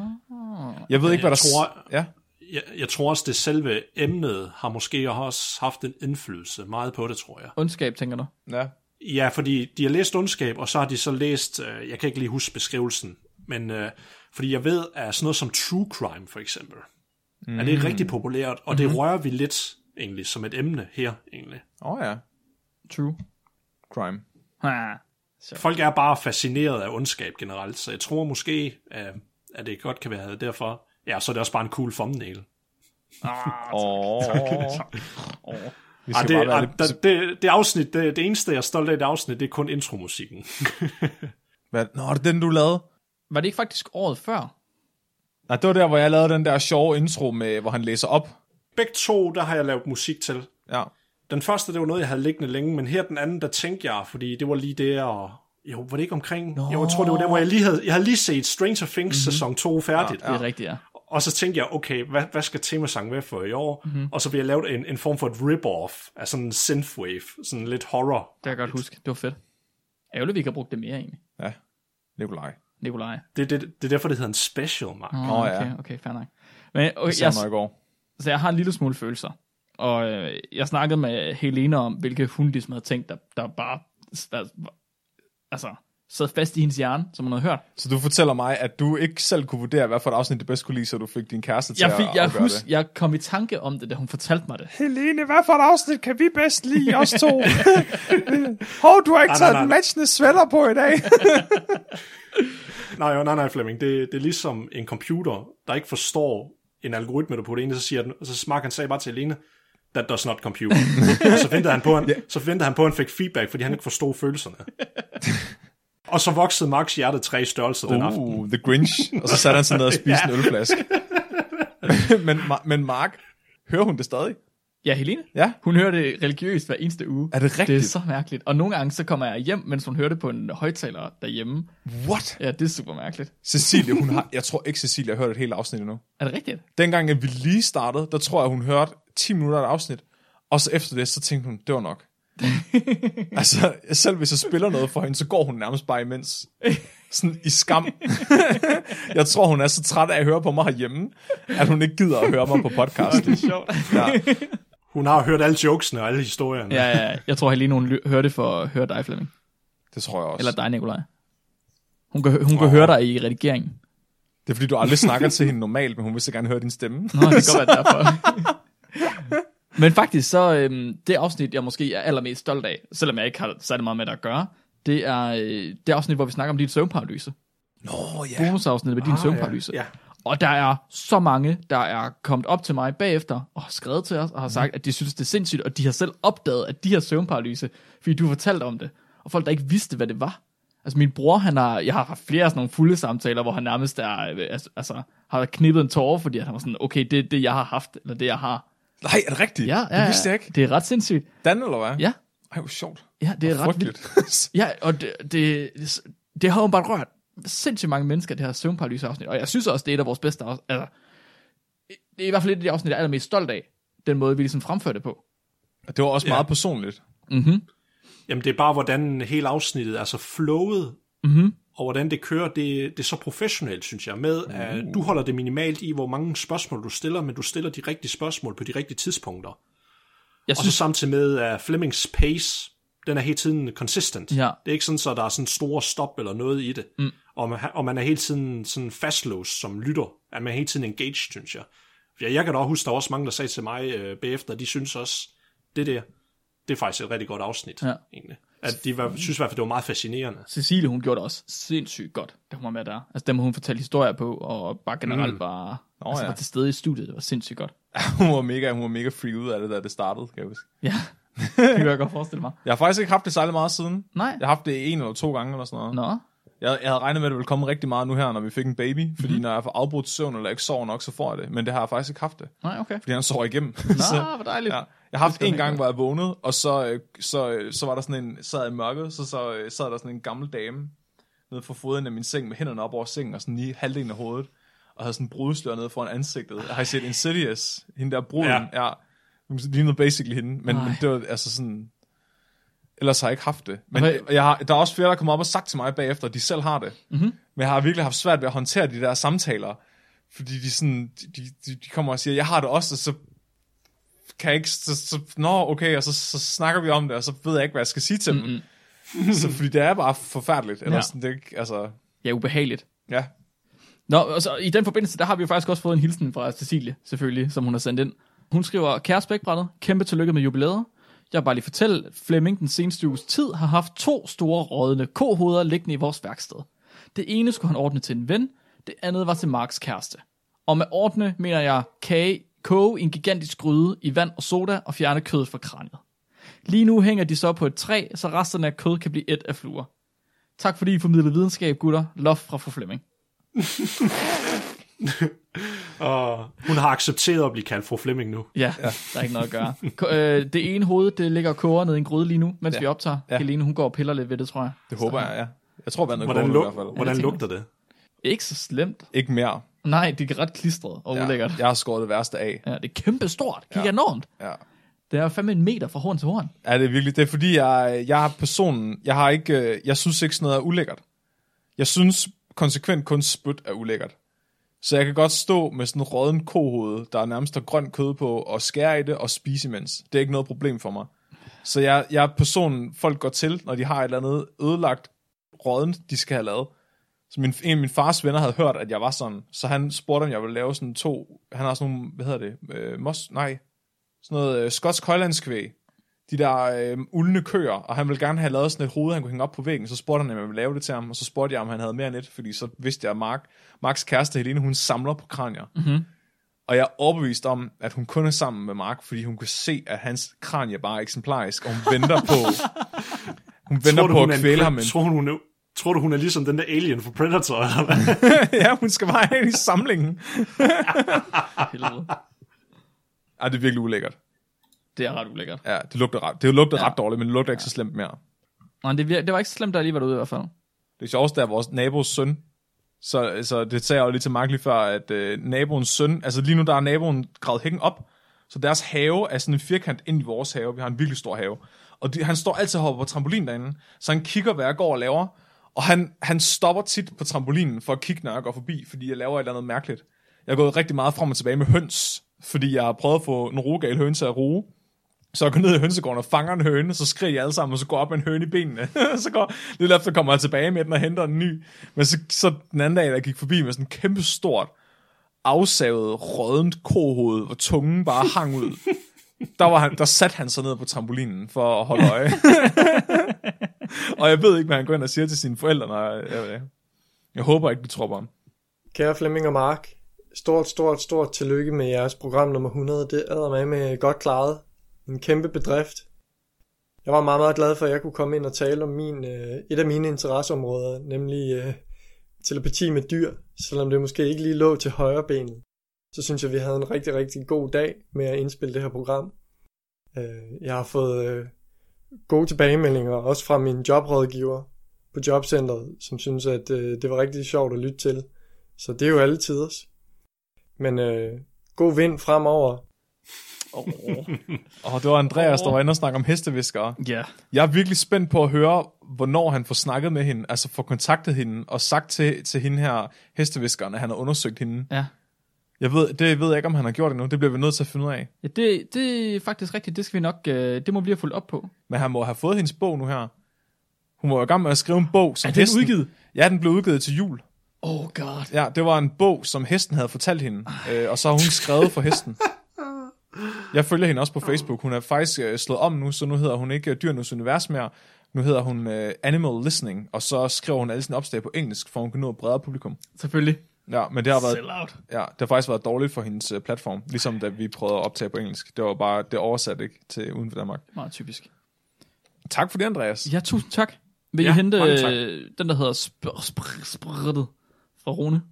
Speaker 5: Jeg ved ikke, hvad der...
Speaker 4: Jeg tror-
Speaker 5: ja.
Speaker 4: Jeg, jeg tror også, det selve emnet har måske også haft en indflydelse meget på det, tror jeg.
Speaker 1: Ondskab, tænker du?
Speaker 5: ja.
Speaker 4: Ja, fordi de har læst ondskab, og så har de så læst, øh, jeg kan ikke lige huske beskrivelsen, men øh, fordi jeg ved, at sådan noget som true crime for eksempel, mm. er det rigtig populært, og
Speaker 5: Mm-hmm.
Speaker 4: det rører vi lidt egentlig som et emne her egentlig.
Speaker 5: Åh oh, ja,
Speaker 1: True.
Speaker 5: crime.
Speaker 1: Ha.
Speaker 4: Folk er bare fascineret af ondskab generelt, så jeg tror måske, øh, at det godt kan være derfor. Ja, så er det også bare en cool thumbnail.
Speaker 5: Åh.
Speaker 1: Ah.
Speaker 5: Vi
Speaker 4: Ej,
Speaker 5: skal
Speaker 4: Ah, det,
Speaker 5: bare
Speaker 4: ej,
Speaker 5: være lidt...
Speaker 4: det, det, det afsnit, det, det eneste jeg er stolt af i det afsnit, det er kun intromusikken.
Speaker 5: Hvad? Nå, er det den, du lavede?
Speaker 1: Var det ikke faktisk året før?
Speaker 5: Nej, det var der, hvor jeg lavede den der sjove intro, med, hvor han læser op.
Speaker 4: Begge to, der har jeg lavet musik til.
Speaker 5: Ja.
Speaker 4: Den første, det var noget, jeg havde liggende længe, men her den anden, der tænkte jeg, fordi det var lige der, og jo, var det ikke omkring? Nå. Jo, jeg tror, det var der, hvor jeg lige havde, jeg havde lige set Stranger Things mm-hmm. sæson 2 færdigt.
Speaker 1: Mhm. Ja. Det er rigtigt, ja.
Speaker 4: Og så tænkte jeg, okay, hvad, hvad skal temasangen være for i år?
Speaker 1: Mhm.
Speaker 4: Mm-hmm. Og så blev jeg lavet en, en form for et rip-off af sådan en synthwave, sådan lidt horror.
Speaker 1: Det kan jeg godt huske. Det var fedt. Ærgerligt, vi ikke har brugt det mere egentlig.
Speaker 5: Ja, Nikolaj.
Speaker 1: Nikolaj.
Speaker 4: Det, det, det er derfor, det hedder en special, Mark.
Speaker 1: Åh,
Speaker 5: Nå, ja.
Speaker 1: okay, okay, fair nok. Men okay,
Speaker 5: Det
Speaker 1: jeg,
Speaker 5: yes. i går.
Speaker 1: så jeg har en lille smule følelser. Og øh, jeg snakkede med Helena om, hvilke hun ligesom havde tænkt, der, der bare altså, sad fast i hendes hjerne, som hun havde hørt.
Speaker 5: Så du fortæller mig, at du ikke selv kunne vurdere, hvad for et afsnit det bedst kunne lide, så du fik din kæreste til
Speaker 1: Jeg, fik,
Speaker 5: at
Speaker 1: jeg,
Speaker 5: afgøre
Speaker 1: husk,
Speaker 5: det.
Speaker 1: jeg kom i tanke om det, da hun fortalte mig det.
Speaker 5: Helene, hvad for et afsnit kan vi bedst lide, os to? Hov, du har ikke
Speaker 4: Ah, Nej, nej, taget nej, den nej.
Speaker 5: matchende sweater på i dag.
Speaker 4: Nej, jo, nej, nej, Flemming. Det, det er ligesom en computer, der ikke forstår en algoritme, du putter ind, og så siger den, og så Mark han sagde bare til Alene, that does not compute. og så ventede han på, han, yeah. så ventede han på, at han fik feedback, fordi han ikke forstod følelserne. og så voksede Marks hjerte tre størrelser den aften.
Speaker 5: uh, The Grinch. Og så satte han sig ned og spiste en ølflaske. men, Ma- men Mark, hører hun det stadig?
Speaker 1: Ja, Helene?
Speaker 5: Ja.
Speaker 1: Hun hører det religiøst hver eneste uge.
Speaker 5: Er det
Speaker 1: Det er
Speaker 5: rigtigt?
Speaker 1: så mærkeligt. Og nogle gange, så kommer jeg hjem, mens hun hører det på en højtaler derhjemme.
Speaker 5: What?
Speaker 1: Ja, det er super mærkeligt.
Speaker 5: Cecilie, hun har, jeg tror ikke, Cecilie har hørt et helt afsnit endnu.
Speaker 1: Er det rigtigt?
Speaker 5: Dengang, at vi lige startede, der tror jeg, hun hørte 10 minutter af et afsnit, og så efter det, så tænkte hun, det var nok. altså, selv hvis jeg spiller noget for hende, så går hun nærmest bare imens. Sådan i skam. jeg tror, hun er så træt af at høre på mig herhjemme, at hun ikke gider at høre mig på podcasten.
Speaker 1: Sjovt.
Speaker 4: Hun har hørt alle jokesene og alle historierne.
Speaker 1: ja, ja, jeg tror Helene, hun hører det for at høre dig, Flemming.
Speaker 5: Det tror jeg også.
Speaker 1: Eller dig, Nikolaj. Hun kan, hun kan høre dig i redigeringen.
Speaker 5: Det er fordi, du aldrig snakker til hende normalt, men hun vil så gerne høre din stemme.
Speaker 1: Nå, det kan godt være derfor. Men faktisk, så øhm, det afsnit, jeg måske er allermest stolt af, selvom jeg ikke har særlig meget med det at gøre, det er øh, det afsnit, hvor vi snakker om din søvnparalyse.
Speaker 5: Nå ja.
Speaker 1: Bonusafsnit med din ah, søvnparalyse.
Speaker 4: ja.
Speaker 1: Og der er så mange, der er kommet op til mig bagefter og har skrevet til os og har sagt, at de synes, det er sindssygt, og de har selv opdaget, at de har søvnparalyse, fordi du fortalte om det. Og folk, der ikke vidste, hvad det var. Altså min bror, han har, jeg har haft flere sådan nogle fulde samtaler, hvor han nærmest er, øh, altså, altså, har knippet en tårer, fordi at han var sådan, okay, det er det, jeg har haft, eller det, jeg har.
Speaker 5: Nej, er det rigtigt?
Speaker 1: Ja, ja,
Speaker 5: det vidste jeg ikke.
Speaker 1: Det er ret sindssygt.
Speaker 5: Dan, eller hvad?
Speaker 1: Ja,
Speaker 5: Ej, hvor sjovt.
Speaker 1: ja det er
Speaker 5: Hvor
Speaker 1: ret vildt.
Speaker 5: frygteligt.
Speaker 1: Ja, og det, det, det, det har jo bare rørt sindssygt mange mennesker, det her søvnparalyseafsnit. Og jeg synes også, det er et af vores bedste afsnit. Altså, det er i hvert fald et af de afsnit, jeg er allermest stolt af. Den måde, vi ligesom fremfører det på.
Speaker 5: det var også meget personligt.
Speaker 4: Jamen, det er bare, hvordan hele afsnittet er så flowet, mm-hmm.
Speaker 1: Mhm.
Speaker 4: og hvordan det kører, det, det er så professionelt, synes jeg, med at
Speaker 1: Uh.
Speaker 4: du holder det minimalt i, hvor mange spørgsmål du stiller, men du stiller de rigtige spørgsmål på de rigtige tidspunkter.
Speaker 1: Jeg
Speaker 4: Og så
Speaker 1: synes,
Speaker 4: samtidig med at Flemings pace, den er hele tiden consistent.
Speaker 1: Ja.
Speaker 4: Det er ikke sådan, så der er sådan store stop eller noget i det. Mm. Og, man, og man er hele tiden sådan fastlåst som lytter. At man er hele tiden engaged, synes jeg. Ja, jeg kan da også huske, der var også mange, der sagde til mig øh, bagefter, at de synes også, det der, det er faktisk et rigtig godt afsnit,
Speaker 1: Ja.
Speaker 4: egentlig. At de var, synes i hvert fald, det var meget fascinerende.
Speaker 1: Cecilie, hun gjorde det også sindssygt godt, da hun var med der. Altså dem, hun fortalte historier på, og bare generelt mm. bare oh, altså,
Speaker 5: ja.
Speaker 1: var til stede i studiet. Det var sindssygt godt.
Speaker 5: hun var mega, hun var mega freak ud af det, da det startede, kan jeg huske.
Speaker 1: Ja, det kan jeg godt forestille mig.
Speaker 5: Jeg har faktisk ikke haft det særlig meget siden.
Speaker 1: Nej.
Speaker 5: Jeg har haft det en eller to gange eller sådan noget.
Speaker 1: Nå.
Speaker 5: Jeg, jeg havde regnet med, at det ville komme rigtig meget nu her, når vi fik en baby.
Speaker 1: Mhm.
Speaker 5: Fordi mm-hmm. når jeg får afbrudt søvn eller ikke sover nok, så får jeg det. Men det har jeg faktisk ikke haft det.
Speaker 1: Nej, okay.
Speaker 5: Fordi han sover igennem.
Speaker 1: Nå, hvor dejligt.
Speaker 5: Ja.
Speaker 1: Ja.
Speaker 5: Jeg har haft
Speaker 1: skal
Speaker 5: en
Speaker 1: man
Speaker 5: gang,
Speaker 1: ikke
Speaker 5: hvor jeg vågnede, og så, øh, så, øh, så var der sådan en, sad jeg i mørket, så, så øh, sad der sådan en gammel dame nede for foden af min seng, med hænderne op over sengen, og sådan lige halvdelen af hovedet, og havde sådan en brudslør nede foran ansigtet. Jeg har I set Insidious, hende der bruden, ja.
Speaker 4: Ja.
Speaker 5: ja. Hun lignede basically hende, men, men
Speaker 1: Ej.
Speaker 5: det var altså sådan, ellers har jeg ikke haft det. Men
Speaker 1: Hvad-
Speaker 5: og jeg har, der er også flere, der kommer op og sagt til mig bagefter, at de selv har det. Mm-hmm. Men jeg har virkelig haft svært ved at håndtere de der samtaler, fordi de, sådan, de, de, de kommer og siger, jeg har det også, og så kan jeg ikke, så, så nå, okay, og så, så snakker vi om det, og så ved jeg ikke, hvad jeg skal sige til mm-hmm. dem. så fordi det er bare forfærdeligt, eller ja.
Speaker 1: Ja.
Speaker 5: sådan, det er ikke, altså,
Speaker 1: ja, ubehageligt.
Speaker 5: ja.
Speaker 1: Nå, og så i den forbindelse, der har vi jo faktisk også fået en hilsen fra Cecilie, selvfølgelig, som hun har sendt ind. Hun skriver, kære spækbrættet, kæmpe tillykke med jubilæet. Jeg vil bare lige fortælle, at Flemming den seneste uges tid har haft to store rådende kohoveder liggende i vores værksted. Det ene skulle han ordne til en ven, det andet var til Marks kæreste. Og med ordne mener jeg kage, koge i en gigantisk gryde i vand og soda og fjerne kødet fra kraniet. Lige nu hænger de så på et træ, så resterne af kød kan blive et af fluer. Tak fordi I formidlede videnskab, gutter. Love fra fru Flemming.
Speaker 4: Og hun har accepteret at blive kaldt fru Flemming nu.
Speaker 1: Ja, ja, der er ikke noget at gøre. Ko- øh, det ene hoved, det ligger og koger ned i en gryde lige nu, mens ja. vi optager. Ja. Helene, hun går og piller lidt ved det, tror jeg.
Speaker 5: Det håber jeg, ja. Jeg tror, vandet
Speaker 4: Hvordan,
Speaker 5: går nu i hvert
Speaker 4: lug-
Speaker 5: fald.
Speaker 4: hvordan
Speaker 1: Ja,
Speaker 4: lugter det?
Speaker 1: Ikke så slemt.
Speaker 5: Ikke mere.
Speaker 1: Nej, det er ret klistret og
Speaker 5: Ja.
Speaker 1: ulækkert. Ja.
Speaker 5: Jeg har skåret det værste af.
Speaker 1: ja, det er kæmpe stort. Kig ja. enormt.
Speaker 5: Ja.
Speaker 1: Det er fandme en meter fra horn til horn.
Speaker 5: Er det er virkelig? Det er fordi, jeg, jeg er personen, jeg har ikke, øh, jeg synes ikke sådan noget er ulækkert. Jeg synes konsekvent kun spyt er ulækkert. Så jeg kan godt stå med sådan en rådden kohoved, der er nærmest har grønt kød på, og skære i det og spise imens. Det er ikke noget problem for mig. Så jeg, jeg er personen, folk går til, når de har et eller andet ødelagt rådden, de skal have lavet. Så min, en af min fars venner havde hørt, at jeg var sådan, så han spurgte, om jeg ville lave sådan to, han har sådan nogle, hvad hedder det, øh, mos, nej, sådan noget øh, skotsk højlandskvæg, de der øh, uldne køer, og han ville gerne have lavet sådan et hoved, han kunne hænge op på væggen, så spurgte han, om jeg ville lave det til ham, og så spurgte jeg, om han havde mere end et, fordi så vidste jeg, at Mark, Marks kæreste Helene, hun samler på kranier. Mm-hmm. Og jeg er overbevist om, at hun kun er sammen med Mark, fordi hun kan se, at hans kranie bare er eksemplarisk, og hun venter på, hun venter
Speaker 4: Tror du,
Speaker 5: på
Speaker 4: hun er
Speaker 5: at
Speaker 4: en
Speaker 5: kvæle
Speaker 4: pre-
Speaker 5: ham. med en
Speaker 4: Tror du, hun er, tror du, hun er ligesom den der alien fra Predator? Eller hvad?
Speaker 5: ja, hun skal bare have i samlingen.
Speaker 1: Helvede.
Speaker 5: Ej, det er virkelig ulækkert.
Speaker 1: Det er ret ulækkert.
Speaker 5: Ja, det lugter ret, det lugter ja. ret dårligt, men det lugter ikke så slemt mere.
Speaker 1: Nej, det, vir- det var ikke så slemt, der lige var derude i hvert fald.
Speaker 5: Det sjoveste er vores nabos søn. Så, så det sagde jeg jo lige til Mark lige før, at øh, naboens søn, altså lige nu der er naboen gravet hækken op, så deres have er sådan en firkant ind i vores have. Vi har en virkelig stor have. Og de, han står altid og hopper på trampolin derinde, så han kigger, hvad jeg går og laver. Og han, han stopper tit på trampolinen for at kigge, når jeg går forbi, fordi jeg laver et eller andet mærkeligt. Jeg er gået rigtig meget frem og tilbage med høns, fordi jeg har prøvet at få en rogal høn til at roe. Så jeg går ned i hønsegården og fanger en høne, så skriger jeg alle sammen, og så går jeg op med en høne i benene. så går, lidt efter kommer jeg tilbage med den og henter en ny. Men så, så den anden dag, der gik forbi med sådan en kæmpe stort, afsavet, rådent kohoved, hvor tungen bare hang ud. Der, var han, der satte han sig ned på trampolinen for at holde øje. og jeg ved ikke, hvad han går ind og siger til sine forældre. Når jeg, jeg, jeg håber ikke, de tror på ham.
Speaker 6: Kære Flemming og Mark, stort, stort, stort tillykke med jeres program nummer 100. Det er med med godt klaret. En kæmpe bedrift. Jeg var meget, meget glad for, at jeg kunne komme ind og tale om min, øh, et af mine interesseområder, nemlig øh, telepati med dyr, selvom det måske ikke lige lå til højre benet. Så synes jeg, vi havde en rigtig, rigtig god dag med at indspille det her program. Øh, jeg har fået øh, gode tilbagemeldinger, også fra min jobrådgiver på jobcentret, som synes, at øh, det var rigtig sjovt at lytte til. Så det er jo alle tiders. Men øh, god vind fremover.
Speaker 1: Oh,
Speaker 5: Og det var Andreas, der var inde og snakke om hesteviskere.
Speaker 1: ja.
Speaker 5: Jeg er virkelig spændt på at høre, hvornår han får snakket med hende, altså får kontaktet hende og sagt til, til hende her, hesteviskeren, at han har undersøgt hende.
Speaker 1: ja.
Speaker 5: Jeg ved, det ved jeg ikke, om han har gjort endnu. Det bliver vi nødt til at finde ud af.
Speaker 1: ja det, det er faktisk rigtigt. Det skal vi nok, øh, det må vi lige have fulgt op på.
Speaker 5: Men han må have fået hendes bog nu her. Hun var jo i gang med at skrive en bog, som
Speaker 1: Er den
Speaker 5: hesten...
Speaker 1: udgivet?
Speaker 5: Ja, den blev udgivet til jul.
Speaker 1: Oh god.
Speaker 5: Ja, det var en bog, som hesten havde fortalt hende, øh, og så har hun skrevet for hesten. Jeg følger hende også på Facebook. Hun er faktisk øh, slået om nu, så nu hedder hun ikke øh, Dyrenes Univers mere. Nu hedder hun øh, Animal Listening, og så skriver hun alle sine opslag på engelsk, for hun kan nå et bredere publikum.
Speaker 1: Selvfølgelig.
Speaker 5: Ja, men det har, været,
Speaker 1: Sell out.
Speaker 5: ja, det har faktisk været dårligt for hendes øh, platform, ligesom da vi prøvede at optage på engelsk. Det var bare, det oversat ikke til uden for Danmark.
Speaker 1: Meget typisk.
Speaker 5: Tak for det, Andreas.
Speaker 1: Ja, tusind tak. Vil ja,
Speaker 4: Ja,
Speaker 1: I hente
Speaker 4: mange tak.
Speaker 1: øh, den, der hedder spr- spr- sprittet fra Rune?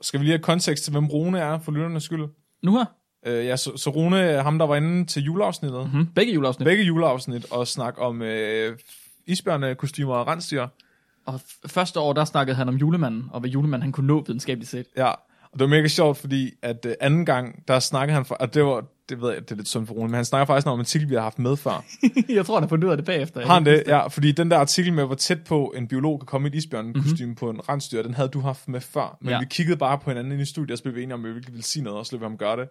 Speaker 5: Skal vi lige have kontekst til, hvem Rune er, for lytternes skyld?
Speaker 1: Nu her?
Speaker 5: Øh, ja, så, så Rune, ham der var inde til juleafsnittet,
Speaker 1: Hm? Begge juleafsnit.
Speaker 5: begge juleafsnit, og snak om øh, isbjørnekostymer og rensdyr.
Speaker 1: Og f- første år, der snakkede han om julemanden, og hvad julemanden han kunne nå videnskabeligt set.
Speaker 5: Ja, og det var mega sjovt, fordi at øh, anden gang, der snakkede han, for, og det var, det ved jeg, det er lidt synd for Rune, men han snakker faktisk om en artikel, vi har haft med før.
Speaker 1: jeg tror, han har fundet ud af det bagefter.
Speaker 5: Har han det? Ja, fordi den der artikel med, hvor tæt på en biolog kan komme i et isbjørnekostyme mm-hmm. på en rensdyr, den havde du haft med før. Men ja.
Speaker 1: Ja.
Speaker 5: vi kiggede bare på hinanden inde i studiet, og så blev vi enige om, at vi ikke ville sige noget, og så løb vi ham gøre det.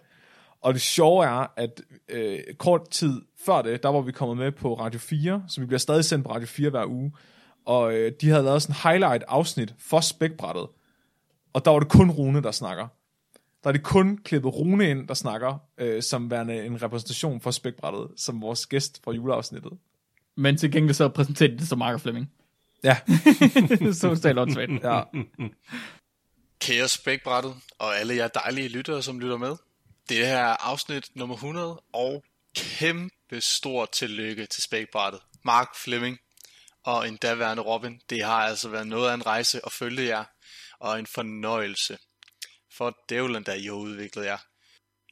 Speaker 5: Og det sjove er, at øh, kort tid før det, der var vi kommet med på Radio 4, så vi bliver stadig sendt på Radio 4 hver uge. Og øh, de havde lavet sådan en highlight-afsnit for spækbrættet. Og der var det kun Rune, der snakker. Der er det kun klippet Rune ind, der snakker, øh, som værende en repræsentation for spækbrættet, som vores gæst fra juleafsnittet.
Speaker 1: Men til gengæld så præsenterede de det som Mark og Flemming.
Speaker 5: Ja,
Speaker 1: så totalt åndssvagt.
Speaker 5: ja.
Speaker 7: Kære spækbrættet og alle jer dejlige lyttere, som lytter med. Det her er afsnit nummer 100, og kæmpe stor tillykke til spækbrættet. Mark Fleming og en daværende Robin, det har altså været noget af en rejse at følge jer, og en fornøjelse. For dævlen, der I har udviklet jer.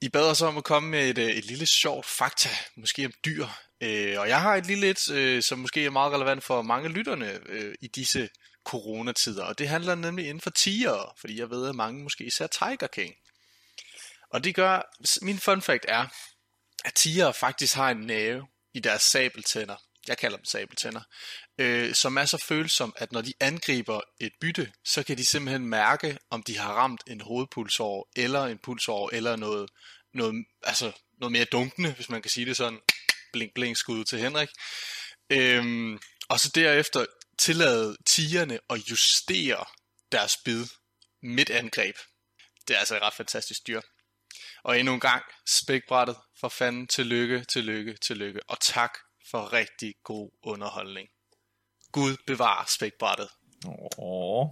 Speaker 7: I bad os om at komme med et, øh, et lille sjovt fakta, måske om dyr. Øh, og jeg har et lille et, øh, som måske er meget relevant for mange af lytterne øh, i disse coronatider. Og det handler nemlig inden for tiger, fordi jeg ved, at mange måske især Tiger King. Og det gør, s- min fun fact er, at tiger faktisk har en næve i deres sabeltænder. Jeg kalder dem sabeltænder. Øh, som er så følsom, at når de angriber et bytte, så kan de simpelthen mærke, om de har ramt en hovedpulsår, eller en pulsår, eller noget, noget, altså noget mere dunkende, hvis man kan sige det sådan. Blink, blink, skud til Henrik. Øhm, og så derefter tillade tigerne at justere deres bid midt angreb. Det er altså et ret fantastisk dyr. Og endnu en gang, spækbrættet for fanden. Tillykke, tillykke, tillykke. Og tak for rigtig god underholdning. Gud bevarer spækbrættet.
Speaker 5: Åh.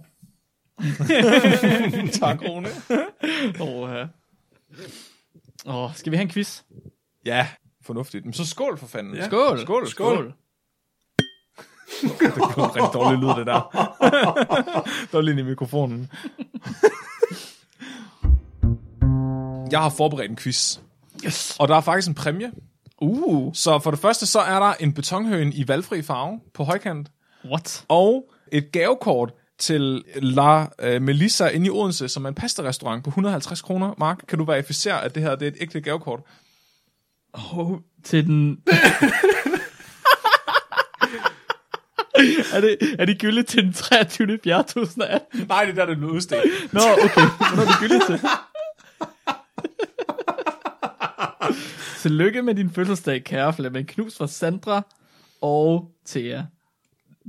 Speaker 5: tak, Rune.
Speaker 1: Åh, ja. Åh, skal vi have en quiz?
Speaker 5: Ja, fornuftigt. Men så skål for fanden. Ja.
Speaker 1: Skål.
Speaker 5: Skål.
Speaker 1: Skål.
Speaker 5: Det var rigtig dårlig lyd, det der. der var lige inde i mikrofonen. Jeg har forberedt en quiz.
Speaker 1: Yes.
Speaker 5: Og der er faktisk en præmie.
Speaker 1: Uh,
Speaker 5: Så for det første, så er der en betonhøen i valgfri farve på højkant.
Speaker 1: what?
Speaker 5: Og et gavekort til La øh, Melissa inde i Odense, som er en pastarestaurant på 150 kroner. Mark, kan du verificere, at det her det er et ægte gavekort?
Speaker 1: Oh, til den... er, det, er det gyldigt til den 23. 4. 2018?
Speaker 5: Nej, det er der, det blev udstedt.
Speaker 1: Nå, okay. Hvornår er det gyldigt til? Tillykke med din fødselsdag, kære Flemming. Knus fra Sandra og Thea.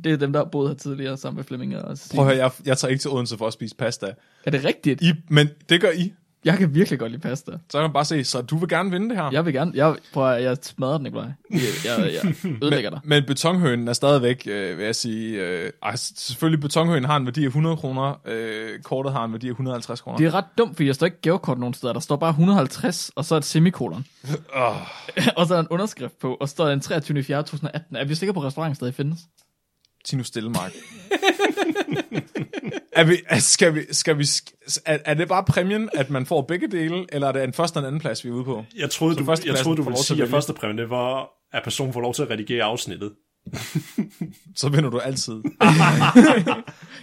Speaker 1: Det er dem, der boede her tidligere sammen med Flemming og
Speaker 5: Prøv
Speaker 1: Stine.
Speaker 5: at høre, jeg, jeg tager ikke til Odense for at spise pasta.
Speaker 1: Er det rigtigt?
Speaker 5: I, men det gør I.
Speaker 1: Jeg kan virkelig godt lide pasta.
Speaker 5: Så kan man bare se, så du vil gerne vinde det her.
Speaker 1: Jeg vil gerne... Jeg, prøv at jeg smadrer den, Nikolaj. Jeg, jeg, jeg ødelægger dig.
Speaker 5: Men betonhønen er stadigvæk, øh, vil jeg sige... Øh, ej, selvfølgelig, betonhønen har en værdi af 100 kroner. Øh, kortet har en værdi af 150 kroner.
Speaker 1: Det er ret dumt, fordi der står ikke gavekort nogen steder. Der står bare 150, og så et semikolon. Oh. og så er der en underskrift på, og så står der den 23. 4. 2018. Er vi sikre på, at restauranten stadig findes?
Speaker 5: Tino Stillemark. er vi, er- skal vi, skal vi, sk- er, er det bare præmien, at man får begge dele, eller er det en første og en anden plads, vi er ude på?
Speaker 4: Jeg troede, du, jeg
Speaker 5: førstepladsen
Speaker 4: troede, du
Speaker 5: får
Speaker 4: ville
Speaker 5: lov til at
Speaker 4: sige, at
Speaker 5: vælge.
Speaker 4: førstepræmien det var, at personen får lov til at redigere afsnittet.
Speaker 5: Så vinder du altid.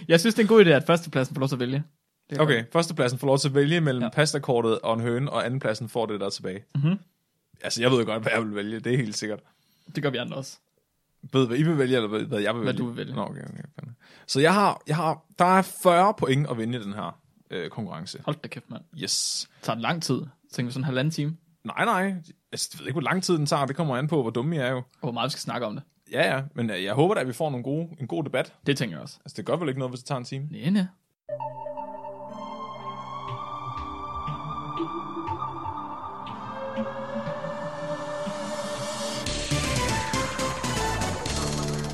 Speaker 1: Jeg synes, det er en god idé, at førstepladsen får lov til at vælge.
Speaker 5: Okay, førstepladsen får lov til at vælge mellem ja. pastakortet og en høne, og andenpladsen får det der er tilbage. Mm-hmm. Altså, jeg ved godt, hvad jeg vil vælge, det er helt sikkert.
Speaker 1: Det gør vi andre også.
Speaker 5: Ved hvad I vil vælge, eller hvad, hvad jeg vil vælge?
Speaker 1: du vil vælge.
Speaker 5: Nå, okay, okay, fandme. Så jeg har, jeg har, der er 40 point at vinde i den her øh, konkurrence.
Speaker 1: Hold da kæft, mand.
Speaker 5: Yes.
Speaker 1: Det tager en lang tid. Tænker vi sådan en halvanden time.
Speaker 5: Nej, nej, altså, jeg ved ikke, hvor lang tid den tager, det kommer an på, hvor dumme jeg er jo.
Speaker 1: Og hvor meget vi skal snakke om det.
Speaker 5: Ja, ja, men øh, jeg håber da, at vi får nogle gode, en god debat.
Speaker 1: Det tænker jeg også.
Speaker 5: Altså, det gør vel ikke noget, hvis det tager en time?
Speaker 1: Næh, næh.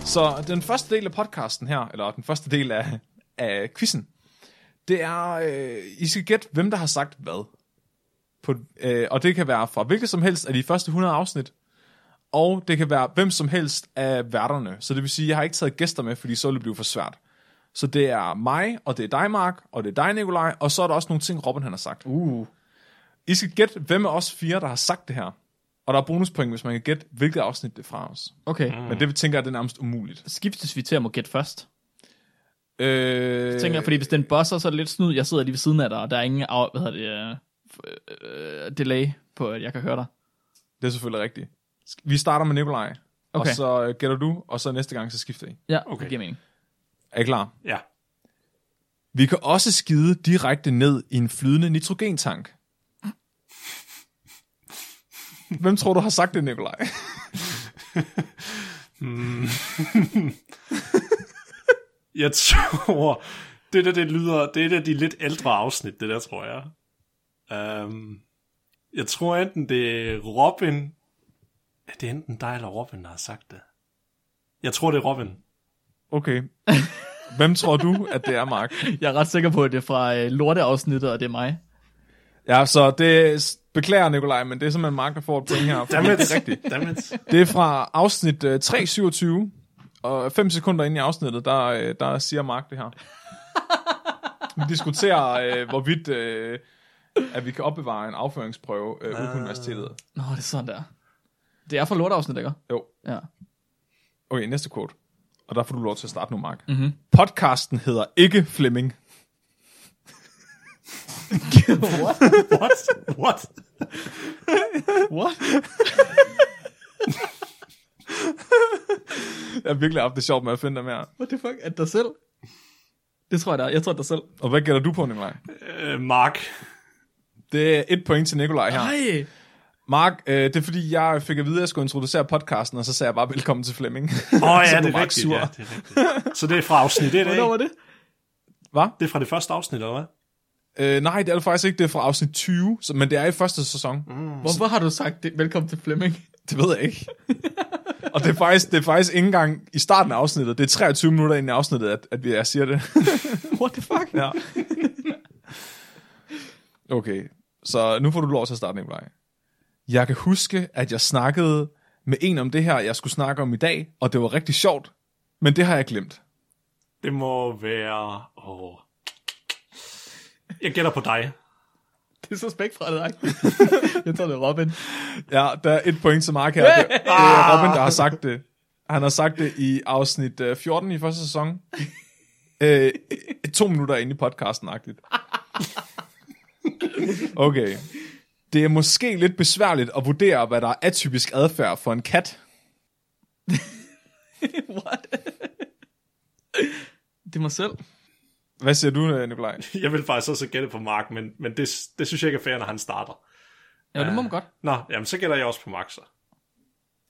Speaker 5: Så den første del af podcasten her, eller den første del af, af quizzen, Det er, øh, I skal gætte, hvem der har sagt hvad. På, øh, og det kan være fra hvilket som helst af de første 100 afsnit, og det kan være hvem som helst af værterne. Så det vil sige, jeg har ikke taget gæster med, fordi så ville det blive for svært. Så det er mig, og det er dig, Mark, og det er dig, Nikolaj, og så er der også nogle ting, Robin han har sagt.
Speaker 1: Uh.
Speaker 5: I skal gætte, hvem af os fire, der har sagt det her. Og der er bonuspoint, hvis man kan gætte, hvilket afsnit det er fra os.
Speaker 1: Okay.
Speaker 5: Mm. Men det vi tænker, det er nærmest umuligt.
Speaker 1: Skiftes vi til at må gætte først?
Speaker 5: Øh,
Speaker 1: Tænker jeg, fordi hvis den bosser, så er det lidt snyd. Jeg sidder lige ved siden af dig, og der er ingen af, hvad hedder det, øh, f- øh, delay på, at jeg kan høre dig.
Speaker 5: Det er selvfølgelig rigtigt. Sk- Vi starter med Nikolaj, okay.
Speaker 1: Okay.
Speaker 5: og så øh, gætter du, og så næste gang, så skifter I.
Speaker 1: Ja, okay.
Speaker 4: Okay.
Speaker 1: det giver mening.
Speaker 5: Er I klar?
Speaker 4: Ja.
Speaker 5: Vi kan også skide direkte ned i en flydende nitrogentank. Hvem tror du har sagt det, Nikolaj?
Speaker 4: Jeg tror, det der, det lyder, det er et af de lidt ældre afsnit, det der, tror jeg. Um, jeg tror enten det er Robin, ja, det er enten dig eller Robin, der har sagt det. Jeg tror, det er Robin.
Speaker 5: Okay. Hvem tror du, at det er, Mark?
Speaker 1: Jeg er ret sikker på, at det er fra øh, lorteafsnittet, og det er mig.
Speaker 5: Ja, så det beklager, Nikolaj, men det er simpelthen Mark, der får et point her. fordi
Speaker 4: Dammit.
Speaker 5: det er rigtigt.
Speaker 4: Dammit.
Speaker 5: Det er fra afsnit øh, 327, og 5 sekunder inde i afsnittet, der, øh, der siger Mark det her. Vi diskuterer, øh, hvorvidt øh, at vi kan opbevare en afføringsprøve øh,
Speaker 1: Ah.
Speaker 5: ude på universitetet.
Speaker 1: Nå, det er sådan der. Det er fra lorteafsnittet, ikke?
Speaker 5: Jo.
Speaker 1: Ja.
Speaker 5: Okay, næste quote. Og der får du lov til at starte nu, Mark.
Speaker 1: Mhm.
Speaker 5: Podcasten hedder ikke Flemming.
Speaker 4: What? What? What?
Speaker 1: What?
Speaker 5: Jeg har virkelig haft det sjovt med at finde dem her.
Speaker 1: What the fuck? Er det dig selv? Det tror jeg, der er. Jeg tror, det er dig selv.
Speaker 5: Og hvad gætter du på, Nikolaj?
Speaker 4: Øh, Mark.
Speaker 5: Det er et point til Nikolaj her.
Speaker 1: Nej!
Speaker 5: Mark, øh, det er fordi, jeg fik at vide, at jeg skulle introducere podcasten, og så sagde jeg bare, velkommen til Flemming.
Speaker 4: Åh oh, ja,
Speaker 5: blev
Speaker 4: det er
Speaker 5: Mark
Speaker 4: rigtigt,
Speaker 5: sur.
Speaker 4: ja, det er rigtigt. Så det er fra afsnit 1, ikke?
Speaker 1: Hvornår var det?
Speaker 4: Det er fra det første afsnit, eller hvad?
Speaker 5: Øh, nej, det er det faktisk ikke. Det er fra afsnit 20, så, men det er i første sæson. Mm.
Speaker 1: Hvorfor har du sagt det? Velkommen til Flemming.
Speaker 5: Det ved jeg ikke. og det er, faktisk, det er faktisk ikke engang i starten af afsnittet. Det er 23 minutter ind i afsnittet, at, at vi- jeg siger det.
Speaker 1: What the fuck?
Speaker 5: ja. Okay, så nu får du lov til at starte, Nikolaj. Jeg kan huske, at jeg snakkede med en om det her, jeg skulle snakke om i dag, og det var rigtig sjovt, men det har jeg glemt.
Speaker 4: Det må være... Åh. Jeg gætter på dig.
Speaker 1: Det er så spæk fra dig. jeg tror, det er Robin.
Speaker 5: Ja, der er et point til Mark her. Det, det er Robin, der har sagt det. Han har sagt det i afsnit øh, 14 i første sæson. Øh, to minutter inde i podcasten, agtigt. Okay. Det er måske lidt besværligt at vurdere, hvad der er atypisk adfærd for en kat.
Speaker 1: What? det er mig selv.
Speaker 5: Hvad siger du, øh, Nikolaj?
Speaker 4: Jeg vil faktisk også gætte på Mark, men, men det, det synes jeg ikke er fair, når han starter.
Speaker 1: Ja, det må man godt.
Speaker 4: Nå, jamen så gætter jeg også på Mark så.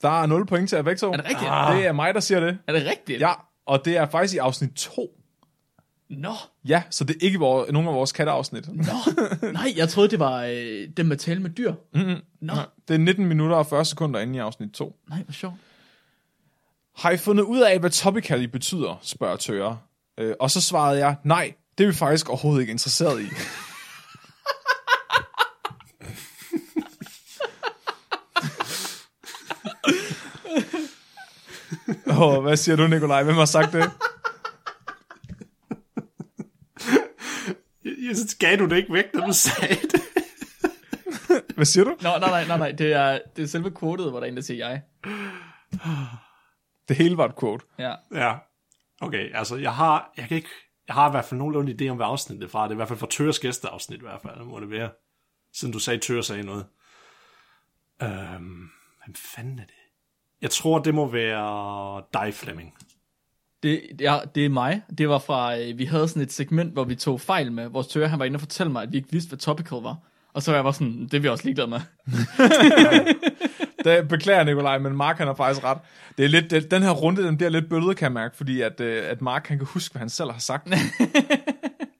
Speaker 5: Der er 0 point til jer begge to.
Speaker 1: Er det rigtigt?
Speaker 5: Ah. Det er mig, der siger det.
Speaker 1: Er det rigtigt?
Speaker 5: Ja, og det er faktisk i afsnit 2.
Speaker 1: Nå,
Speaker 5: Ja, så det er ikke vores, nogen af vores katteafsnit.
Speaker 1: nå. Nej, jeg troede, det var øh, dem med tale med dyr.
Speaker 5: Mm-mm.
Speaker 1: Nå,
Speaker 5: Det er 19 minutter og 40 sekunder inde i afsnit 2.
Speaker 1: nej, hvor sjovt.
Speaker 5: Har I fundet ud af, hvad topically betyder, spørger Tøre. Øh, og så svarede jeg, nej, det er vi faktisk overhovedet ikke interesseret i. Åh, oh, hvad siger du, Nikolaj? Hvem har sagt det?
Speaker 4: Jeg, jeg synes, gav du det ikke væk, da du sagde det?
Speaker 5: Hvad siger du?
Speaker 1: Nå, nej, nej, nej, nej. Det er, det er selve quotet, hvor der er en, der siger jeg.
Speaker 5: Det hele var et quote.
Speaker 1: Ja.
Speaker 4: Ja. Okay, altså jeg har, jeg kan ikke, jeg har i hvert fald nogenlunde idé om, hvad afsnittet er fra. Det er i hvert fald fra Tøres gæsteafsnit i hvert fald, må det være. Siden du sagde, Tøres sagde noget. Øhm, hvem fanden er det? Jeg tror, det må være dig, Flemming.
Speaker 1: Det, ja, det er mig. Det var fra, øh, vi havde sådan et segment, hvor vi tog fejl med. Vores tøger, han var inde og fortælle mig, at vi ikke vidste, hvad topical var. Og så var jeg bare sådan, "Hmm, det er vi også ligeglade med.
Speaker 5: Det beklager Nikolaj, men Mark han har faktisk ret. Det er lidt, det, den her runde den bliver lidt bøllet, kan jeg mærke, fordi at, øh, at Mark han kan huske, hvad han selv har sagt.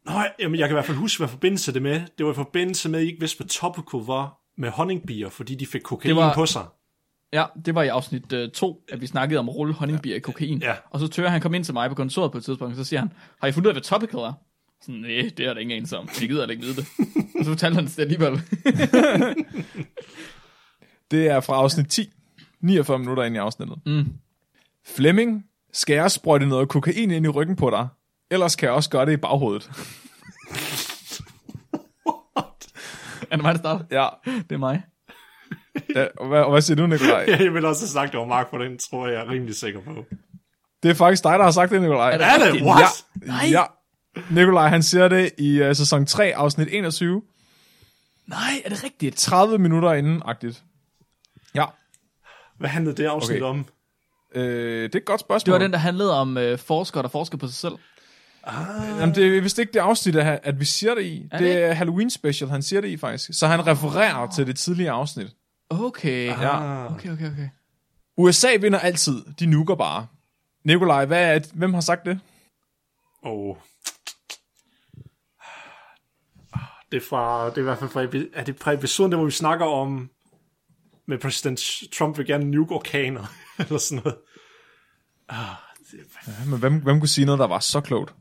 Speaker 4: Nå, jamen, jeg kan i hvert fald huske, hvad forbindelse det med. Det var i forbindelse med, at I ikke vidste, hvad topical var med honningbier, fordi de fik kokain
Speaker 1: Det var-
Speaker 4: var... på sig.
Speaker 1: Ja, det var i afsnit 2, at vi snakkede om at rulle honningbier i kokain.
Speaker 4: Ja.
Speaker 1: Og så tør han kom ind til mig på kontoret på et tidspunkt, og så siger han, har I fundet ud af, hvad topical er? Sådan, nej, det er der ingen anelse om. Jeg gider da ikke vide det. Og så fortalte han det alligevel.
Speaker 5: Det er fra afsnit 10, 49 minutter ind i afsnittet. Mm. Flemming, skal jeg sprøjte noget kokain ind i ryggen på dig? Ellers kan jeg også gøre det i baghovedet.
Speaker 1: er det mig, der starter?
Speaker 5: Ja,
Speaker 1: Det er mig.
Speaker 5: ja og, hvad, og hvad siger du, Nikolaj?
Speaker 4: Jeg vil også have sagt, det var Mark på den, tror jeg, jeg er rimelig sikker på.
Speaker 5: Det er faktisk dig, der har sagt det, Nikolaj.
Speaker 1: Er det
Speaker 4: Er det?
Speaker 1: rigtigt?
Speaker 4: What?
Speaker 1: Nej.
Speaker 5: Ja. Nikolaj, han siger det i uh, sæson 3, afsnit 21.
Speaker 1: Nej, er det rigtigt?
Speaker 5: 30 minutter inden-agtigt. Ja,
Speaker 4: Hvad handlede det afsnit
Speaker 5: Okay.
Speaker 4: okay. om?
Speaker 5: øh, det er et godt spørgsmål.
Speaker 1: Det var den, der handlede om øh, forskere, der forsker på sig selv.
Speaker 5: Jamen, det er vist ikke det afsnit, at, at vi siger det i.
Speaker 1: Er
Speaker 5: Er
Speaker 1: det
Speaker 5: det, det er Halloween special, han siger det i faktisk. Så han refererer til det tidligere afsnit.
Speaker 1: Okay.
Speaker 5: Ja.
Speaker 1: Ah. Okay, okay, okay.
Speaker 5: USA vinder altid. De nuker bare. Nikolaj, hvad er, hvem har sagt det?
Speaker 4: Oh. Det er, fra, det er i hvert fald fra, epi- er det fra episoden, der hvor vi snakker om, med præsident Trump vil gerne nuke orkaner, eller sådan noget.
Speaker 5: Men hvem, hvem kunne sige noget, der var så klogt?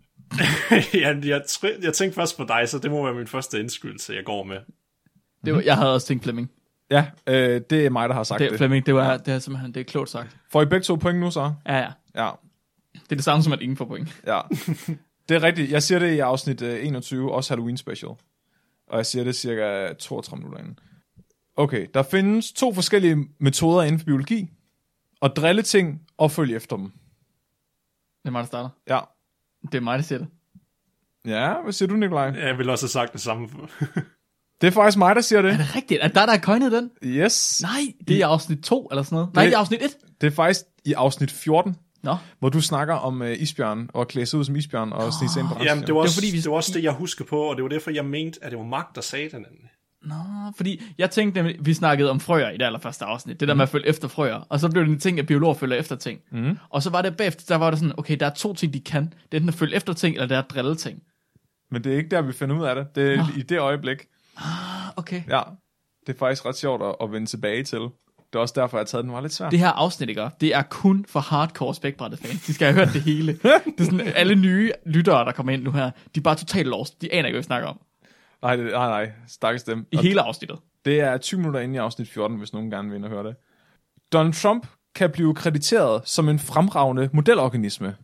Speaker 4: jeg, jeg, tr- jeg tænkte først på dig, så det må være min første indskydelse, jeg går med.
Speaker 1: Det var, jeg havde også tænkt Flemming.
Speaker 5: Ja, øh, det er mig, der har sagt
Speaker 1: Det,
Speaker 5: det. det.
Speaker 1: Flemming, det var det er simpelthen det er klogt sagt.
Speaker 5: Får I begge to point nu så?
Speaker 1: Ja, ja.
Speaker 5: Ja,
Speaker 1: Det er det samme som, at ingen får point.
Speaker 5: ja. Det er rigtigt. Jeg siger det i afsnit øh, 21, også Halloween special. Og jeg siger det cirka 32 minutter inden. Okay, der findes to forskellige metoder inden for biologi. At drille ting og følge efter dem.
Speaker 1: Det er mig, der starter.
Speaker 5: Ja.
Speaker 1: Det er mig, der siger det.
Speaker 5: Ja, hvad siger du, Nikolaj?
Speaker 4: Jeg vil også have sagt det samme.
Speaker 5: Det er faktisk mig, der siger det.
Speaker 1: Er det rigtigt? Er det dig, der har coined den?
Speaker 5: Yes.
Speaker 1: Nej, det er afsnit 2 eller sådan noget. Nej, det er afsnit 1.
Speaker 5: Det er faktisk i afsnit 14,
Speaker 1: Nå,
Speaker 5: hvor du snakker om øh, isbjørn og klæde sig ud som isbjørn og snige sig ind på
Speaker 4: Jamen,
Speaker 5: rensdyr.
Speaker 4: det var, også, det,
Speaker 1: fordi, vi-
Speaker 4: det var også det, jeg husker på, og det var derfor, jeg mente, at det var Mark, der sagde det. nemlig.
Speaker 1: nå, fordi jeg tænkte, nemlig- vi snakkede om frøer i det allerførste afsnit. Det der med at følge efter frøer. Og så blev det en ting, at biologer følger efter ting. Mm. Og så var det bagefter, der var det sådan, okay, der er to ting, de kan. Det er enten at følge efter ting, eller det er at drille ting.
Speaker 5: Men det er ikke der, vi finder ud af det. Det er i det øjeblik.
Speaker 1: Ah, Okay.
Speaker 5: Ja, det er faktisk ret sjovt at, at vende tilbage til. Det er også derfor, jeg har taget den var lidt svær.
Speaker 1: Det her afsnit, ikke? Det er kun for hardcore spækbrættet fans. De skal have hørt det hele. Det er sådan, alle nye lyttere, der kommer ind nu her, de er bare totalt lost. De aner ikke, hvad vi snakker om.
Speaker 5: Nej, det, nej, nej. Stakkes dem.
Speaker 1: I
Speaker 5: Og
Speaker 1: hele afsnittet.
Speaker 5: Det er 20 minutter inde i afsnit 14, hvis nogen gerne vil ind og høre det. Donald Trump kan blive krediteret som en fremragende modelorganisme.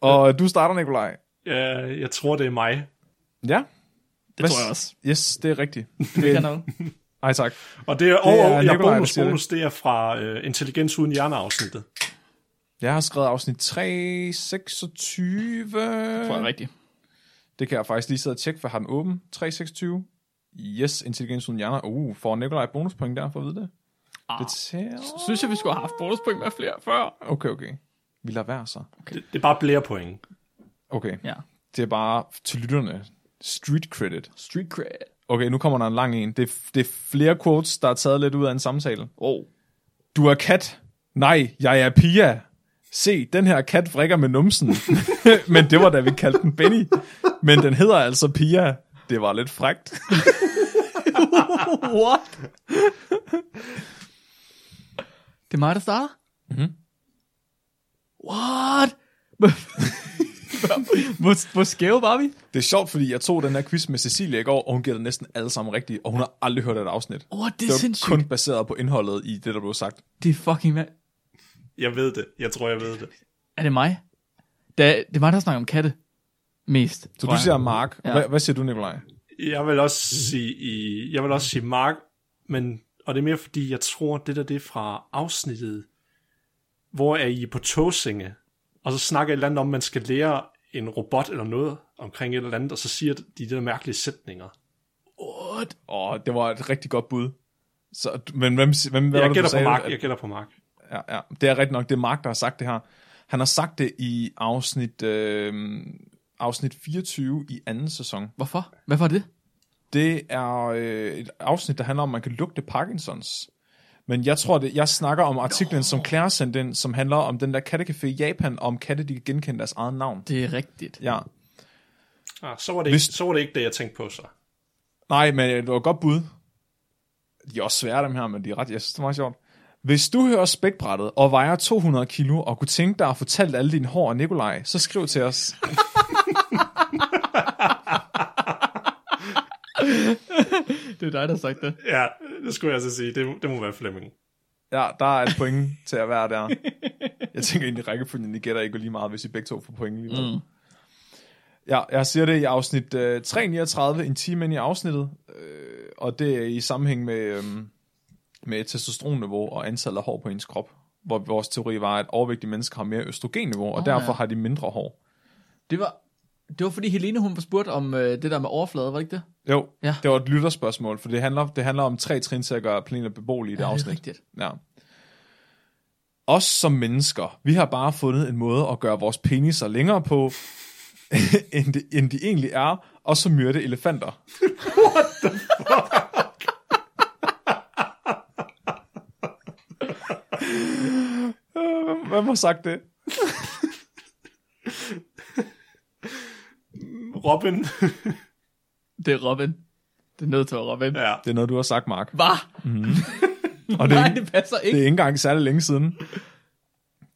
Speaker 5: og du starter, Nikolaj.
Speaker 4: Jeg, jeg tror, det er mig.
Speaker 5: Ja.
Speaker 1: Det
Speaker 5: Hvad
Speaker 1: tror jeg
Speaker 5: s- Øh,
Speaker 1: også.
Speaker 5: Yes, det er rigtigt.
Speaker 1: Det kan noget.
Speaker 5: Nej, tak.
Speaker 4: Og det er, og,
Speaker 5: er
Speaker 4: og, ja,
Speaker 5: Nikolaj, der
Speaker 4: bonus,
Speaker 5: siger det.
Speaker 4: bonus, det er fra uh, Intelligens uden hjerneafsnittet.
Speaker 5: Jeg har skrevet afsnit 3, 26.
Speaker 1: Det tror jeg er rigtigt.
Speaker 5: Det kan jeg faktisk lige sidde og tjekke, for jeg har den åben. 3, 26. Yes, intelligens uden hjerner. Uh, får Nikolaj bonuspoint der for at vide det? Ah. Det tæller.
Speaker 1: Synes jeg, vi skulle have haft bonuspoint med flere før.
Speaker 5: Okay, okay. Vi lader være så.
Speaker 4: Det, det er bare flere point.
Speaker 5: Okay,
Speaker 1: Ja.
Speaker 5: det er bare til lytterne. Street credit.
Speaker 1: Street cred.
Speaker 5: Okay, nu kommer der en lang en. Det er, det er flere quotes, der er taget lidt ud af en samtale.
Speaker 1: Oh.
Speaker 5: Du er kat. Nej, jeg er Pia. Se, den her kat vrikker med numsen. Men det var da, vi kaldte den Benny. Men den hedder altså Pia. Det var lidt frægt.
Speaker 1: What? det er mig, der starter? Mm-hmm. What? Hvor- hvor, hvor skæve var vi?
Speaker 5: Det er sjovt, fordi jeg tog den her quiz med Cecilia i går, og hun gættede næsten alle sammen rigtigt, og hun har aldrig hørt et afsnit.
Speaker 1: Åh, oh, det
Speaker 5: Det
Speaker 1: er
Speaker 5: var
Speaker 1: sindssygt.
Speaker 5: kun baseret på indholdet i det, der blev sagt.
Speaker 1: Det er fucking... ma-
Speaker 4: Jeg ved det. Jeg tror, jeg ved det.
Speaker 1: Er det mig? Da, det var der snakker om katte mest.
Speaker 5: Så
Speaker 1: tror
Speaker 5: du
Speaker 1: jeg.
Speaker 5: siger Mark.
Speaker 1: Ja.
Speaker 5: Hvad, hvad siger du, Nikolaj?
Speaker 4: Jeg vil også sige, i, jeg vil også sige Mark, men, og det er mere fordi, jeg tror, det der det er fra afsnittet, hvor er I på Tåsinge, og så snakker et eller andet om, man skal lære en robot eller noget omkring et eller andet, og så siger de de der mærkelige sætninger.
Speaker 1: What?
Speaker 5: Åh, det var et rigtig godt bud. Så, men hvem, si- hvem hvad var
Speaker 4: Jeg
Speaker 5: det, du
Speaker 4: gætter på
Speaker 5: sagde?
Speaker 4: Mark,
Speaker 5: At-
Speaker 4: jeg gætter på Mark.
Speaker 5: Ja, ja, det er rigtigt nok, det er Mark, der har sagt det her. Han har sagt det i afsnit, øh, afsnit 24 i anden sæson.
Speaker 1: Hvorfor? Hvad var det?
Speaker 5: Det er øh, et afsnit, der handler om, at man kan lugte Parkinsons. Men jeg tror, det, jeg snakker om artiklen, som Claire sendte ind, som handler om den der kattecafé i Japan, og om katte, de kan genkende deres eget navn.
Speaker 1: Det er rigtigt.
Speaker 5: Ja.
Speaker 4: Ah, så, var det ikke,
Speaker 5: Hvis-
Speaker 4: så var det ikke det, jeg tænkte på så.
Speaker 5: øh, Nej, men det var et godt bud. De er også svære, dem her, men de er ret, jeg synes, det er meget sjovt. Hvis du hører spækbrættet og vejer 200 kilo og kunne tænke dig at fortælle alle dine hår og Nikolaj, så skriv til os.
Speaker 1: Det er dig, der har sagt det.
Speaker 4: Ja, det skulle jeg så sige. Det, det må være Flemming.
Speaker 5: Ja, der er et point til at være der. Jeg tænker egentlig, rækkefølgen I gætter ikke lige meget, hvis I begge to får point lige mm. Ja, jeg siger det i afsnit øh, 339, en time ind i afsnittet, øh, og det er i sammenhæng med, øh, med testosteronniveau og antallet af hår på ens krop, hvor vores teori var, at overvægtige mennesker har mere østrogenniveau, og oh, derfor har de mindre hår.
Speaker 1: Det var, det var fordi Helene, hun spurgte om øh, det der med overflade, var det ikke det?
Speaker 5: Jo,
Speaker 1: Ja.
Speaker 5: ja. det var et lytterspørgsmål, for det handler, det handler om tre trin til at gøre planeter beboelige i det
Speaker 1: Ja, det er
Speaker 5: afsnit.
Speaker 1: rigtigt.
Speaker 5: Ja. Os som mennesker, vi har bare fundet en måde at gøre vores peniser længere på, end, de, end de egentlig er, og så myrde elefanter. What the fuck? Hvem har sagt det?
Speaker 4: Robin.
Speaker 1: Det er Robin. Det er nødt til at være Robin.
Speaker 4: ja.
Speaker 5: Det er noget, du har sagt, Mark.
Speaker 1: Hvad?
Speaker 5: Og det, er
Speaker 1: Nej,
Speaker 5: ikke-
Speaker 1: det passer
Speaker 5: Det
Speaker 1: ikke.
Speaker 5: er ikke engang særlig længe siden.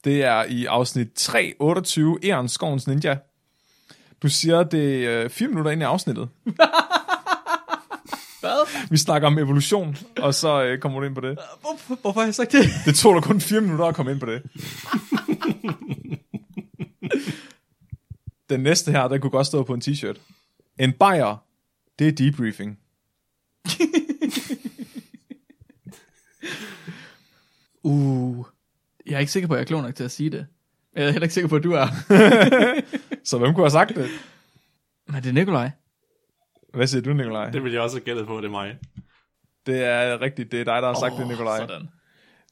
Speaker 5: Det er i afsnit 328, Eren Skovens Ninja. Du siger det øh, fire minutter ind i afsnittet.
Speaker 1: Hvad?
Speaker 5: Vi snakker om evolution, og så øh, kommer du ind på det.
Speaker 1: Hvorfor, hvorfor har jeg sagt det?
Speaker 5: Det tog dig kun fire minutter at komme ind på det. Den næste her, den kunne godt stå på en t-shirt. En bajer, det er debriefing.
Speaker 1: Uh, jeg er ikke sikker på, at jeg er klog nok til at sige det. Jeg er heller ikke sikker på, at du er.
Speaker 5: Så hvem kunne have sagt det?
Speaker 1: Men det er Nikolaj.
Speaker 5: Hvad siger du, Nikolaj?
Speaker 4: Det ville jeg også have gættet på, det er mig.
Speaker 5: Det er rigtigt, det er dig, der har sagt oh, det,
Speaker 1: Åh,
Speaker 5: Nikolaj.
Speaker 1: Sådan.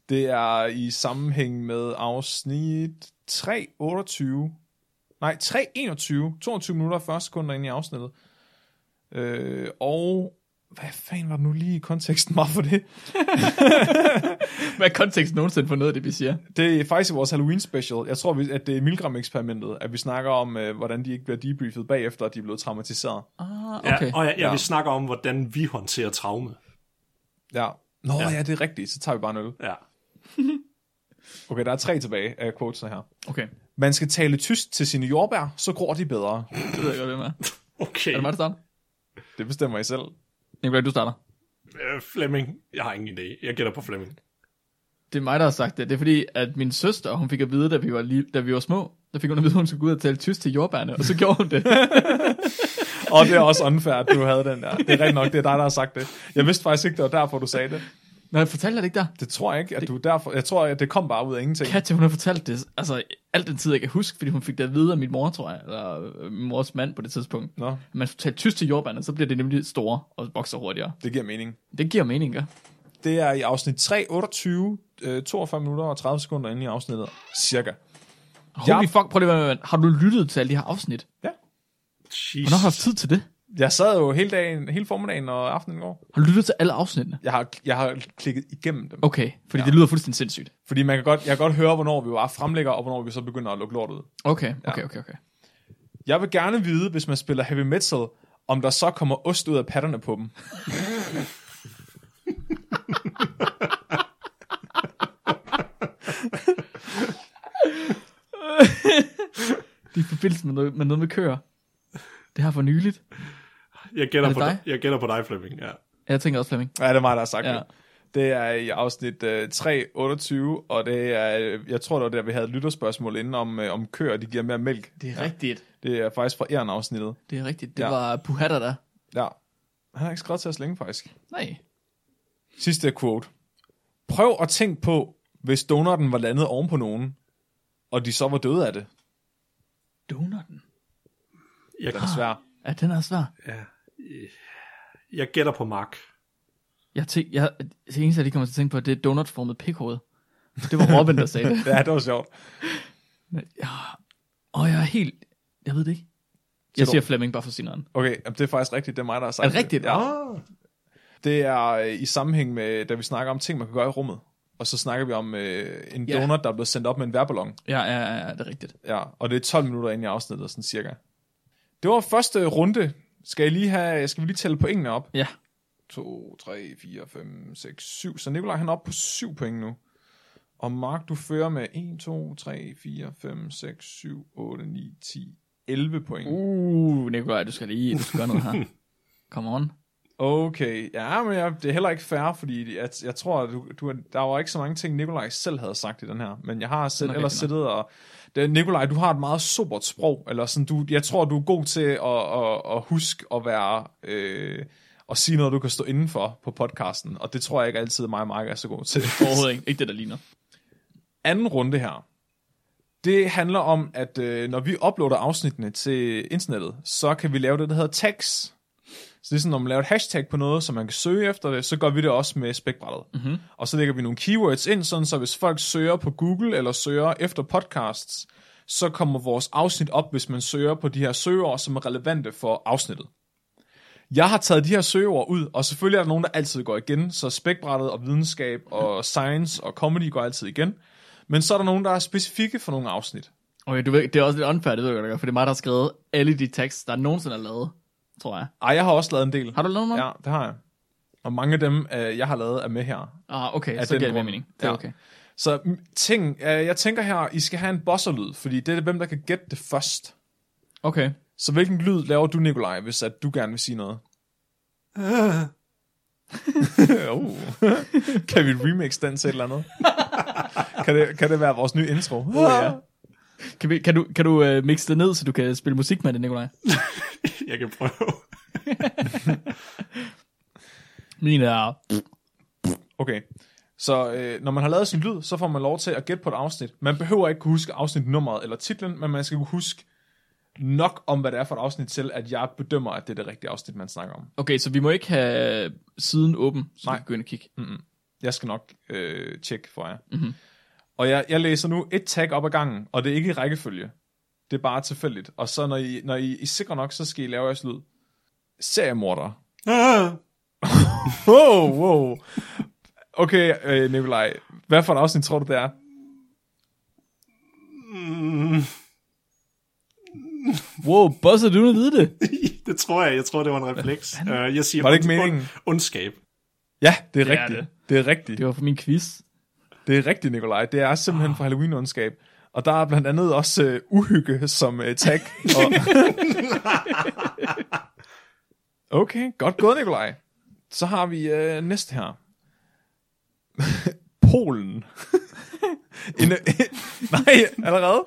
Speaker 5: Det er i sammenhæng med afsnit 3, 28, nej 3, 21, 22 minutter og 40 sekunder ind i afsnittet. Øh, og hvad fanden var det nu lige konteksten var for det?
Speaker 1: Hvad er kontekst nogensinde for noget af det, vi siger?
Speaker 5: Det er faktisk i vores Halloween special. Jeg tror, vi- at det er Milgram-eksperimentet, at vi snakker om, øh, hvordan de ikke bliver debriefet bagefter, at de er blevet traumatiseret.
Speaker 1: Ah,
Speaker 4: Ja,
Speaker 1: okay.
Speaker 4: og ja, ja,
Speaker 5: Ja.
Speaker 4: vi snakker om, hvordan vi håndterer traume.
Speaker 5: Ja. Nå ja, ja det er rigtigt, så tager vi bare en øl.
Speaker 4: Ja.
Speaker 5: Okay, der er tre tilbage af quotesene her.
Speaker 1: Okay,
Speaker 5: Man skal tale tysk til sine jordbær, så gror de bedre.
Speaker 1: det ved jeg godt, hvem er.
Speaker 4: Okay.
Speaker 1: Er det mig, der starter?
Speaker 5: Det bestemmer I selv.
Speaker 1: Nikolaj, du starter.
Speaker 4: Øh, Flemming. Jeg har ingen idé. Jeg gætter på Flemming.
Speaker 1: Det er mig, der har sagt det. Det er fordi, at min søster, hun fik at vide, da vi var, lille, da vi var små, der fik hun at vide, at hun skulle gå ud og tale tysk til jordbærne, og så gjorde hun det.
Speaker 5: Og det er også unfair, at du havde den der. Det er rigtigt nok, det er dig, der har sagt det. Jeg vidste faktisk ikke, det var derfor, du sagde det.
Speaker 1: Når jeg fortalte det ikke der,
Speaker 5: Det tror jeg ikke, at du derfor... Jeg tror, at det kom bare ud af ingenting.
Speaker 1: Katja, hun har fortalt det, altså alt den tid, jeg kan huske, fordi hun fik det at vide af min mor, tror jeg, eller øh, min mors mand på det tidspunkt.
Speaker 5: Nå,
Speaker 1: At Man skulle tale tysk til jordbærne, så bliver det nemlig store og vokser hurtigere.
Speaker 5: det giver mening.
Speaker 1: Det giver mening, gør.
Speaker 5: Det er i afsnit 3, 28, øh, 42 minutter og 30 sekunder inde i afsnittet. Cirka.
Speaker 1: Holy fuck, prøv lige at være med, Har du lyttet til alle de her afsnit?
Speaker 4: Jesus.
Speaker 1: Hvornår har du haft tid til det?
Speaker 5: Jeg sad jo hele, dagen, hele formiddagen og aftenen i går.
Speaker 1: Har du lyttet til alle afsnittene?
Speaker 5: Jeg har, jeg har klikket igennem dem.
Speaker 1: Okay, fordi ja. det lyder fuldstændig sindssygt.
Speaker 5: Fordi man kan godt, jeg kan godt høre, hvornår vi bare fremlægger, og hvornår vi så begynder at lukke lort ud.
Speaker 1: Okay, okay, okay, okay.
Speaker 5: Jeg vil gerne vide, hvis man spiller heavy metal, om der så kommer ost ud af patterne på dem.
Speaker 1: Det er i forbindelse med noget med, noget med køer. Det her for nyligt.
Speaker 4: Jeg gætter,
Speaker 1: Er det
Speaker 4: på
Speaker 1: dig?
Speaker 4: dig? jeg gætter på dig, Flemming. Ja.
Speaker 1: Ja, Jeg tænker også, Flemming.
Speaker 5: Ja, det er mig, der har sagt
Speaker 1: Ja.
Speaker 5: ja. det. Det er i afsnit øh, 3, 28, og det er, øh, jeg tror, det var der, vi havde et lytterspørgsmål inden om, øh, om køer, de giver mere mælk.
Speaker 1: Det er ja. rigtigt.
Speaker 5: Det er faktisk fra Eren-afsnittet.
Speaker 1: Det er rigtigt. Det ja.
Speaker 5: Ja.
Speaker 1: var Puhatter der.
Speaker 5: Ja. Han har ikke skrevet til os længe, faktisk.
Speaker 1: Nej.
Speaker 5: Sidste quote. Prøv at tænke på, hvis donoren var landet oven på nogen, og de så var døde af det.
Speaker 1: Donutten.
Speaker 4: Jeg,
Speaker 5: Den er svær.
Speaker 1: Ja, den er svær.
Speaker 4: jeg gætter på Mark.
Speaker 1: Jeg tænk, jeg, det eneste, jeg lige kommer til at tænke på, det er donutformet pikhoved. Det var Robin, der sagde det.
Speaker 5: Ja, det var sjovt.
Speaker 1: Og jeg er helt... Jeg ved det ikke. Jeg
Speaker 5: du-
Speaker 1: siger Flemming bare for sin anden.
Speaker 5: Okay, jamen, det er faktisk rigtigt. Det er mig, der har sagt
Speaker 1: Er det rigtigt? Ah.
Speaker 5: Ja. Det er øh, i sammenhæng med, da vi snakker om ting, man kan gøre i rummet. Og så snakker vi om øh, en
Speaker 1: Ja.
Speaker 5: donut, der er blevet sendt op med en værballon.
Speaker 1: Ja, ja, ja, ja, det er rigtigt.
Speaker 5: Ja, og det er 12 minutter ind i afsnittet, sådan cirka. Det var første runde. Skal, jeg lige have, skal vi lige tælle pointene op?
Speaker 1: Ja.
Speaker 5: 2, 3, 4, 5, 6, 7. Så Nikolaj han er oppe på 7 point nu. Og Mark, du fører med 1, 2, 3, 4, 5, 6, 7, 8, 9, 10, 11 point. Uh.
Speaker 1: Uh, Nikolaj, du skal lige du skal gøre noget her. Come on.
Speaker 5: Okay, ja, men jeg, det er heller ikke fair, fordi jeg, jeg tror, at du, du, der var ikke så mange ting, Nikolaj selv havde sagt i den her. Men jeg har selv
Speaker 1: Nå,
Speaker 5: ellers
Speaker 1: rigtig
Speaker 5: siddet og... Det, Nikolaj, du har et meget sobert sprog. Eller sådan, du, jeg tror, du er god til at, at, at huske at være... Øh, og sige noget, du kan stå indenfor på podcasten. Og det tror jeg ikke altid, mig og Mark er så god til.
Speaker 1: Overhovedet ikke. Ikke det, der ligner.
Speaker 5: anden runde her, det handler om, at øh, når vi uploader afsnittene til internettet, så kan vi lave det, der hedder tags. Så det er sådan, når man laver et hashtag på noget, så man kan søge efter det, så gør vi det også med spækbrættet. Mm-hmm. Og så lægger vi nogle keywords ind, sådan så hvis folk søger på Google eller søger efter podcasts, så kommer vores afsnit op, hvis man søger på de her søgeord, som er relevante for afsnittet. Jeg har taget de her søgeord ud, og selvfølgelig er der nogen, der altid går igen, så spækbrættet og videnskab og science og comedy går altid igen. Men så er der nogen, der er specifikke for nogle afsnit.
Speaker 1: Okay, du ved, det er også lidt unfair, det ved jeg godt, for det er mig, der har skrevet alle de tekster, der nogensinde er lavet, tror jeg.
Speaker 5: Ej, jeg har også lavet en del.
Speaker 1: Har du lavet nogen?
Speaker 5: Ja, det har jeg. Og mange af dem, øh, jeg har lavet, er med her.
Speaker 1: Ah, okay,
Speaker 5: Af
Speaker 1: så
Speaker 5: den
Speaker 1: giver det mere
Speaker 5: grund.
Speaker 1: mening. Det er
Speaker 5: Ja.
Speaker 1: okay.
Speaker 5: Så mm, ting, øh, jeg tænker her, I skal have en bosserlyd, fordi det er hvem, der kan gætte det først.
Speaker 1: Okay.
Speaker 5: Så hvilken lyd laver du, Nikolaj, hvis at du gerne vil sige noget?
Speaker 1: Øh.
Speaker 5: uh. kan vi remix den til et eller andet? kan, det, kan det være vores nye intro? Uh, ja.
Speaker 1: Kan, vi, kan du, kan du uh, mixe det ned, så du kan spille musik med det, Nikolaj?
Speaker 4: Jeg kan prøve.
Speaker 1: Min er...
Speaker 5: Okay. Så øh, når man har lavet sin lyd, så får man lov til at gætte på et afsnit. Man behøver ikke kunne huske afsnitnummeret eller titlen, men man skal kunne huske nok om, hvad det er for et afsnit til, at jeg bedømmer, at det er det rigtige afsnit, man snakker om.
Speaker 1: Okay, så vi må ikke have siden åben, så vi
Speaker 5: Nej. Mm.
Speaker 1: kan gå ind og kigge.
Speaker 5: Jeg skal nok øh, tjekke for jer. Mm-hmm. Og jeg, jeg læser nu et tag op ad gangen, og det er ikke i rækkefølge. Det er bare tilfældigt. Og så når I, når I, I er sikre nok, så skal I lave jeres lyd. Seriemorder.
Speaker 4: Ah,
Speaker 5: Wow, wow. Okay, øh, Nikolaj. Hvad for et afsnit tror du, det er?
Speaker 1: Wow, bosser, du nu vide det?
Speaker 4: det tror jeg. Jeg tror, det var en refleks. Uh, jeg siger,
Speaker 5: Var det ikke
Speaker 4: ond-
Speaker 5: meningen?
Speaker 4: ond- Ondskab.
Speaker 5: Ja, det er
Speaker 1: Det er
Speaker 5: rigtigt.
Speaker 1: det.
Speaker 5: Det er rigtigt.
Speaker 1: Det var for min quiz.
Speaker 5: Det er rigtigt, Nikolaj. Det er simpelthen fra Halloween-ondskab. Og der er blandt andet også øh, uhygge som øh, tag. Og... okay, godt gået, Nikolaj. Så har vi øh, næste her. Polen. en, nej, allerede?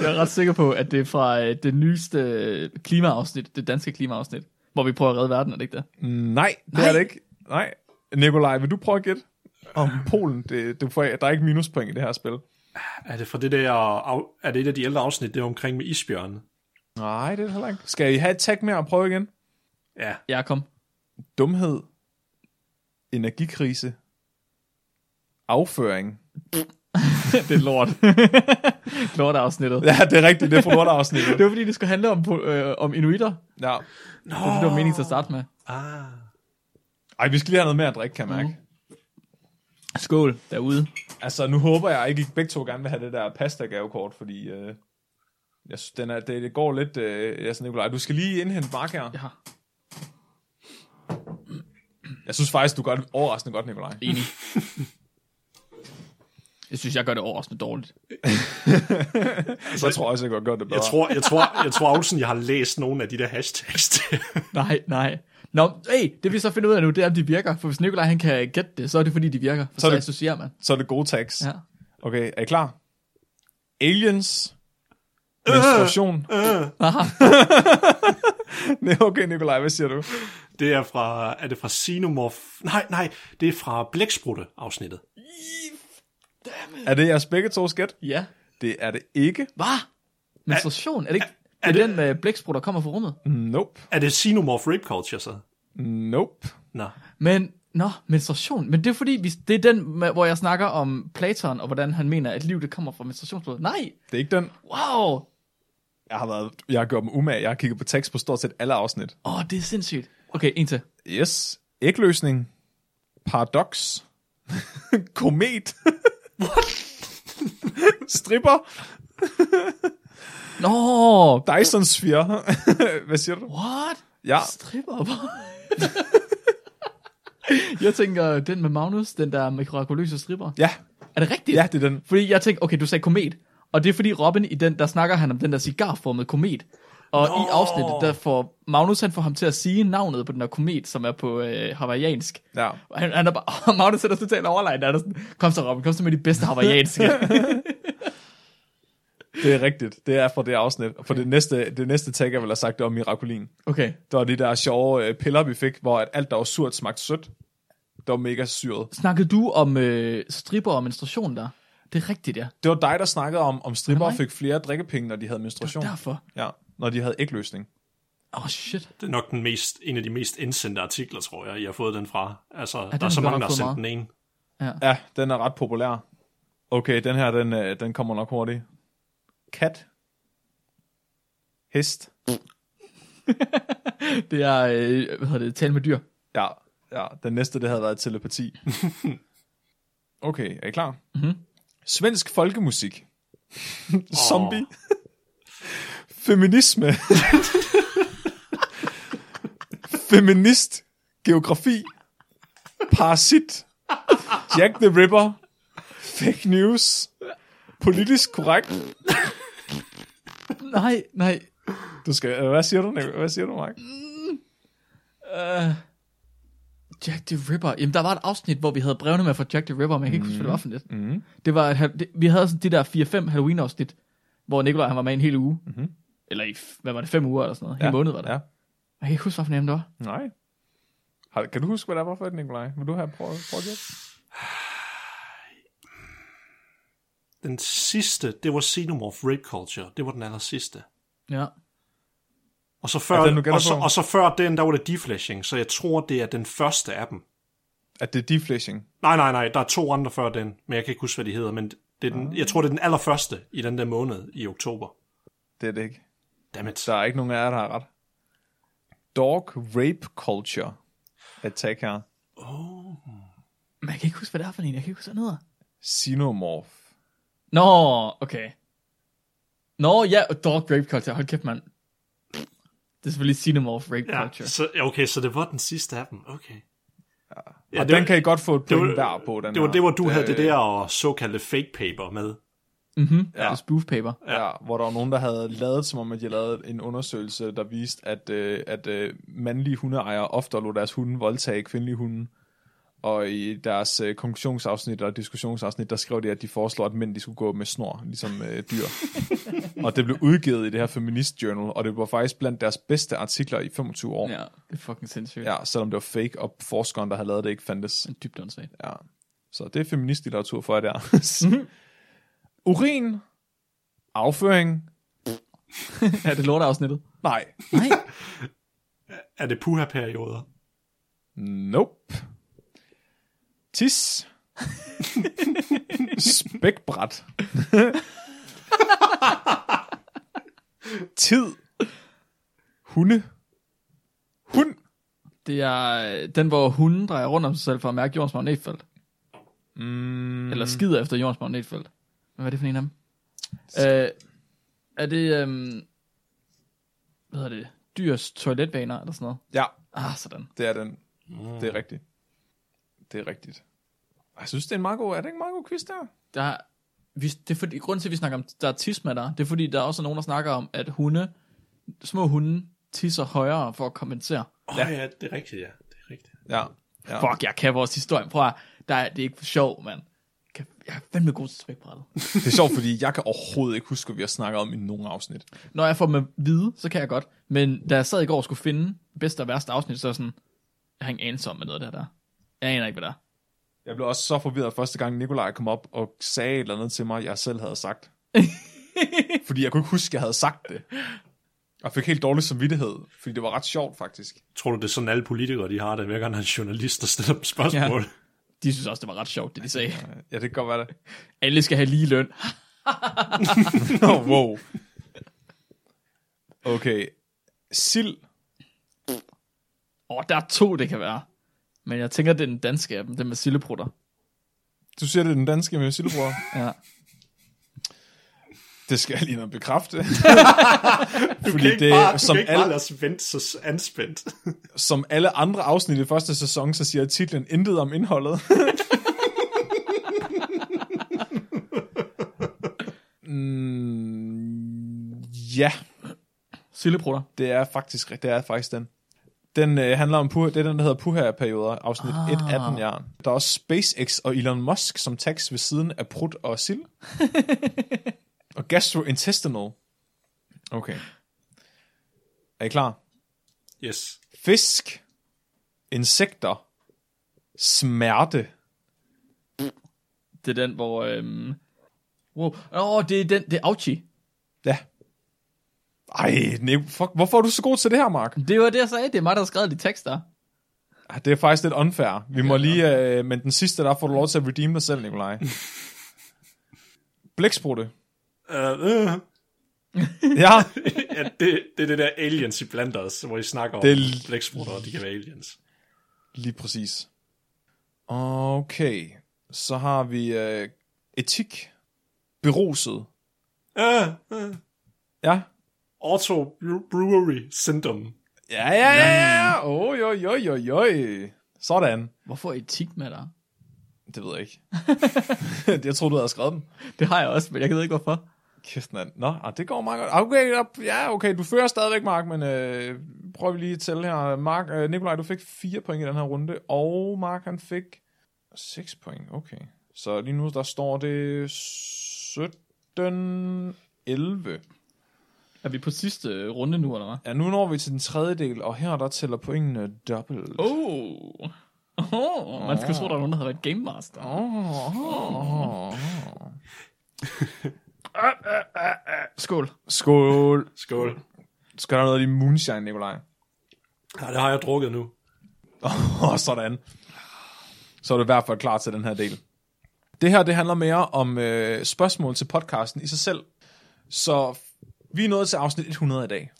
Speaker 1: Jeg er ret sikker på, at det er fra øh, det nyeste øh, klimaafsnit, det danske klimaafsnit, hvor vi prøver at redde verden, er det ikke det?
Speaker 5: Nej, det nej. er det ikke. Nej. Nikolaj, vil du prøve at gætte? Om Polen, det, du får, der er ikke minuspoint i det her spil.
Speaker 4: Er det fra det der... af- Er det et af de ældre afsnit, det er omkring med isbjørne?
Speaker 5: Nej, det er det heller ikke. Skal I have et tag mere og prøve igen?
Speaker 4: Ja,
Speaker 1: Ja, kom.
Speaker 5: dumhed, energikrise, afføring.
Speaker 1: det er lort. lort afsnittet.
Speaker 5: Ja, det er rigtigt, det er fra lortafsnittet.
Speaker 1: Det var fordi, det skulle handle om, po- øh, om inuiter.
Speaker 5: Ja.
Speaker 1: Det, var det, der var meningen til at starte med.
Speaker 5: Ej, vi skal lige have noget mere at drikke, kan jeg
Speaker 1: Mhm.
Speaker 5: mærke.
Speaker 1: Skål derude.
Speaker 5: Altså, nu håber jeg ikke, at I begge to gerne vil have det der pasta-gavekort, fordi øh, jeg synes, den er, det, det går lidt... Øh, altså, Nicolaj, du skal lige indhente Mark her.
Speaker 1: Ja.
Speaker 5: Jeg synes faktisk, du gør det overraskende godt, Nikolaj.
Speaker 1: Enig. jeg synes, jeg gør det overraskende dårligt.
Speaker 5: Altså, Jeg tror også, jeg godt gør det bedre.
Speaker 4: jeg tror, jeg tror, jeg tror, Olsen, jeg har læst nogle af de der hashtags.
Speaker 1: Nej, nej. Nå, hey, det vi så finder ud af nu, det er, om de virker. For hvis Nikolaj han kan gætte det, så er det fordi, de virker. For så,
Speaker 5: er
Speaker 1: så
Speaker 5: det-
Speaker 1: associerer man.
Speaker 5: Så er det gode tags.
Speaker 1: Ja.
Speaker 5: Okay, er I klar? Aliens. Menstruation. Nej, okay, Nikolaj, hvad siger du?
Speaker 4: Det er fra... Er det fra Xenomorph? Nej, nej. Det er fra Blæksprutte-afsnittet.
Speaker 5: Er det jeres begge to skæt?
Speaker 1: Ja.
Speaker 5: Det er det ikke.
Speaker 1: Hvad? Menstruation? Er det ikke er, det er den med blæksprut, der kommer fra rummet?
Speaker 5: Nope.
Speaker 4: Er det Xenomorph Rape Culture, så?
Speaker 5: Nope.
Speaker 4: Nå.
Speaker 1: Men, nå, menstruation. Men det er fordi, vi, det er den, med, hvor jeg snakker om Platon, og hvordan han mener, at liv det kommer fra menstruationsblod. Nej,
Speaker 5: Det er ikke den.
Speaker 1: wow.
Speaker 5: Jeg har, været, jeg har gjort dem umage. Jeg har kigget på tekst på stort set alle afsnit.
Speaker 1: Åh, oh, det er sindssygt. Okay, en til.
Speaker 5: Yes. Ægløsning. Paradox. Komet. Stripper.
Speaker 1: Nå,
Speaker 5: Dyson Sphere. hvad siger du?
Speaker 1: what?
Speaker 5: Ja,
Speaker 1: Stripper Jeg tænker, den med Magnus, den der mirakuløse stripper.
Speaker 5: ja.
Speaker 1: Er det rigtigt?
Speaker 5: Ja, det er den.
Speaker 1: Fordi jeg tænkte, okay, du sagde komet. Og det er fordi Robin i den, der snakker han om den der cigarformede komet. Og Nå. i afsnittet, der får Magnus, han får ham til at sige navnet på den der komet, som er på øh, hawaiiansk.
Speaker 5: Ja.
Speaker 1: Og Han, han er bare, og Magnus er der totalt overlegen. Han er sådan, kom så Robin, kom så med de bedste hawaiianske.
Speaker 5: Det er rigtigt. Det er fra det afsnit. For det næste, det næste tag, jeg vil have sagt, det var Mirakulin.
Speaker 1: Okay.
Speaker 5: Der var de der sjove øh, piller, vi fik, hvor at alt, der var surt, smagte sødt. Det var mega syret.
Speaker 1: Snakkede du om øh, stripper og menstruation der? Det er rigtigt, ja.
Speaker 5: Det var dig, der snakkede om, om stripper
Speaker 1: mig?
Speaker 5: fik flere drikkepenge, når de havde menstruation.
Speaker 1: Derfor.
Speaker 5: Ja, når de havde ægløsning.
Speaker 1: Åh, oh, shit.
Speaker 4: Det er nok den mest, en af de mest indsendte artikler, tror jeg, jeg har fået den fra. Altså, ja,
Speaker 1: den
Speaker 4: der er
Speaker 1: har
Speaker 4: så
Speaker 1: vi godt
Speaker 4: mange, der har
Speaker 1: fået
Speaker 4: sendt
Speaker 1: meget.
Speaker 4: den en.
Speaker 5: Ja, den er ret populær. Okay, den her, den, øh, den kommer nok hurtigt. Kat. Hest.
Speaker 1: Det er, øh, hvad hedder det, tale med dyr.
Speaker 5: Ja, ja, den næste, det havde været telepati. okay, er I klar? Mm-hmm.
Speaker 1: Mhm.
Speaker 5: Svensk folkemusik. Zombie. Feminisme. Feminist. Geografi. Parasit. Jack the Ripper. Fake news. Politisk korrekt.
Speaker 1: Nej, nej.
Speaker 5: Du skal, øh, hvad siger du, Nico? Hvad siger du, Mark?
Speaker 1: Jack the Ripper. Jamen, der var et afsnit, hvor vi havde brevene med fra Jack the Ripper, men jeg kan ikke huske, hvad det var for lidt. Mm. Det var, et hal- det, vi havde sådan de der 4-5 Halloween-afsnit, hvor Nikolaj han var med en hel uge. Mm-hmm. Eller i, f- hvad var det, fem uger eller sådan noget. Ja. En måned var det. Ja.
Speaker 5: Ja.
Speaker 1: Jeg kan ikke huske, hvad for en af dem det var.
Speaker 5: Nej. Har, kan du huske, hvad der var for et, Nikolaj? Vil du have prøvet prøv at gætte?
Speaker 4: Den sidste, det var Xenomorph Rape Culture. Det var den aller sidste.
Speaker 1: Ja.
Speaker 4: Og så før,
Speaker 5: Er den, du
Speaker 4: den,
Speaker 5: gætter
Speaker 4: og, så,
Speaker 5: på?
Speaker 4: og så før den, der var det deflashing, så jeg tror, det er den første af dem.
Speaker 5: At det er deflashing.
Speaker 4: Nej, nej, nej, der er to andre før den, men jeg kan ikke huske, hvad de hedder, men det er
Speaker 5: Ah.
Speaker 4: den, jeg tror, det er den allerførste i den der måned i oktober.
Speaker 5: Det er det ikke.
Speaker 4: Dammit.
Speaker 5: Der er ikke nogen af jer, der har ret. Dog rape culture. Attack her.
Speaker 1: Men jeg kan ikke huske, hvad det er for en. Jeg kan ikke huske, hvad den hedder.
Speaker 5: Xenomorph.
Speaker 1: Nå, okay. Nå, ja, og Dog Rape Culture. Hold kæft, mand. Det er selvfølgelig Cinemorph Rape ja.
Speaker 4: Ja,
Speaker 1: Culture.
Speaker 4: så, okay, så det var den sidste af dem, okay. Ja,
Speaker 5: Og
Speaker 4: det
Speaker 5: den
Speaker 4: var-
Speaker 5: kan I godt få et
Speaker 4: det var-
Speaker 5: point hver på, den
Speaker 4: Det var
Speaker 5: her. Øh.
Speaker 4: det, hvor du havde det der og såkaldte fake paper med.
Speaker 1: Mm-hmm. Ja. Det er spoof paper.
Speaker 5: Ja, hvor der var nogen, der havde lavet, som om at de havde lavet en undersøgelse, der viste, at, øh, at øh, mandlige hundeejere ofte lå deres hunde voldtage kvindelige hunde. Og i deres øh, konklusionsafsnit og diskussionsafsnit, der skrev de, at de foreslår, at mænd de skulle gå med snor, ligesom øh, dyr. og det blev udgivet i det her Feminist Journal, og det var faktisk blandt deres bedste artikler i 25 år. Ja,
Speaker 1: Ja, det er fucking sindssygt. Ja.
Speaker 5: ja selvom det var fake, og forskeren, der havde lavet det, ikke fandtes.
Speaker 1: Dybt åndssvagt.
Speaker 5: Ja. Så det er feministlitteratur for jer der. Urin, afføring,
Speaker 1: ja, det er lorteafsnittet.
Speaker 5: nej,
Speaker 1: Nej.
Speaker 4: Er det puha-perioder?
Speaker 5: Nope. Tis. Spækbræt. Tid. Hunde. Hund.
Speaker 1: Det er øh, den, hvor hunden drejer rundt om sig selv for at mærke jordens magnetfelt. Mm. Eller skider efter jordens magnetfelt. Hvad er det for en af dem? Øh, er det, øhm, hvad hedder det, dyrs toiletvaner eller sådan noget?
Speaker 5: Ja,
Speaker 1: Ah, sådan.
Speaker 5: det er den. Det er rigtigt. Det er rigtigt. Jeg synes, det er en meget god, er det ikke en meget god quiz der?
Speaker 1: Der er, vi, det er fordi, grunden til, at vi snakker om, der er tisme der, det er fordi, der er også nogen, der snakker om, at hunde, små hunde, tisser højere for at kompensere.
Speaker 4: Åh oh, ja, det er rigtigt, ja. Det er rigtigt.
Speaker 5: Ja. ja.
Speaker 1: Fuck, jeg kan vores historie. Prøv at, der er, det er ikke for sjov, mand. Kan- Jeg er fandme god til spækbrættet.
Speaker 5: Det er sjovt, fordi jeg kan overhovedet ikke huske, hvad vi har snakket om i nogen afsnit.
Speaker 1: når jeg får dem at vide, så kan jeg godt. Men da jeg sad i går og skulle finde bedste og værste afsnit, så er jeg sådan, jeg har ingen anelse om, hvad noget af det her der. er. Jeg aner ikke, hvad der er.
Speaker 5: Jeg blev også så forvirret første gang Nikolaj kom op og sagde et eller andet til mig, jeg selv havde sagt. fordi jeg kunne ikke huske, jeg havde sagt det. Og fik helt dårlig samvittighed, fordi det var ret sjovt faktisk.
Speaker 4: Tror du, det er sådan, alle politikere de har det, hver gang der er en journalist, der stiller dem spørgsmål? Ja.
Speaker 1: De synes også, det var ret sjovt, det de sagde.
Speaker 5: Ja, det kan godt være det.
Speaker 1: Alle skal have lige løn.
Speaker 5: Oh, wow. Okay. Sild.
Speaker 1: Og der er to, det kan være. Men jeg tænker, det er den danske af dem, den med sildeprutter.
Speaker 5: Du siger, det er den danske med sildbror.
Speaker 1: Ja.
Speaker 5: Det skal jeg lige noget bekræfte.
Speaker 4: Du
Speaker 5: Fordi det, som, alle,
Speaker 4: os vente så anspændt.
Speaker 5: som alle andre afsnit i første sæson, så siger titlen intet om indholdet. Mm, Ja,
Speaker 1: Silleprutter.
Speaker 5: det er faktisk, det er faktisk den. Den øh, handler om puha, det er den, der hedder Puha-perioder, afsnit ah. 1 af den jern. Der er også SpaceX og Elon Musk som tax ved siden af prut og sild. og gastrointestinal. Okay. Er I klar?
Speaker 4: Yes.
Speaker 5: Fisk, insekter, smerte.
Speaker 1: Det er den, hvor... Øhm... Wow. Åh, oh, det er den, det er Auchi.
Speaker 5: Ja. Ej, nej, fuck, hvorfor er du så god til det her, Mark?
Speaker 1: Det var det, jeg sagde. Det er mig, der har skrevet de tekster.
Speaker 5: Ah, Det er faktisk lidt unfair. Vi må lige, øh, men den sidste, der får du lov til at redeem dig selv, Nikolaj. Blæksprutte.
Speaker 4: Uh, uh,
Speaker 5: Ja,
Speaker 4: ja, det, det er det der aliens i blandt os, hvor I snakker
Speaker 5: Det
Speaker 4: det
Speaker 5: er
Speaker 4: om
Speaker 5: l-
Speaker 4: blæksprutter, og de kan være aliens.
Speaker 5: lige præcis. Okay, så har vi øh, etik, beruset.
Speaker 4: Uh, uh.
Speaker 5: Ja,
Speaker 4: Auto Brewery Syndrome.
Speaker 5: ja, ja, ja, ja. Oj, oj, oj, oj, oj. Sådan.
Speaker 1: Hvorfor er etik med dig?
Speaker 5: Det ved jeg ikke. jeg troede, du havde skrevet dem.
Speaker 1: Det har jeg også, men jeg ved ikke, hvorfor.
Speaker 5: Kæft, mand. Nå, ah, det går meget godt. Okay, op. ja, okay, du fører stadigvæk, Mark, men øh, prøv lige at tælle her. Mark, øh, Nikolaj, du fik 4 point i den her runde, og Mark, han fik 6 point. Okay. Så lige nu, der står det 17... 11.
Speaker 1: Er vi på sidste øh, runde nu, eller hvad?
Speaker 5: Ja, nu når vi til den tredje del, og her der tæller pointene dobbelt.
Speaker 1: Oh. Oh, man skulle tro, der var nogen, der havde været Game Master.
Speaker 5: Oh.
Speaker 1: Skål.
Speaker 5: Skål.
Speaker 4: Skål.
Speaker 5: Skal der noget af din moonshine, Nikolaj?
Speaker 4: Ja, det har jeg drukket nu.
Speaker 5: Og sådan. Så er du i hvert fald klar til den her del. Det her, det handler mere om øh, spørgsmål til podcasten i sig selv. Så f- vi er nået til afsnit 100 i dag.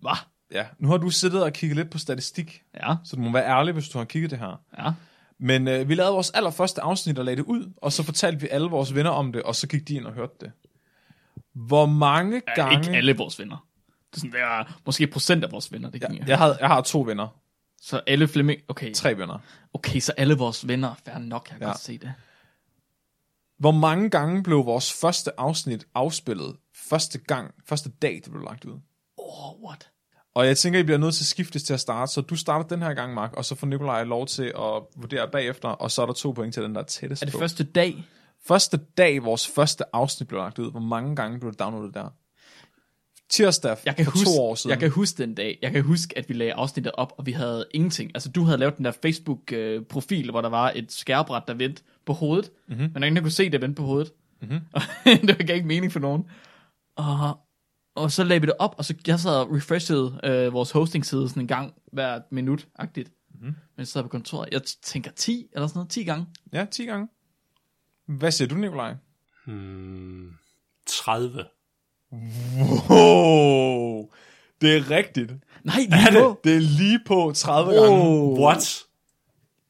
Speaker 1: Hvad?
Speaker 5: Ja, nu har du siddet og kigget lidt på statistik,
Speaker 1: Ja,
Speaker 5: så du må være ærlig, hvis du har kigget det her.
Speaker 1: ja.
Speaker 5: Men øh, vi lavede vores allerførste afsnit og lagde det ud, og så fortalte vi alle vores venner om det, og så gik de ind og hørte det. Hvor mange
Speaker 1: ja
Speaker 5: gange...
Speaker 1: ikke alle vores venner. Det er, sådan, det er måske procent af vores venner, det kan
Speaker 5: Jeg, havde, jeg har to venner.
Speaker 1: Så alle Flemming... Okay.
Speaker 5: Tre venner.
Speaker 1: okay, så alle vores venner. Fair nok, jeg kan ja. godt se det.
Speaker 5: Hvor mange gange blev vores første afsnit afspillet første gang, første dag, det blev lagt ud?
Speaker 1: Oh, what?
Speaker 5: Og jeg tænker, I bliver nødt til at skiftes til at starte, så du starter den her gang, Mark, og så får Nikolaj lov til at vurdere bagefter, og så er der to point til den, der er tættest
Speaker 1: Er det
Speaker 5: på.
Speaker 1: første dag?
Speaker 5: Første dag, vores første afsnit blev lagt ud, hvor mange gange blev det downloadet der? Tirsdag
Speaker 1: Jeg kan,
Speaker 5: for
Speaker 1: huske,
Speaker 5: to år siden.
Speaker 1: jeg kan huske den dag. Jeg kan huske, at vi lagde afsnittet op, og vi havde ingenting. Altså, du havde lavet den der Facebook-profil, hvor der var et skærbræt, der vendte på hovedet.
Speaker 5: Mhm.
Speaker 1: Mm-hmm. Men der var ingen, der kunne se det vendte på hovedet. Mm-hmm. det gav ikke mening for nogen. Og, og så lagde vi det op, og så jeg sad og refreshede øh, vores hostingside sådan en gang hver minut-agtigt.
Speaker 5: Mhm.
Speaker 1: Mm-hmm. Men så sad jeg på kontoret. Jeg tænker 10 eller sådan noget. 10 gange.
Speaker 5: Ja, 10 gange. Hvad siger du, Nikolaj?
Speaker 4: Hmm, 30.
Speaker 5: Wow, det er rigtigt.
Speaker 1: Nej, lige nu.
Speaker 5: Det er lige på 30 Uh.
Speaker 4: Oh. What?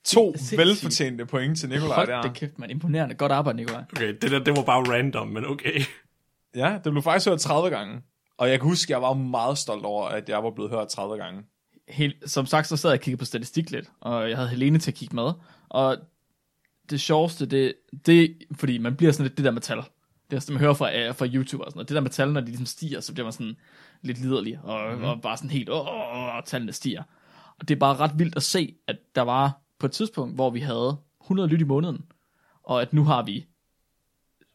Speaker 5: To
Speaker 1: Sindssygt.
Speaker 5: velfortjente point til Nikolaj
Speaker 1: Hold
Speaker 5: der.
Speaker 1: da kæft, man. Imponerende. Godt arbejde, Nikolaj.
Speaker 4: Okay, det der, det var bare random, men okay.
Speaker 5: Ja, det blev faktisk hørt 30 gange. Og jeg kan huske, jeg var meget stolt over, at jeg var blevet hørt 30 gange.
Speaker 1: helt, som sagt, så sad jeg og kiggede på statistik lidt, og jeg havde Helene til at kigge med. Og det sjoveste, det, det fordi man bliver sådan lidt det der med tal. Det er sådan, man hører fra, øh, fra YouTube og sådan noget. Det der med tal, når de ligesom stiger, så bliver man sådan lidt liderlig, og, mm. og bare sådan helt, åh, åh, åh, tallene stiger. Og det er bare ret vildt at se, at der var på et tidspunkt, hvor vi havde 100 lyt i måneden, og at nu har vi,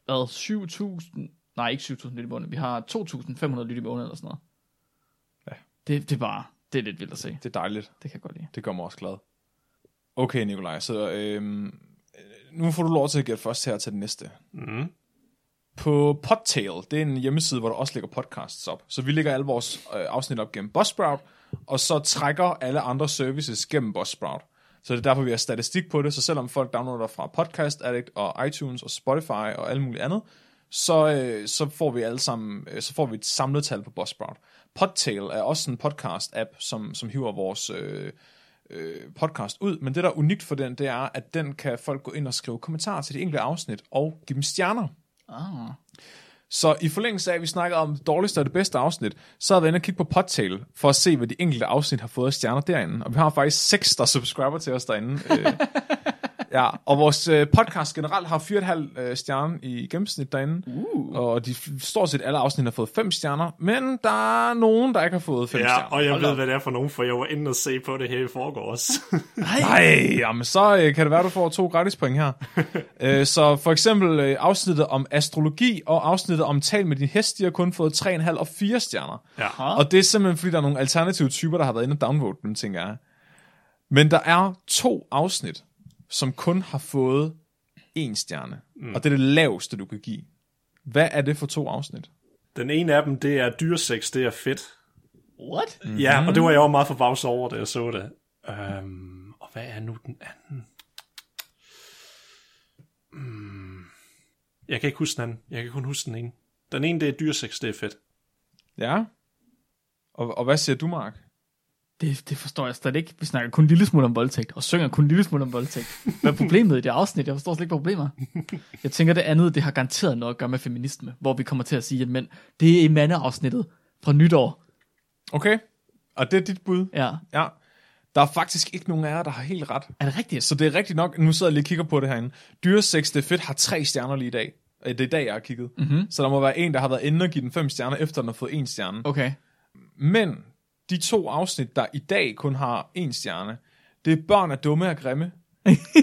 Speaker 1: hvad, 7.000, nej ikke 7.000 lyt i måneden, vi har 2.500 lyt i måneden eller sådan noget. Ja. Det, det er bare, det er lidt vildt at se.
Speaker 5: Det er dejligt.
Speaker 1: Det kan jeg godt lide.
Speaker 5: Det gør mig også glad. Okay, Nikolaj, så øhm, nu får du lov til at gætte først her til den næste. Mm. På Podtail, det er en hjemmeside, hvor der også ligger podcasts op. Så vi lægger alle vores øh, afsnit op gennem Buzzsprout, og så trækker alle andre services gennem Buzzsprout. Så det er derfor, vi har statistik på det, så selvom folk downloader fra Podcast Addict og iTunes og Spotify og alt muligt andet, så, øh, så får vi alle sammen, øh, så får vi et samlet tal på Buzzsprout. Podtail er også en podcast-app, som, som hiver vores øh, øh, podcast ud, men det, der er unikt for den, det er, at den kan folk gå ind og skrive kommentarer til de enkelte afsnit og give dem stjerner.
Speaker 1: Ah.
Speaker 5: Så i forlængelse af, at vi snakkede om det dårligste og det bedste afsnit, så har vi inde og kigge på Podtail for at se, hvad de enkelte afsnit har fået af stjerner derinde. Og vi har faktisk seks, der subscriber til os derinde. Øh, Ja, og vores øh, podcast generelt har 4,5 øh, stjerne i gennemsnit derinde. Uh. Og de f- stort set alle afsnit har fået 5 stjerner, men der er nogen, der ikke har fået 5
Speaker 4: Ja,
Speaker 5: stjerner.
Speaker 4: og jeg ved, hvad det er for nogen, for jeg var inde og se på det her i forgårs.
Speaker 5: Nej, jamen så øh, kan det være, du får to gratis point her. øh, så for eksempel øh, afsnittet om astrologi og afsnittet om tal med din hest, de har kun fået 3,5 og 4 stjerner.
Speaker 4: ja.
Speaker 5: Og det er simpelthen, fordi der er nogle alternative typer, der har været inde og downvote dem, tænker jeg. Men der er to afsnit, som kun har fået en stjerne. Mm. Og det er det laveste, du kan give. Hvad er det for to afsnit?
Speaker 4: Den ene af dem, det er dyresex, det er fedt.
Speaker 1: What? Mm.
Speaker 4: Ja, og det var jeg jo meget forbavset over, da jeg så det. Øhm, og hvad er nu den anden? Mm. Jeg kan ikke huske den anden. Jeg kan kun huske den ene. Den ene, det er dyresex, det er fedt.
Speaker 5: Ja. Og, og hvad siger du, Mark?
Speaker 1: Det, det forstår jeg slet ikke. Vi snakker kun en lille smule om voldtægt, og synger kun en lille smule om voldtægt. Hvad er problemet i det afsnit? Jeg forstår slet ikke, hvad problemet er. Jeg tænker, det andet, det har garanteret noget at gøre med feminisme, hvor vi kommer til at sige, at mænd, det er i mandeafsnittet fra nytår.
Speaker 5: Okay. Og det er dit bud?
Speaker 1: Ja.
Speaker 5: Ja. Der er faktisk ikke nogen af jer, der har helt ret.
Speaker 1: Er det rigtigt?
Speaker 5: Så det er rigtigt nok, nu sidder jeg lige og kigger på det herinde. Dyresex, det er fedt, har tre stjerner lige i dag. Øh, Det er i dag, jeg har kigget. Mm-hmm. Så der må være en, der har været inde og give den fem stjerner, efter den har fået en stjerne.
Speaker 1: Okay.
Speaker 5: Men de to afsnit, der i dag kun har en stjerne, det er Børn er dumme og grimme,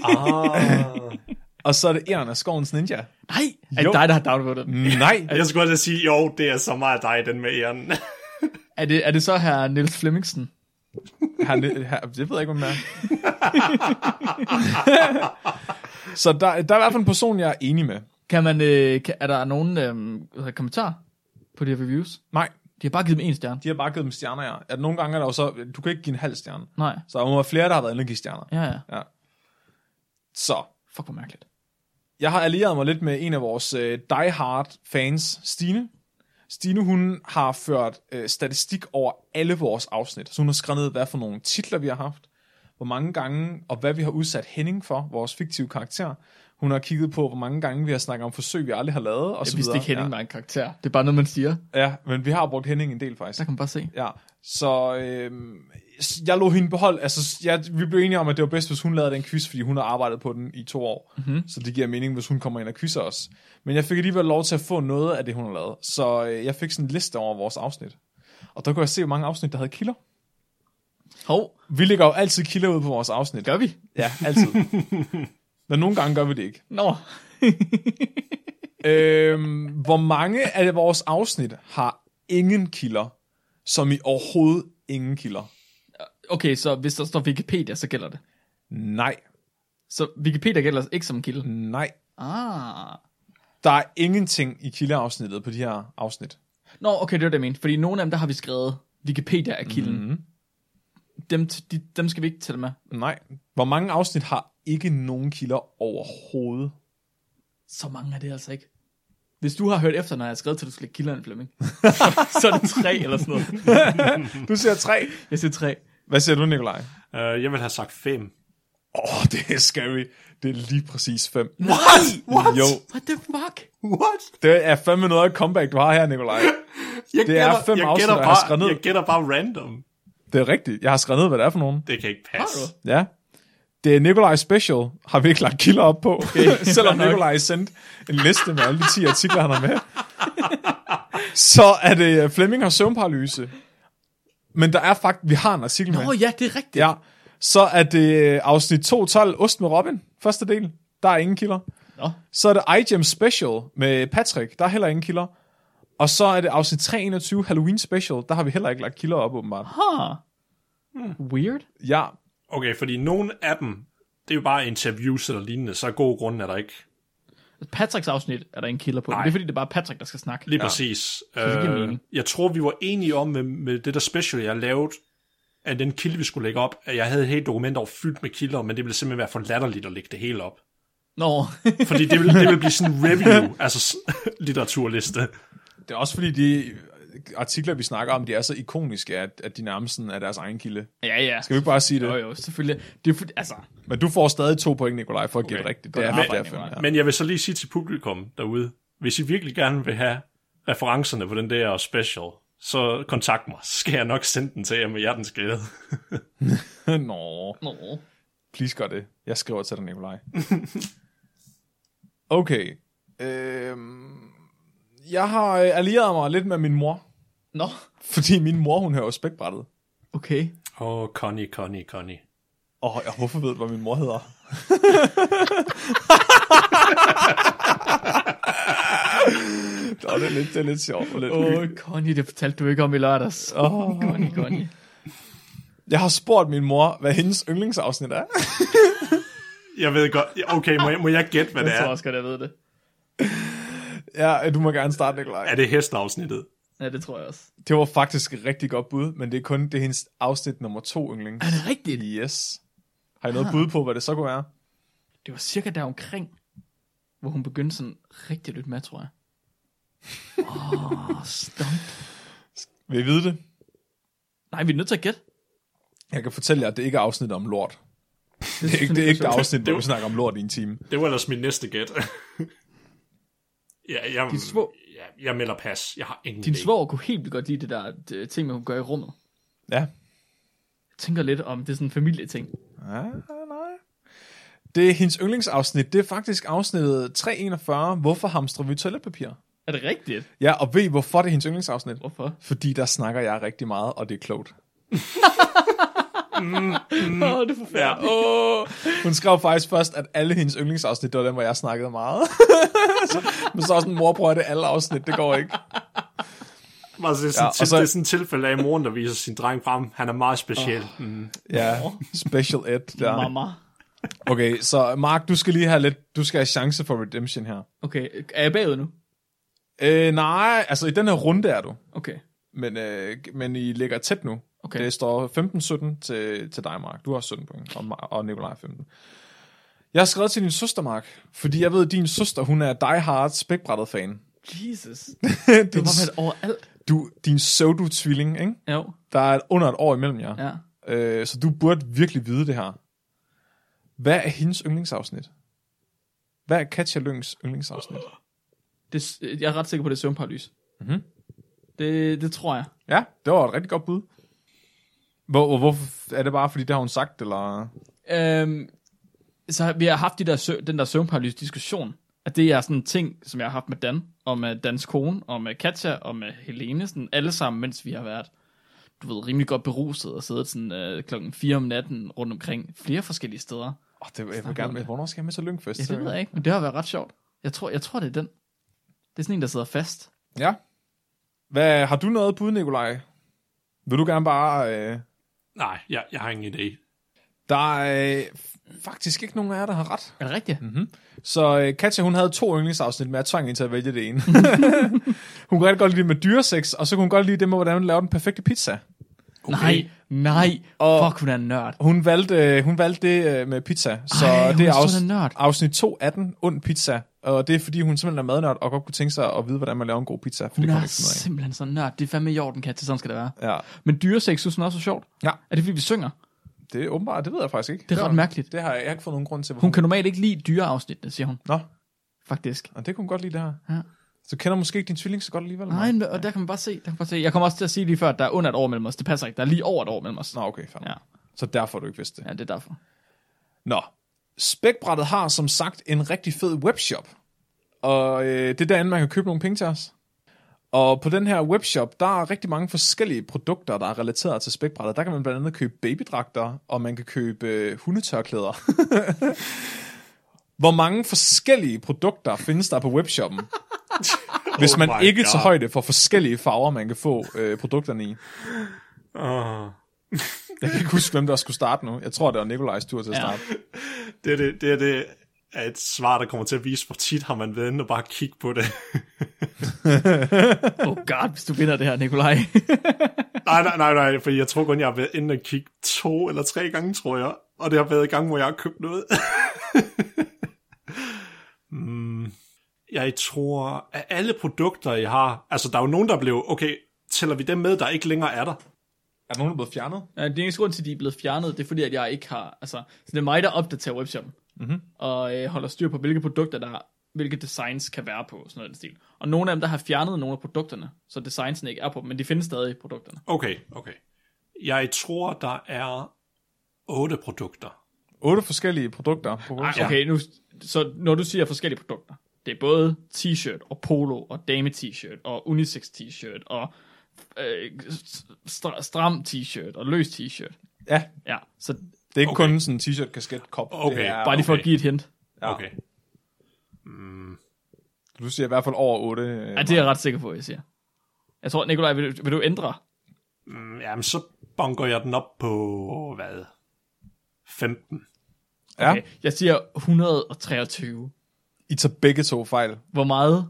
Speaker 4: Ah.
Speaker 5: og så er det Eren af skovens ninja.
Speaker 1: Nej, er
Speaker 5: Jo.
Speaker 1: det dig, der har downvotet den?
Speaker 5: Nej,
Speaker 4: jeg skulle også sige, jo, det er så meget dig, den med æren.
Speaker 1: Er det, er det så her Niels Flemmingsen?
Speaker 5: han, han, det ved jeg ikke, hvem det er. så der, der er i hvert fald en person, jeg er enig med.
Speaker 1: Kan man, øh, kan, er der nogen øh, hvad hedder det, kommentarer på de her reviews?
Speaker 5: Nej,
Speaker 1: De har bare givet dem en stjerne.
Speaker 5: de har bare givet dem stjerner, ja. At nogle gange er der jo så, du kan ikke give en halv stjerne.
Speaker 1: Nej.
Speaker 5: Så der må være flere, der har været inde og give stjerner.
Speaker 1: Ja, ja.
Speaker 5: Ja. Så,
Speaker 1: Fuck, hvor mærkeligt.
Speaker 5: jeg har allieret mig lidt med en af vores øh, die-hard fans, Stine. Stine, hun har ført øh, statistik over alle vores afsnit. Så hun har skrevet ned, hvad for nogle titler vi har haft, hvor mange gange, og hvad vi har udsat Henning for, vores fiktive karakter. Hun har kigget på, hvor mange gange vi har snakket om forsøg, vi aldrig har lavet, og
Speaker 1: Jeg
Speaker 5: så
Speaker 1: vidste
Speaker 5: videre.
Speaker 1: ikke, Henning ja. var en karakter. Det er bare noget, man siger.
Speaker 5: ja. ja, men vi har brugt Henning en del, faktisk.
Speaker 1: Der kan man bare se.
Speaker 5: Ja, så øh, jeg lå hende beholde, altså jeg, vi blev enige om, at det var bedst, hvis hun lavede den quiz, fordi hun har arbejdet på den i to år,
Speaker 1: Mhm.
Speaker 5: mm-hmm. så det giver mening, hvis hun kommer ind og quizzer os. Men jeg fik alligevel lov til at få noget af det, hun har lavet, så øh, jeg fik sådan en liste over vores afsnit. Og der kunne jeg se, hvor mange afsnit, der havde kilder.
Speaker 1: Hov,
Speaker 5: Vi lægger jo altid kilder ud på vores afsnit.
Speaker 1: gør vi?
Speaker 5: Ja, altid. Men nogle gange gør vi det ikke.
Speaker 1: Nå.
Speaker 5: Øhm, hvor mange af vores afsnit har ingen kilder, som i overhovedet ingen kilder?
Speaker 1: Okay, så hvis der står Wikipedia, så gælder det.
Speaker 5: Nej,
Speaker 1: Så Wikipedia gælder altså ikke som en kilde.
Speaker 5: nej,
Speaker 1: Ah.
Speaker 5: Der er ingenting i kildeafsnittet på de her afsnit.
Speaker 1: Nå, okay, det var det, jeg mente. Fordi nogle af dem, der har vi skrevet, Wikipedia er kilden. Mm-hmm. Dem, t- de, dem skal vi ikke tælle med.
Speaker 5: Nej. Hvor mange afsnit har ikke nogen kilder overhovedet?
Speaker 1: Så mange er det altså ikke. Hvis du har hørt efter, når jeg har skrevet til, at du skal lægge kilder en Flemming, så er det tre eller sådan noget.
Speaker 5: Du siger tre.
Speaker 1: Jeg siger tre.
Speaker 5: Hvad siger du, Nikolaj?
Speaker 4: uh, jeg vil have sagt fem.
Speaker 5: Åh, oh, det er scary. Det er lige præcis fem.
Speaker 1: What?
Speaker 5: What? Jo,
Speaker 1: What the fuck?
Speaker 4: What?
Speaker 5: det er fandme noget af et comeback, du har her, Nikolaj.
Speaker 4: Jeg
Speaker 5: Det er fem
Speaker 4: jeg
Speaker 5: afsnit,
Speaker 4: gætter
Speaker 5: jeg har skrevet ned.
Speaker 4: bare, jeg gætter bare random.
Speaker 5: Det er rigtigt. Jeg har skrevet ned, hvad det er for nogen.
Speaker 4: Det kan ikke
Speaker 1: Har
Speaker 4: passe.
Speaker 1: du?
Speaker 5: Ja. Det er Nikolaj Special, har vi ikke lagt kilder op på. Okay, Selvom
Speaker 1: fair nok.
Speaker 5: Nikolaj sendte en liste med alle de 10 artikler, han har med. Så er det øh, Flemming har søvnparalyse. Men der er faktisk, vi har en artikel med.
Speaker 1: Nå ja, det er rigtigt.
Speaker 5: Ja, så er det øh, afsnit 2.12, Ost med Robin, første del. Der er ingen kilder.
Speaker 1: Nå.
Speaker 5: Så er det iGem Special med Patrick, der er heller ingen kilder. Og så er det afsnit 321, Halloween Special, der har vi heller ikke lagt kilder op, åbenbart.
Speaker 1: Huh. Weird.
Speaker 5: Ja,
Speaker 4: Okay, fordi nogle af dem, det er jo bare interviews eller lignende, så af gode grunde er der ikke.
Speaker 1: Patricks afsnit er der en kilder på. men
Speaker 4: Nej.
Speaker 1: Det er fordi, det er bare Patrick, der skal snakke.
Speaker 4: Lige ja. præcis.
Speaker 1: det giver
Speaker 4: Øh,
Speaker 1: mening.
Speaker 4: jeg tror, vi var enige om med, med det der special, jeg lavede, at den kilde, vi skulle lægge op, at jeg havde et helt dokument over fyldt med kilder, men det ville simpelthen være for latterligt at lægge det hele op.
Speaker 1: Nå,
Speaker 4: Fordi det ville, det ville blive sådan en review, altså s- litteraturliste.
Speaker 5: det er også fordi, de artikler, vi snakker om, de er så ikoniske, at, at de nærmest sådan er deres egen kilde.
Speaker 1: ja ja.
Speaker 5: Skal vi ikke bare sige
Speaker 1: Jo
Speaker 5: det?
Speaker 1: jo, selvfølgelig. Det er fordi, altså,
Speaker 5: Men du får stadig to point, Nikolaj, for at gætte
Speaker 4: Okay,
Speaker 5: rigtigt. Det er
Speaker 1: arbejde,
Speaker 5: fordi, det er fem,
Speaker 1: Nikolaj.
Speaker 5: ja.
Speaker 4: Men jeg vil så lige sige til publikum derude, hvis I virkelig gerne vil have referencerne på den der special, så kontakt mig. Så skal jeg nok sende den til jer med hjertens glæde.
Speaker 5: Nå.
Speaker 1: nå.
Speaker 5: Please gør det. Jeg skriver til dig, Nikolaj. Okay. Øhm, jeg har øh, allieret mig lidt med min mor.
Speaker 1: Nå,
Speaker 5: Fordi min mor, hun hører jo spækbrættet.
Speaker 1: okay.
Speaker 4: Åh, oh, Connie, Connie, Connie.
Speaker 5: Åh, oh, hvorfor ved du, hvad min mor hedder? Nå, det er lidt, det er lidt sjovt. og Lidt
Speaker 1: Åh,
Speaker 5: oh.
Speaker 1: oh, Connie, det fortalte du ikke om i lørdags. Åh, oh. Connie, Connie.
Speaker 5: Jeg har spurgt min mor, hvad hendes yndlingsafsnit er.
Speaker 4: Jeg ved godt, okay, må jeg, må jeg gætte, hvad det
Speaker 1: Jeg tror
Speaker 4: er?
Speaker 1: også godt, jeg ved det.
Speaker 5: ja, du må gerne starte, Nikolaj.
Speaker 4: Er det hestafsnittet?
Speaker 1: Ja, det tror jeg også.
Speaker 5: Det var faktisk et rigtig godt bud, men det er kun det er hendes afsnit nummer to yndlings.
Speaker 1: Er Ah, det Ah. rigtigt?
Speaker 5: Yes. Har I noget bud på, hvad det så kunne være?
Speaker 1: Det var cirka der omkring, hvor hun begyndte sådan rigtig lidt med, tror jeg. Åh, oh, stomp.
Speaker 5: Vil I vide det?
Speaker 1: Nej, vi er nødt til at gætte.
Speaker 5: Jeg kan fortælle jer, at det ikke er afsnit om lort. Det er ikke
Speaker 1: synes
Speaker 5: det, er
Speaker 1: jeg
Speaker 5: ikke det
Speaker 1: var sjovt.
Speaker 5: afsnit, hvor vi snakker om lort i en time.
Speaker 4: Det var ellers min næste gæt. ja, jeg,
Speaker 1: Din svog-
Speaker 4: ja, jeg melder pas. Jeg har ingen
Speaker 1: Din
Speaker 4: idé.
Speaker 1: svoger kunne helt vildt godt lide det der øh, ting, hun gør i rummet.
Speaker 5: Ja.
Speaker 1: Jeg tænker lidt om, det er sådan en familieting.
Speaker 5: Ja, nej. Det er hendes yndlingsafsnit. Det er faktisk afsnittet 341. Hvorfor hamstrer vi toiletpapir?
Speaker 1: Er det rigtigt?
Speaker 5: Ja, og ved I, hvorfor det er hendes yndlingsafsnit?
Speaker 1: Hvorfor?
Speaker 5: Fordi der snakker jeg rigtig meget, og det er klogt. Mm,
Speaker 1: Åh, oh, det er forfærdeligt. Ja, oh.
Speaker 5: Hun skrev faktisk først, at alle hendes yndlingsafsnit, det var dem, hvor jeg snakkede meget. Men så er sådan, mor prøver det er alle afsnit, det går ikke.
Speaker 4: Altså, det, er sådan,
Speaker 5: Ja,
Speaker 4: ja,
Speaker 5: og
Speaker 4: til,
Speaker 5: så-
Speaker 4: så... det er sådan et tilfælde af at moren, der viser sin dreng frem. Han er meget speciel. Oh. Mm.
Speaker 5: Ja, special ed. Der.
Speaker 1: Mama.
Speaker 5: Okay, så Mark, du skal lige have lidt, du skal have chance for redemption her.
Speaker 1: Okay, er jeg bagud nu?
Speaker 5: Øh, nej, altså i den her runde er du.
Speaker 1: Okay.
Speaker 5: Men, øh, men I ligger tæt nu.
Speaker 1: Okay.
Speaker 5: Det står 15-17 til, til dig, Mark. Du har 17 point, og, Ma- og Nikolaj er 15. Jeg har skrevet til din søster, Mark, fordi jeg ved, at din søster, hun er Die Hard spækbrættet fan.
Speaker 1: Jesus. Du
Speaker 5: din,
Speaker 1: har været overalt.
Speaker 5: du, din pseudo-tvilling, ikke?
Speaker 1: Jo,
Speaker 5: Der er under et år imellem jer.
Speaker 1: ja.
Speaker 5: Øh, så du burde virkelig vide det her. Hvad er hendes yndlingsafsnit? Hvad er Katja Lyngs yndlingsafsnit?
Speaker 1: Det, øh, jeg er ret sikker på, det er søvnparalys. Mm-hmm. Det, det tror jeg.
Speaker 5: Ja, det var et rigtig godt bud. Hvor, hvor, hvorfor er det bare, fordi det har hun sagt, eller...
Speaker 1: Øhm, så har- vi har haft de der, sø- den der søvnparalyse-diskussion, at det er sådan en ting, som jeg har haft med Dan, og med Dans kone, og med Katja, og med Helene, sådan alle sammen, mens vi har været, du ved, rimelig godt beruset og siddet sådan øh, klokken 4 om natten rundt omkring flere forskellige steder.
Speaker 5: Oh, det, jeg vil
Speaker 1: om
Speaker 5: gerne med.
Speaker 1: det.
Speaker 5: Hvornår skal jeg med til Lyngfest?
Speaker 1: Ja, det ved jeg ikke, men det har været ret sjovt. Jeg tror, jeg tror det er den. Det er sådan en, der sidder fast.
Speaker 5: Ja. Hvad, har du noget bud, Nikolaj? Vil du gerne bare... Øh...
Speaker 4: Nej, jeg, jeg har ingen idé.
Speaker 5: Der er øh, f- faktisk ikke nogen af jer, der har ret.
Speaker 1: Er det rigtigt? Mm-hmm.
Speaker 5: Så øh, Katja, hun havde to yndlingsafsnit, men jeg tvang hende til at vælge det ene. hun kunne rigtig godt lide det med dyreseks, og så kunne hun godt lide det med, hvordan hun lavede den perfekte pizza.
Speaker 1: Nej, nej.
Speaker 5: Og-
Speaker 1: Og... Fuck, hun er en nørd.
Speaker 5: Hun valgte, øh, hun valgte det øh, med pizza, så
Speaker 1: Ej, hun
Speaker 5: det
Speaker 1: er
Speaker 5: er
Speaker 1: sådan en nørd.
Speaker 5: afsnit 218, ond pizza. Og det er, fordi hun simpelthen er madnørd og godt kunne tænke sig at vide, hvordan man laver en god pizza. For det
Speaker 1: Hun
Speaker 5: kunne hun
Speaker 1: er
Speaker 5: ikke finde
Speaker 1: simpelthen så nørd. Det er fandme i orden, Katja. Sådan skal det være.
Speaker 5: ud af. Ja,
Speaker 1: Men dyresex synes hun også er sjovt.
Speaker 5: Ja.
Speaker 1: Er det fordi, vi synger?
Speaker 5: det er åbenbart, det ved jeg faktisk ikke.
Speaker 1: Det er ret
Speaker 5: var-
Speaker 1: mærkeligt.
Speaker 5: Det har jeg, jeg har ikke fået nogen grund til. hvorfor
Speaker 1: Hun kan normalt ikke lide dyreafsnittene, siger hun.
Speaker 5: Nå,
Speaker 1: Faktisk.
Speaker 5: og det kunne hun godt lide det her.
Speaker 1: Ja.
Speaker 5: Så kender måske ikke din tvilling så godt alligevel.
Speaker 1: Nej,
Speaker 5: Mark.
Speaker 1: men- og der kan man bare se. Der kan man bare se. Jeg kommer også til at sige lige før, at der er under et år mellem os. Det passer ikke. Der er lige over et år mellem os.
Speaker 5: Nå, okay, fair.
Speaker 1: Ja.
Speaker 5: Så derfor har du ikke vidst det.
Speaker 1: ja, det er derfor.
Speaker 5: Nå, Spækbrættet har som sagt en rigtig fed webshop. Og øh, det er derinde, man kan købe nogle penge til os. Og på den her webshop, der er rigtig mange forskellige produkter, der er relateret til spækbrættet. Der kan man blandt andet købe babydragter, og man kan købe øh, hundetørklæder. Hvor mange forskellige produkter findes der på webshoppen? Hvis man
Speaker 4: Oh my
Speaker 5: ikke tager
Speaker 4: God.
Speaker 5: højde for forskellige farver, man kan få øh, produkterne i.
Speaker 4: Oh.
Speaker 5: Jeg kan ikke huske, hvem der skulle starte nu. Jeg tror, det var Nikolajs tur til at
Speaker 1: Ja.
Speaker 5: starte.
Speaker 4: Det er det, det, er det er et svar, der kommer til at vise, hvor tit har man været inde og bare kigge på det.
Speaker 1: Oh god, hvis du vinder det her, Nikolaj.
Speaker 4: nej, nej, nej, nej, for jeg tror kun, jeg har været inde og kigge to eller tre gange, tror jeg. Og det har været i gang, hvor jeg har købt noget. mm, jeg tror, at alle produkter, jeg har... Altså, der er jo nogen, der blev... Okay, tæller vi dem med, der ikke længere er der?
Speaker 5: Er der nogen, der er blevet fjernet?
Speaker 1: Ja, Øh, det eneste grund til, at de er blevet fjernet, det er fordi, at jeg ikke har... Altså, så det er mig, der opdaterer webshoppen.
Speaker 5: Mhm.
Speaker 1: Mm-hmm. Og øh, holder styr på, hvilke produkter der er, hvilke designs kan være på, sådan noget i den stil. Og nogle af dem, der har fjernet nogle af produkterne, så designsene ikke er på dem, men de findes stadig i produkterne.
Speaker 4: Okay, okay. Jeg tror, der er otte produkter.
Speaker 5: Otte forskellige produkter. På
Speaker 1: Ej, okay, nu, så når du siger forskellige produkter, det er både t-shirt og polo og dame t-shirt og unisex t-shirt og øh, stra- stram t-shirt og løs t-shirt.
Speaker 5: Ja, Ah,
Speaker 1: Ja, så
Speaker 5: det er ikke
Speaker 4: Okay.
Speaker 5: kun sådan en t-shirt, kasket, kop.
Speaker 4: Okay.
Speaker 5: Det er,
Speaker 1: bare lige for
Speaker 4: okay.
Speaker 1: at give et hint.
Speaker 5: Ja.
Speaker 4: Okay.
Speaker 5: du siger i hvert fald over otte. Øh,
Speaker 1: Ja, det er jeg ret sikker på, jeg siger. Jeg tror, Nikolaj, vil du, vil du ændre?
Speaker 4: Mm, Jamen, så bunker jeg den op på, hvad? 15.
Speaker 5: ja.
Speaker 1: Okay, jeg siger 123.
Speaker 5: I tager begge to fejl.
Speaker 1: Hvor meget?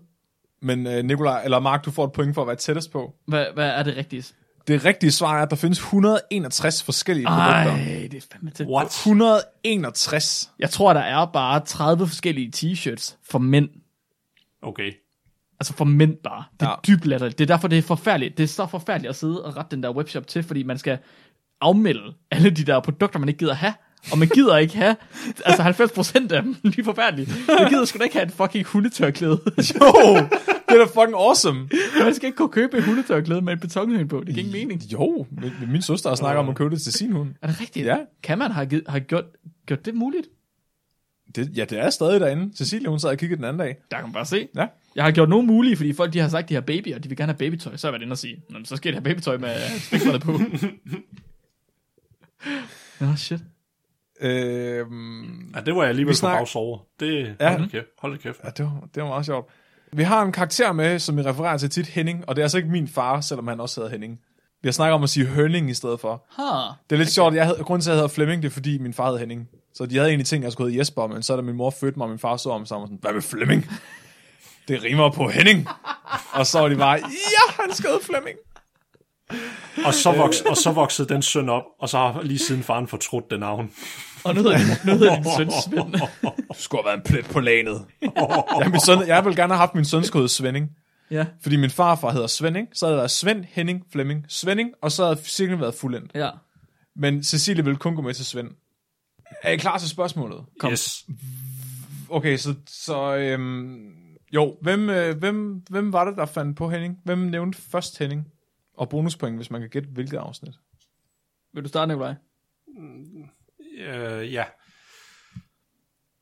Speaker 5: Men øh, Nikolaj, eller Mark, du får et point for at være tættest på.
Speaker 1: Hvad, hvad er det rigtige?
Speaker 5: Det rigtige svar er, at der findes 161 forskellige
Speaker 1: Ej,
Speaker 5: produkter.
Speaker 1: det er fandme tæt.
Speaker 4: What?
Speaker 5: 161.
Speaker 1: Jeg tror, der er bare 30 forskellige t-shirts for mænd.
Speaker 4: Okay.
Speaker 1: Altså for mænd bare. Det er
Speaker 5: Ja.
Speaker 1: ja. dybt latterligt. Det er derfor, det er forfærdeligt. Det er så forfærdeligt at sidde og rette den der webshop til, fordi man skal afmelde alle de der produkter, man ikke gider have. Og man gider ikke have, altså 90% af dem, de er forfærdelige. Man gider sgu da ikke have et fucking hundetørklæde.
Speaker 5: Jo, det er da fucking awesome.
Speaker 1: Man skal ikke kunne købe et hundetørklæde med et betonhøn på. Det giver ingen mening.
Speaker 5: Jo, min, min søster har snakket om at købe det til sin hund.
Speaker 1: Er det rigtigt?
Speaker 5: Ja.
Speaker 1: Kan man have, givet, have gjort, gjort det muligt?
Speaker 5: Det, ja, det er stadig derinde. Cecilie, hun sad og kiggede den anden dag.
Speaker 1: Der kan man bare se.
Speaker 5: Ja.
Speaker 1: Jeg har gjort nogen mulige, fordi folk de har sagt, de har baby, og de vil gerne have babytøj. Så er jeg været inde og sige, Nå, men så skal det have babytøj med spækbrættet på. Nå, shit.
Speaker 5: Øhm,
Speaker 4: Ja, det var jeg alligevel
Speaker 5: Vi
Speaker 4: på
Speaker 5: snak-
Speaker 4: bags over. Det,
Speaker 5: Ja.
Speaker 4: ja. hold, da kæft, hold da kæft.
Speaker 5: ja, det var, det var meget sjovt. Vi har en karakter med, som vi refererer til tit, Henning. Og det er altså ikke min far, selvom han også hedder Henning. Vi har snakket om at sige Hønning i stedet for.
Speaker 1: Huh.
Speaker 5: Det er lidt sjovt, jeg havde, grunden til, at jeg hedder Flemming, det er fordi, min far hed Henning. Så de havde egentlig tænkt, at jeg skulle hedde Jesper, men så da min mor fødte mig, og min far så om sammen, sådan, hvad med Flemming? Det rimer på Henning. og så var de bare, ja, han skal hedde Flemming.
Speaker 4: Og så, voks, og så voksede den søn op, og så har lige siden faren fortrudt det navn.
Speaker 1: Og nu hedder, din- nu hedder din søn Svend.
Speaker 5: Du skulle have været en plet på lanet. ja, min søn, jeg ville gerne have haft min søn skulle hedde Svending.
Speaker 1: ja.
Speaker 5: Fordi min farfar hedder Svending, så havde der været Svend, Henning, Flemming, Svending, og så havde cirklen været fuldendt.
Speaker 1: ja.
Speaker 5: Men Cecilie ville kun gå med til Svend. Er I klar til spørgsmålet?
Speaker 4: Kom. Yes.
Speaker 5: Okay, så, så øhm, jo, hvem, øh, hvem, hvem var det, der fandt på Henning? Hvem nævnte først Henning? Og bonuspoint, hvis man kan gætte, hvilket afsnit.
Speaker 1: Vil du starte, Nikolaj?
Speaker 4: Øh, ja.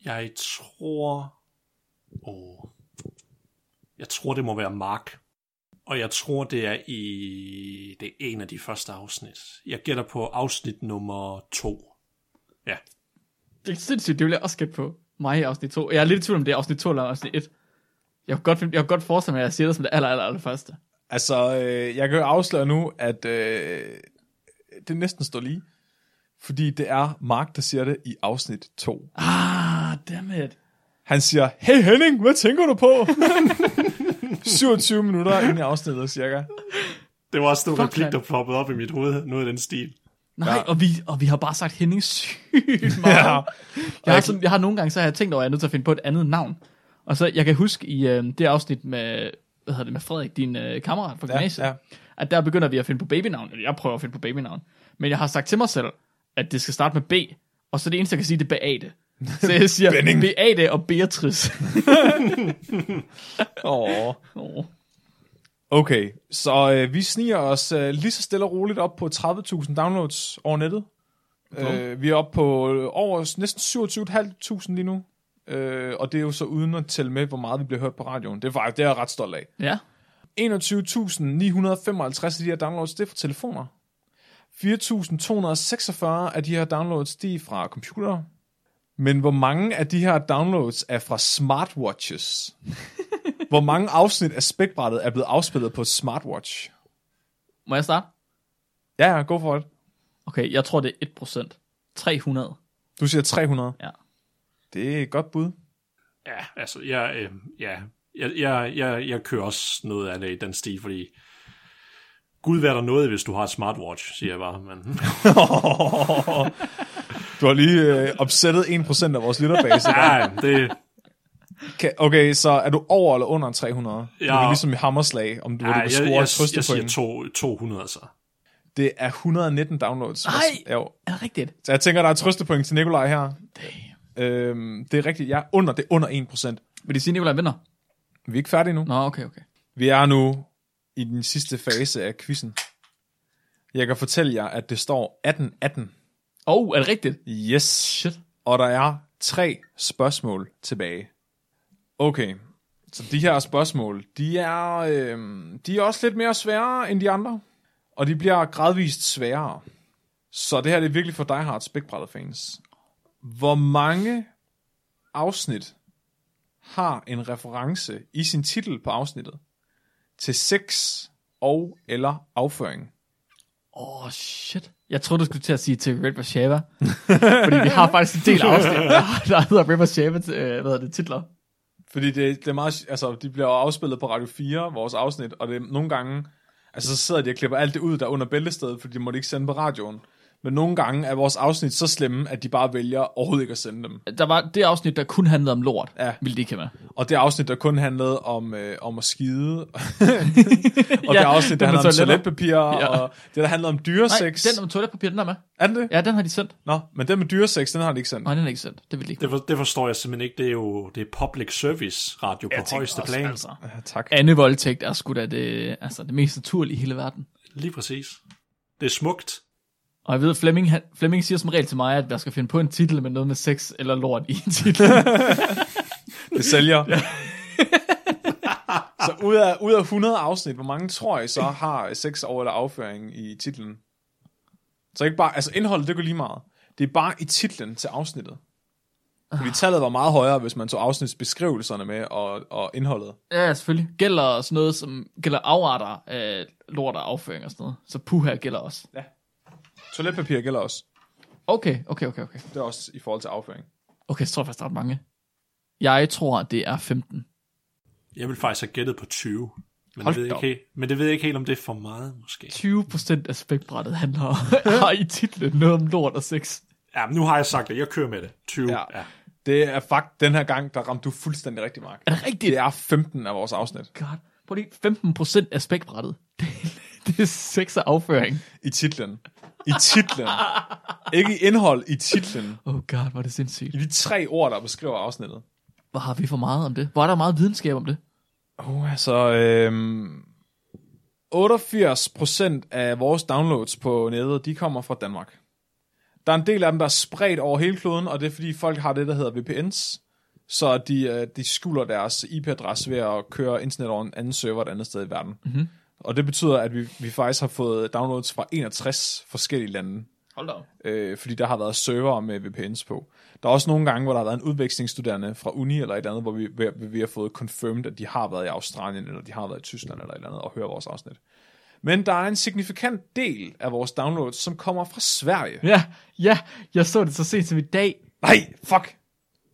Speaker 4: Jeg tror... Oh. Jeg tror, det må være Mark. Og jeg tror, det er i... Det er en af de første afsnit. Jeg gætter på afsnit nummer to. Ja.
Speaker 1: Det er sindssygt, det vil jeg også gætte på. Mig i afsnit 2. Jeg er lidt i tvivl om, det er afsnit 2 eller afsnit 1. Jeg kan godt, finde- jeg kan godt forestille mig, at jeg siger det som det aller, aller, aller første.
Speaker 5: Altså, øh, jeg kan jo afsløre nu, at øh, det næsten står lige. Fordi det er Mark, der siger det i afsnit 2.
Speaker 1: Ah, dammit.
Speaker 5: Han siger, hey Henning, hvad tænker du på? 27 minutter ind i afsnittet, cirka.
Speaker 4: Det var også den
Speaker 1: Fuck,
Speaker 4: replik,
Speaker 1: mand.
Speaker 4: der ploppede op i mit hoved. Noget af den stil.
Speaker 1: Nej,
Speaker 5: Ja.
Speaker 1: ja. og, vi, og vi har bare sagt Henning sygt meget. ja. jeg, har sådan, jeg har nogle gange, så har jeg tænkt over, at jeg er nødt til at finde på et andet navn. Og så, jeg kan huske i øh, det afsnit med, hvad hedder det, med Frederik, din øh, kammerat fra gymnasiet,
Speaker 5: ja.
Speaker 1: at der begynder vi at finde på babynavn, eller jeg prøver at finde på babynavn. Men jeg har sagt til mig selv, at det skal starte med B, og så det eneste, jeg kan sige, det er Beate. Så jeg siger
Speaker 5: Benning.
Speaker 1: Beate og Beatrice.
Speaker 5: Åh.
Speaker 1: oh.
Speaker 5: Okay, så øh, vi sniger os øh, lige så stille og roligt op på 30.000 downloads over nettet. Øh, vi er oppe på øh, over næsten 27.500 lige nu. Øh, og det er jo så uden at tælle med, hvor meget vi bliver hørt på radioen. Det er, faktisk, det er jeg ret stolt af.
Speaker 1: Ja,
Speaker 5: 21.955 af de her downloads, det er fra telefoner. 4.246 af de her downloads, de er fra computere. Men hvor mange af de her downloads er fra smartwatches? hvor mange afsnit af spækbrættet er blevet afspillet på et smartwatch?
Speaker 1: må jeg starte?
Speaker 5: Ja, ja, go for it.
Speaker 1: Okay, jeg tror, det er 1%. 300.
Speaker 5: Du siger 300.
Speaker 1: Ja.
Speaker 5: Det er et godt bud.
Speaker 4: Ja, altså, jeg, øh, ja, jeg, jeg, jeg, jeg kører også noget af det i den stil, fordi Gud vær der noget, hvis du har et smartwatch, siger jeg bare. Men,
Speaker 5: Du har lige øh, opsættet 1% af vores lytterbase.
Speaker 4: ja, det,
Speaker 5: Kan- Okay, så er du over eller under 300? Ja. Det
Speaker 4: Ja.
Speaker 5: er ligesom i hammerslag, om du, ja,
Speaker 4: ja,
Speaker 5: du kan
Speaker 4: jeg, jeg,
Speaker 5: score
Speaker 4: jeg,
Speaker 5: et
Speaker 4: jeg siger
Speaker 5: trøstepoint.
Speaker 4: to, altså. 200, så.
Speaker 5: Det er 119 downloads.
Speaker 1: Ej!
Speaker 5: Jo.
Speaker 1: Er det rigtigt?
Speaker 5: Så jeg tænker, der er et trøstepoint til Nikolaj her. Øhm, det er rigtigt. Jeg er under, det er under 1%.
Speaker 1: Vil det sige, at Nicolaj vinder?
Speaker 5: Vi er ikke færdige nu.
Speaker 1: Nå, okay, okay.
Speaker 5: Vi er nu i den sidste fase af quizzen. Jeg kan fortælle jer, at det står 18-18.
Speaker 1: Åh, oh, er det rigtigt?
Speaker 5: Yes.
Speaker 1: Shit.
Speaker 5: og der er tre spørgsmål tilbage. Okay, så de her spørgsmål, de er, øh, de er også lidt mere svære end de andre, og de bliver gradvist sværere. Så det her det er virkelig for dig, Hard Spækbrætter fans. Hvor mange afsnit har en reference i sin titel på afsnittet til sex og eller afføring?
Speaker 1: Åh, oh, shit. Jeg troede, du skulle til at sige til Red Shava. fordi vi har faktisk en del afsnit, der, der hedder Red Shava, øh, hvad hedder det, titler.
Speaker 5: Fordi det, det er meget, altså, de bliver jo afspillet på Radio 4, vores afsnit, og det er nogle gange, altså så sidder de og klipper alt det ud, der er under bæltestedet, fordi de måtte ikke sende på radioen. Men nogle gange er vores afsnit så slemme, at de bare vælger overhovedet ikke at sende dem.
Speaker 1: Der var det afsnit, der kun handlede om lort,
Speaker 5: Ja.
Speaker 1: ja. ville de ikke have med.
Speaker 5: Og det afsnit, der kun handlede om, øh, om at skide, og det afsnit,
Speaker 1: den
Speaker 5: der
Speaker 1: med
Speaker 5: handlede om
Speaker 1: toiletter.
Speaker 5: toiletpapir, ja. og det, der handlede om
Speaker 1: Nej,
Speaker 5: dyresex.
Speaker 1: den om toiletpapir, den er med.
Speaker 5: Er den det?
Speaker 1: Ja, den har de sendt.
Speaker 5: Nå, men den med dyresex, den har de ikke sendt.
Speaker 1: Nej, den er ikke sendt. Det vil de ikke.
Speaker 4: Det, for, det forstår jeg simpelthen ikke. Det er jo det er public service radio på højeste plan. Altså.
Speaker 5: Ja, tak.
Speaker 1: Anne voldtægt er sgu da det, altså, det mest naturlige i hele verden.
Speaker 4: Lige præcis. Det er smukt.
Speaker 1: Og jeg ved, Flemming, han, Flemming siger som regel til mig, at jeg skal finde på en titel med noget med sex eller lort i en titel.
Speaker 5: Det sælger. så ud af, ud af 100 afsnit, hvor mange tror I så har sex over eller afføring i titlen? Så ikke bare, altså indholdet, det går lige meget. Det er bare i titlen til afsnittet. Fordi tallet var meget højere, hvis man tog afsnitsbeskrivelserne med og, og indholdet.
Speaker 1: ja, selvfølgelig. Gælder sådan noget, som gælder afarter af lort og afføring og sådan noget. Så puha gælder også.
Speaker 5: Toiletpapir gælder også.
Speaker 1: Okay, okay, okay, okay.
Speaker 5: Det er også i forhold til afføring.
Speaker 1: Okay, så tror jeg faktisk, der er ret mange. Jeg tror, det er 15.
Speaker 4: Jeg vil faktisk have gættet på 20. Men,
Speaker 1: Hold
Speaker 4: jeg ved
Speaker 1: da
Speaker 4: ikke
Speaker 1: op.
Speaker 4: helt, men det ved jeg ikke helt, om det er for meget, måske.
Speaker 1: 20% af spækbrættet handler har i titlen noget om lort og sex.
Speaker 4: Ja, men nu har jeg sagt det. Jeg kører med det. 20.
Speaker 5: Ja.
Speaker 4: Ja. ja.
Speaker 5: Det er fakt, den her gang, der ramte du fuldstændig rigtig, Mark.
Speaker 1: Er det rigtigt?
Speaker 5: Det er 15 af vores afsnit
Speaker 1: God. Prøv lige, 15% af spækbrættet. Det, det er sex og afføring.
Speaker 5: i titlen. I titlen. ikke i indhold, i titlen.
Speaker 1: Oh god, hvor er det sindssygt.
Speaker 5: I de tre ord, der beskriver afsnittet.
Speaker 1: Hvor har vi for meget om det? Hvor er der meget videnskab om det?
Speaker 5: Oh, altså, øhm, 88% af vores downloads på nettet, de kommer fra Danmark. Der er en del af dem, der er spredt over hele kloden, og det er fordi folk har det, der hedder VPNs. Så de, øh, de skjuler deres IP-adresse ved at køre internet over en anden server et andet sted i verden. Mm-hmm. Og det betyder, at vi, vi faktisk har fået downloads fra 61 forskellige lande
Speaker 1: Hold da op.
Speaker 5: øh, fordi der har været server med VPNs på. Der er også nogle gange, hvor der har været en udvekslingsstuderende fra uni eller et eller andet, hvor vi, vi, vi har fået confirmed, at de har været i Australien, eller de har været i Tyskland eller et eller andet, og hører vores afsnit. Men der er en signifikant del af vores downloads, som kommer fra Sverige.
Speaker 1: Ja, ja, jeg så det så sent som i dag.
Speaker 5: Nej, fuck!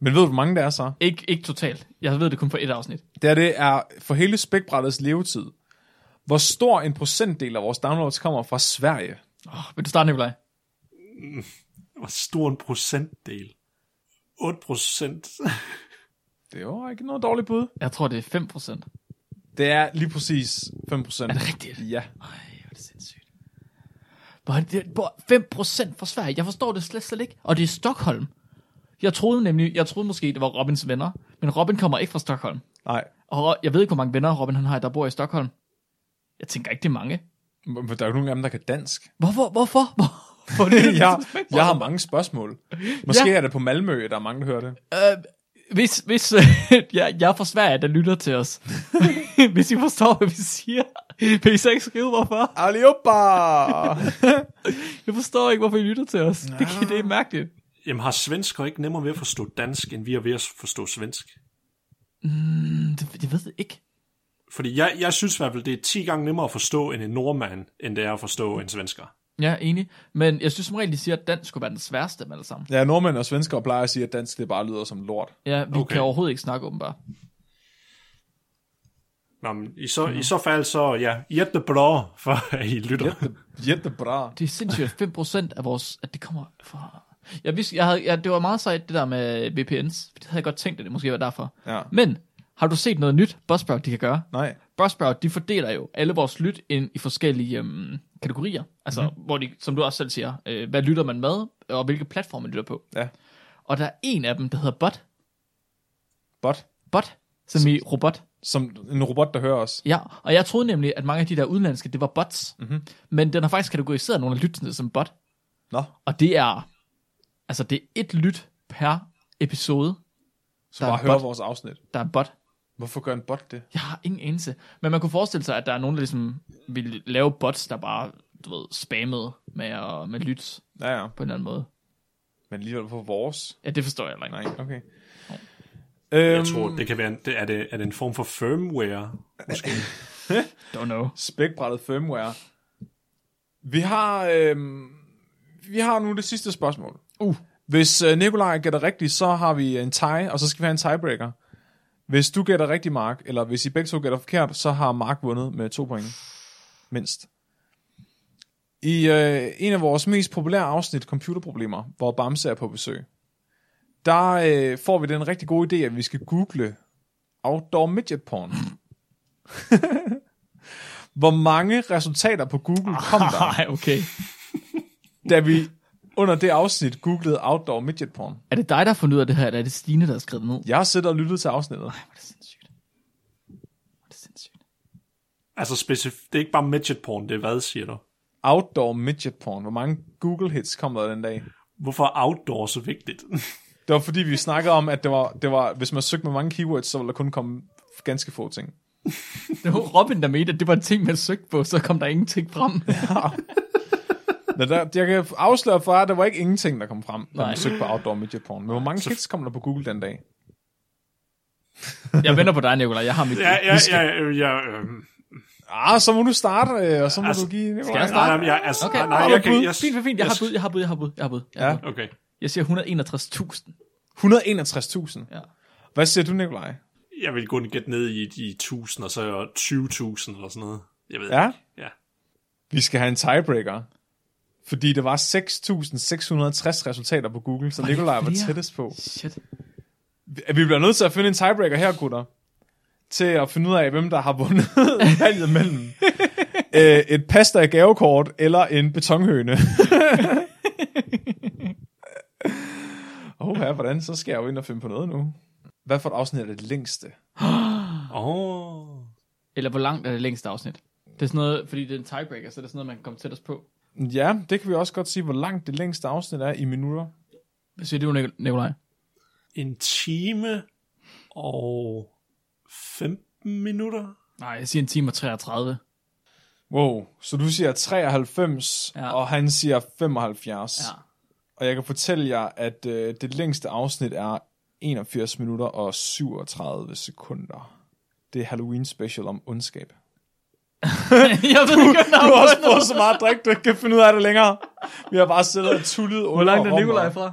Speaker 5: Men ved du, hvor mange der er så?
Speaker 1: Ikke, ikke totalt. Jeg ved det kun for et afsnit.
Speaker 5: Det her det er for hele spækbrættets levetid. Hvor stor en procentdel af vores downloads kommer fra Sverige?
Speaker 1: Oh, vil du starte, Nikolaj?
Speaker 4: Hvor stor en procentdel? 8 procent.
Speaker 5: Det var ikke noget dårligt bud.
Speaker 1: Jeg tror, det er 5%. Ej,
Speaker 5: Det er lige præcis 5%. Er
Speaker 1: det rigtigt?
Speaker 5: Ja.
Speaker 1: hvor er det sindssygt. Hvor er det, hvor 5% fra Sverige. Jeg forstår det slet, slet ikke. Og det er Stockholm. Jeg troede nemlig, jeg troede måske, det var Robins venner. Men Robin kommer ikke fra Stockholm.
Speaker 5: Nej,
Speaker 1: Og jeg ved ikke, hvor mange venner Robin han har, der bor i Stockholm. Jeg tænker ikke, det er mange.
Speaker 5: Men der er jo nogen af dem, der kan dansk.
Speaker 1: Hvorfor? Hvorfor? Hvorfor er det,
Speaker 5: jeg, jeg har mange spørgsmål. Måske ja.
Speaker 1: Ja.
Speaker 5: er det på Malmø, der er mange, der hører det.
Speaker 1: Øh, Hvis, hvis øh, jeg, jeg er fra Sverige, der lytter til os. hvis I forstår, hvad vi siger, vil I så ikke skrive, hvorfor?
Speaker 5: Aliopa!
Speaker 1: Jeg forstår ikke, hvorfor I lytter til os. Det, kan- det er mærkeligt.
Speaker 4: Jamen har svensker ikke nemmere ved at forstå dansk, end vi er ved at forstå svensk?
Speaker 1: Men det, jeg ved det ikke.
Speaker 4: Fordi jeg, jeg synes i hvert fald, det er 10 gange nemmere at forstå en en nordmand, end det er at forstå en svensker.
Speaker 1: Jeg er enig. Men jeg synes som regel, de siger, at dansk skulle være den sværeste af dem alle sammen.
Speaker 5: ja, nordmænd og svenskere plejer at sige, at dansk det bare lyder som lort.
Speaker 1: Ja, vi okay.
Speaker 4: Okay.
Speaker 1: kan overhovedet ikke snakke åbenbart.
Speaker 4: Nå, men i så, i så fald så, ja, jättebra for at I lytter.
Speaker 5: Jette- Jette bra.
Speaker 1: Det er sindssygt, at 5% af vores... At det kommer fra... Jeg vidste, jeg havde, ja, det var meget sejt, det der med VPNs. Det havde jeg godt tænkt, at det måske var derfor.
Speaker 5: Ja.
Speaker 1: Men har du set noget nyt, Buzzsprout, de kan gøre?
Speaker 5: Nej.
Speaker 1: Buzzsprout, de fordeler jo alle vores lyt ind i forskellige øhm, kategorier. Altså,
Speaker 5: Mhm.
Speaker 1: mm-hmm. hvor de, som du også selv siger, øh, hvad lytter man med, og hvilke platforme man lytter på.
Speaker 5: Ja.
Speaker 1: Og der er en af dem, der hedder Bot.
Speaker 5: Bot.
Speaker 1: Bot, som i robot.
Speaker 5: Som en robot, der hører os.
Speaker 1: Ja, og jeg troede nemlig, at mange af de der udenlandske, det var bots.
Speaker 5: Mhm.
Speaker 1: Mm-hmm. Men den har faktisk kategoriseret nogle af lyttene som bot.
Speaker 5: Nå.
Speaker 1: Og det er, altså det er et lyt per episode,
Speaker 5: Så
Speaker 1: Der er
Speaker 5: bare hør
Speaker 1: bot.
Speaker 5: vores afsnit.
Speaker 1: der er en bot.
Speaker 5: Hvorfor gør en bot det?
Speaker 1: Jeg har ingen anelse. Men man kunne forestille sig, at der er nogen, der ligesom ville lave bots, der bare, du ved, spammede med, at, med lyt
Speaker 5: Ja, ja.
Speaker 1: på en eller anden måde.
Speaker 5: Men alligevel på vores.
Speaker 1: Ja, det forstår jeg heller ikke.
Speaker 5: Nej, okay. Øhm,
Speaker 4: Jeg tror, det kan være en, det, er, det, er det en form for firmware?
Speaker 1: Don't know.
Speaker 5: spækbrættet firmware. Vi har, øhm, vi har nu det sidste spørgsmål.
Speaker 1: Uh.
Speaker 5: Hvis øh, Nikolaj gætter rigtigt, så har vi en tie, og så skal vi have en tiebreaker. Hvis du gætter rigtigt, Mark, eller hvis I begge to gætter forkert, så har Mark vundet med to point. Mindst. I øh, en af vores mest populære afsnit, Computerproblemer, hvor Bamse er på besøg, der øh, får vi den rigtig gode idé, at vi skal google outdoor midget porn. Hvor mange resultater på Google kom der?
Speaker 1: Nej, okay.
Speaker 5: da vi under det afsnit googlede outdoor midget porn.
Speaker 1: Er det dig, der har fundet ud af det her, eller er det Stine, der har skrevet det ned?
Speaker 5: Jeg har siddet og lyttet til afsnittet.
Speaker 1: Hvor er det sindssygt. Hvor er det sindssygt.
Speaker 4: Altså specif- det er ikke bare midget porn, det er hvad, siger du?
Speaker 5: Outdoor midget porn. Hvor mange Google hits kom der den dag?
Speaker 4: Hvorfor er outdoor så vigtigt?
Speaker 5: Det var fordi, vi snakkede om, at det var, det var, hvis man søgte med mange keywords, så ville der kun komme ganske få ting.
Speaker 1: Det var Robin, der mente, at det var en ting, man søgte på, så kom der ingenting frem.
Speaker 5: Men der, jeg kan afsløre for jer, at der var ikke ingenting, der kom frem, når
Speaker 1: Nej.
Speaker 5: man søgte på outdoor midget porn. Men hvor mange hits kom der på Google den dag?
Speaker 1: Jeg venter på dig, Nicolaj. Jeg har mit...
Speaker 4: Ja, ja, ja, ja, ja, øhm.
Speaker 5: Ah, så må du starte, øh, og så må
Speaker 4: Altså,
Speaker 5: altså, du give...
Speaker 1: jeg starte?
Speaker 4: Nej, nej, jeg, altså,
Speaker 1: Okay,
Speaker 4: okay. nej,
Speaker 5: har
Speaker 4: jeg
Speaker 5: du
Speaker 4: kan,
Speaker 5: bud?
Speaker 4: jeg,
Speaker 1: Fint, fint, fint. Jeg har bud, jeg har bud, jeg har bud, jeg har bud. Jeg, har
Speaker 5: Ja.
Speaker 1: bud.
Speaker 4: okay.
Speaker 1: jeg siger 161.000.
Speaker 5: 161.000.
Speaker 1: Ja.
Speaker 5: Hvad siger du, Nikolaj?
Speaker 4: Jeg vil kun gætte ned i de 1000, og så 20.000 eller sådan noget. Jeg ved
Speaker 5: Ja?
Speaker 4: ikke. Ja.
Speaker 5: Vi skal have en tiebreaker. Fordi der var 6.660 resultater på Google, så Nikolaj var
Speaker 1: flere?
Speaker 5: tættest på.
Speaker 1: Shit.
Speaker 5: Vi- Vi bliver nødt til at finde en tiebreaker her, gutter. Til at finde ud af, hvem der har vundet valget mellem øh, et pasta gavekort eller en betonhøne. Åh, her, hvordan? Så skal jeg jo ind og finde på noget nu. Hvad for et afsnit er det længste?
Speaker 4: Åh. Oh.
Speaker 1: Eller hvor langt er det længste afsnit? Det er sådan noget, fordi det er en tiebreaker, så er det sådan noget, man kan komme tættest på.
Speaker 5: Ja, det kan vi også godt sige, hvor langt det længste afsnit er i minutter.
Speaker 1: Hvad siger du, Nic- Nicolaj?
Speaker 4: En time og 15 minutter?
Speaker 1: Nej, jeg siger en time og 33.
Speaker 5: Wow, så du siger 93,
Speaker 1: Ja.
Speaker 5: ja. og han siger 75.
Speaker 1: Ja.
Speaker 5: Og jeg kan fortælle jer, at øh, det længste afsnit er 81 minutter og 37 sekunder. Det er Halloween special om ondskab.
Speaker 1: jeg ved ikke,
Speaker 5: Du har også fået så meget drik, du ikke kan finde ud af det længere. Vi har bare siddet og tullet under
Speaker 1: hvor langt er
Speaker 5: og
Speaker 1: Nicolaj
Speaker 5: om,
Speaker 1: fra?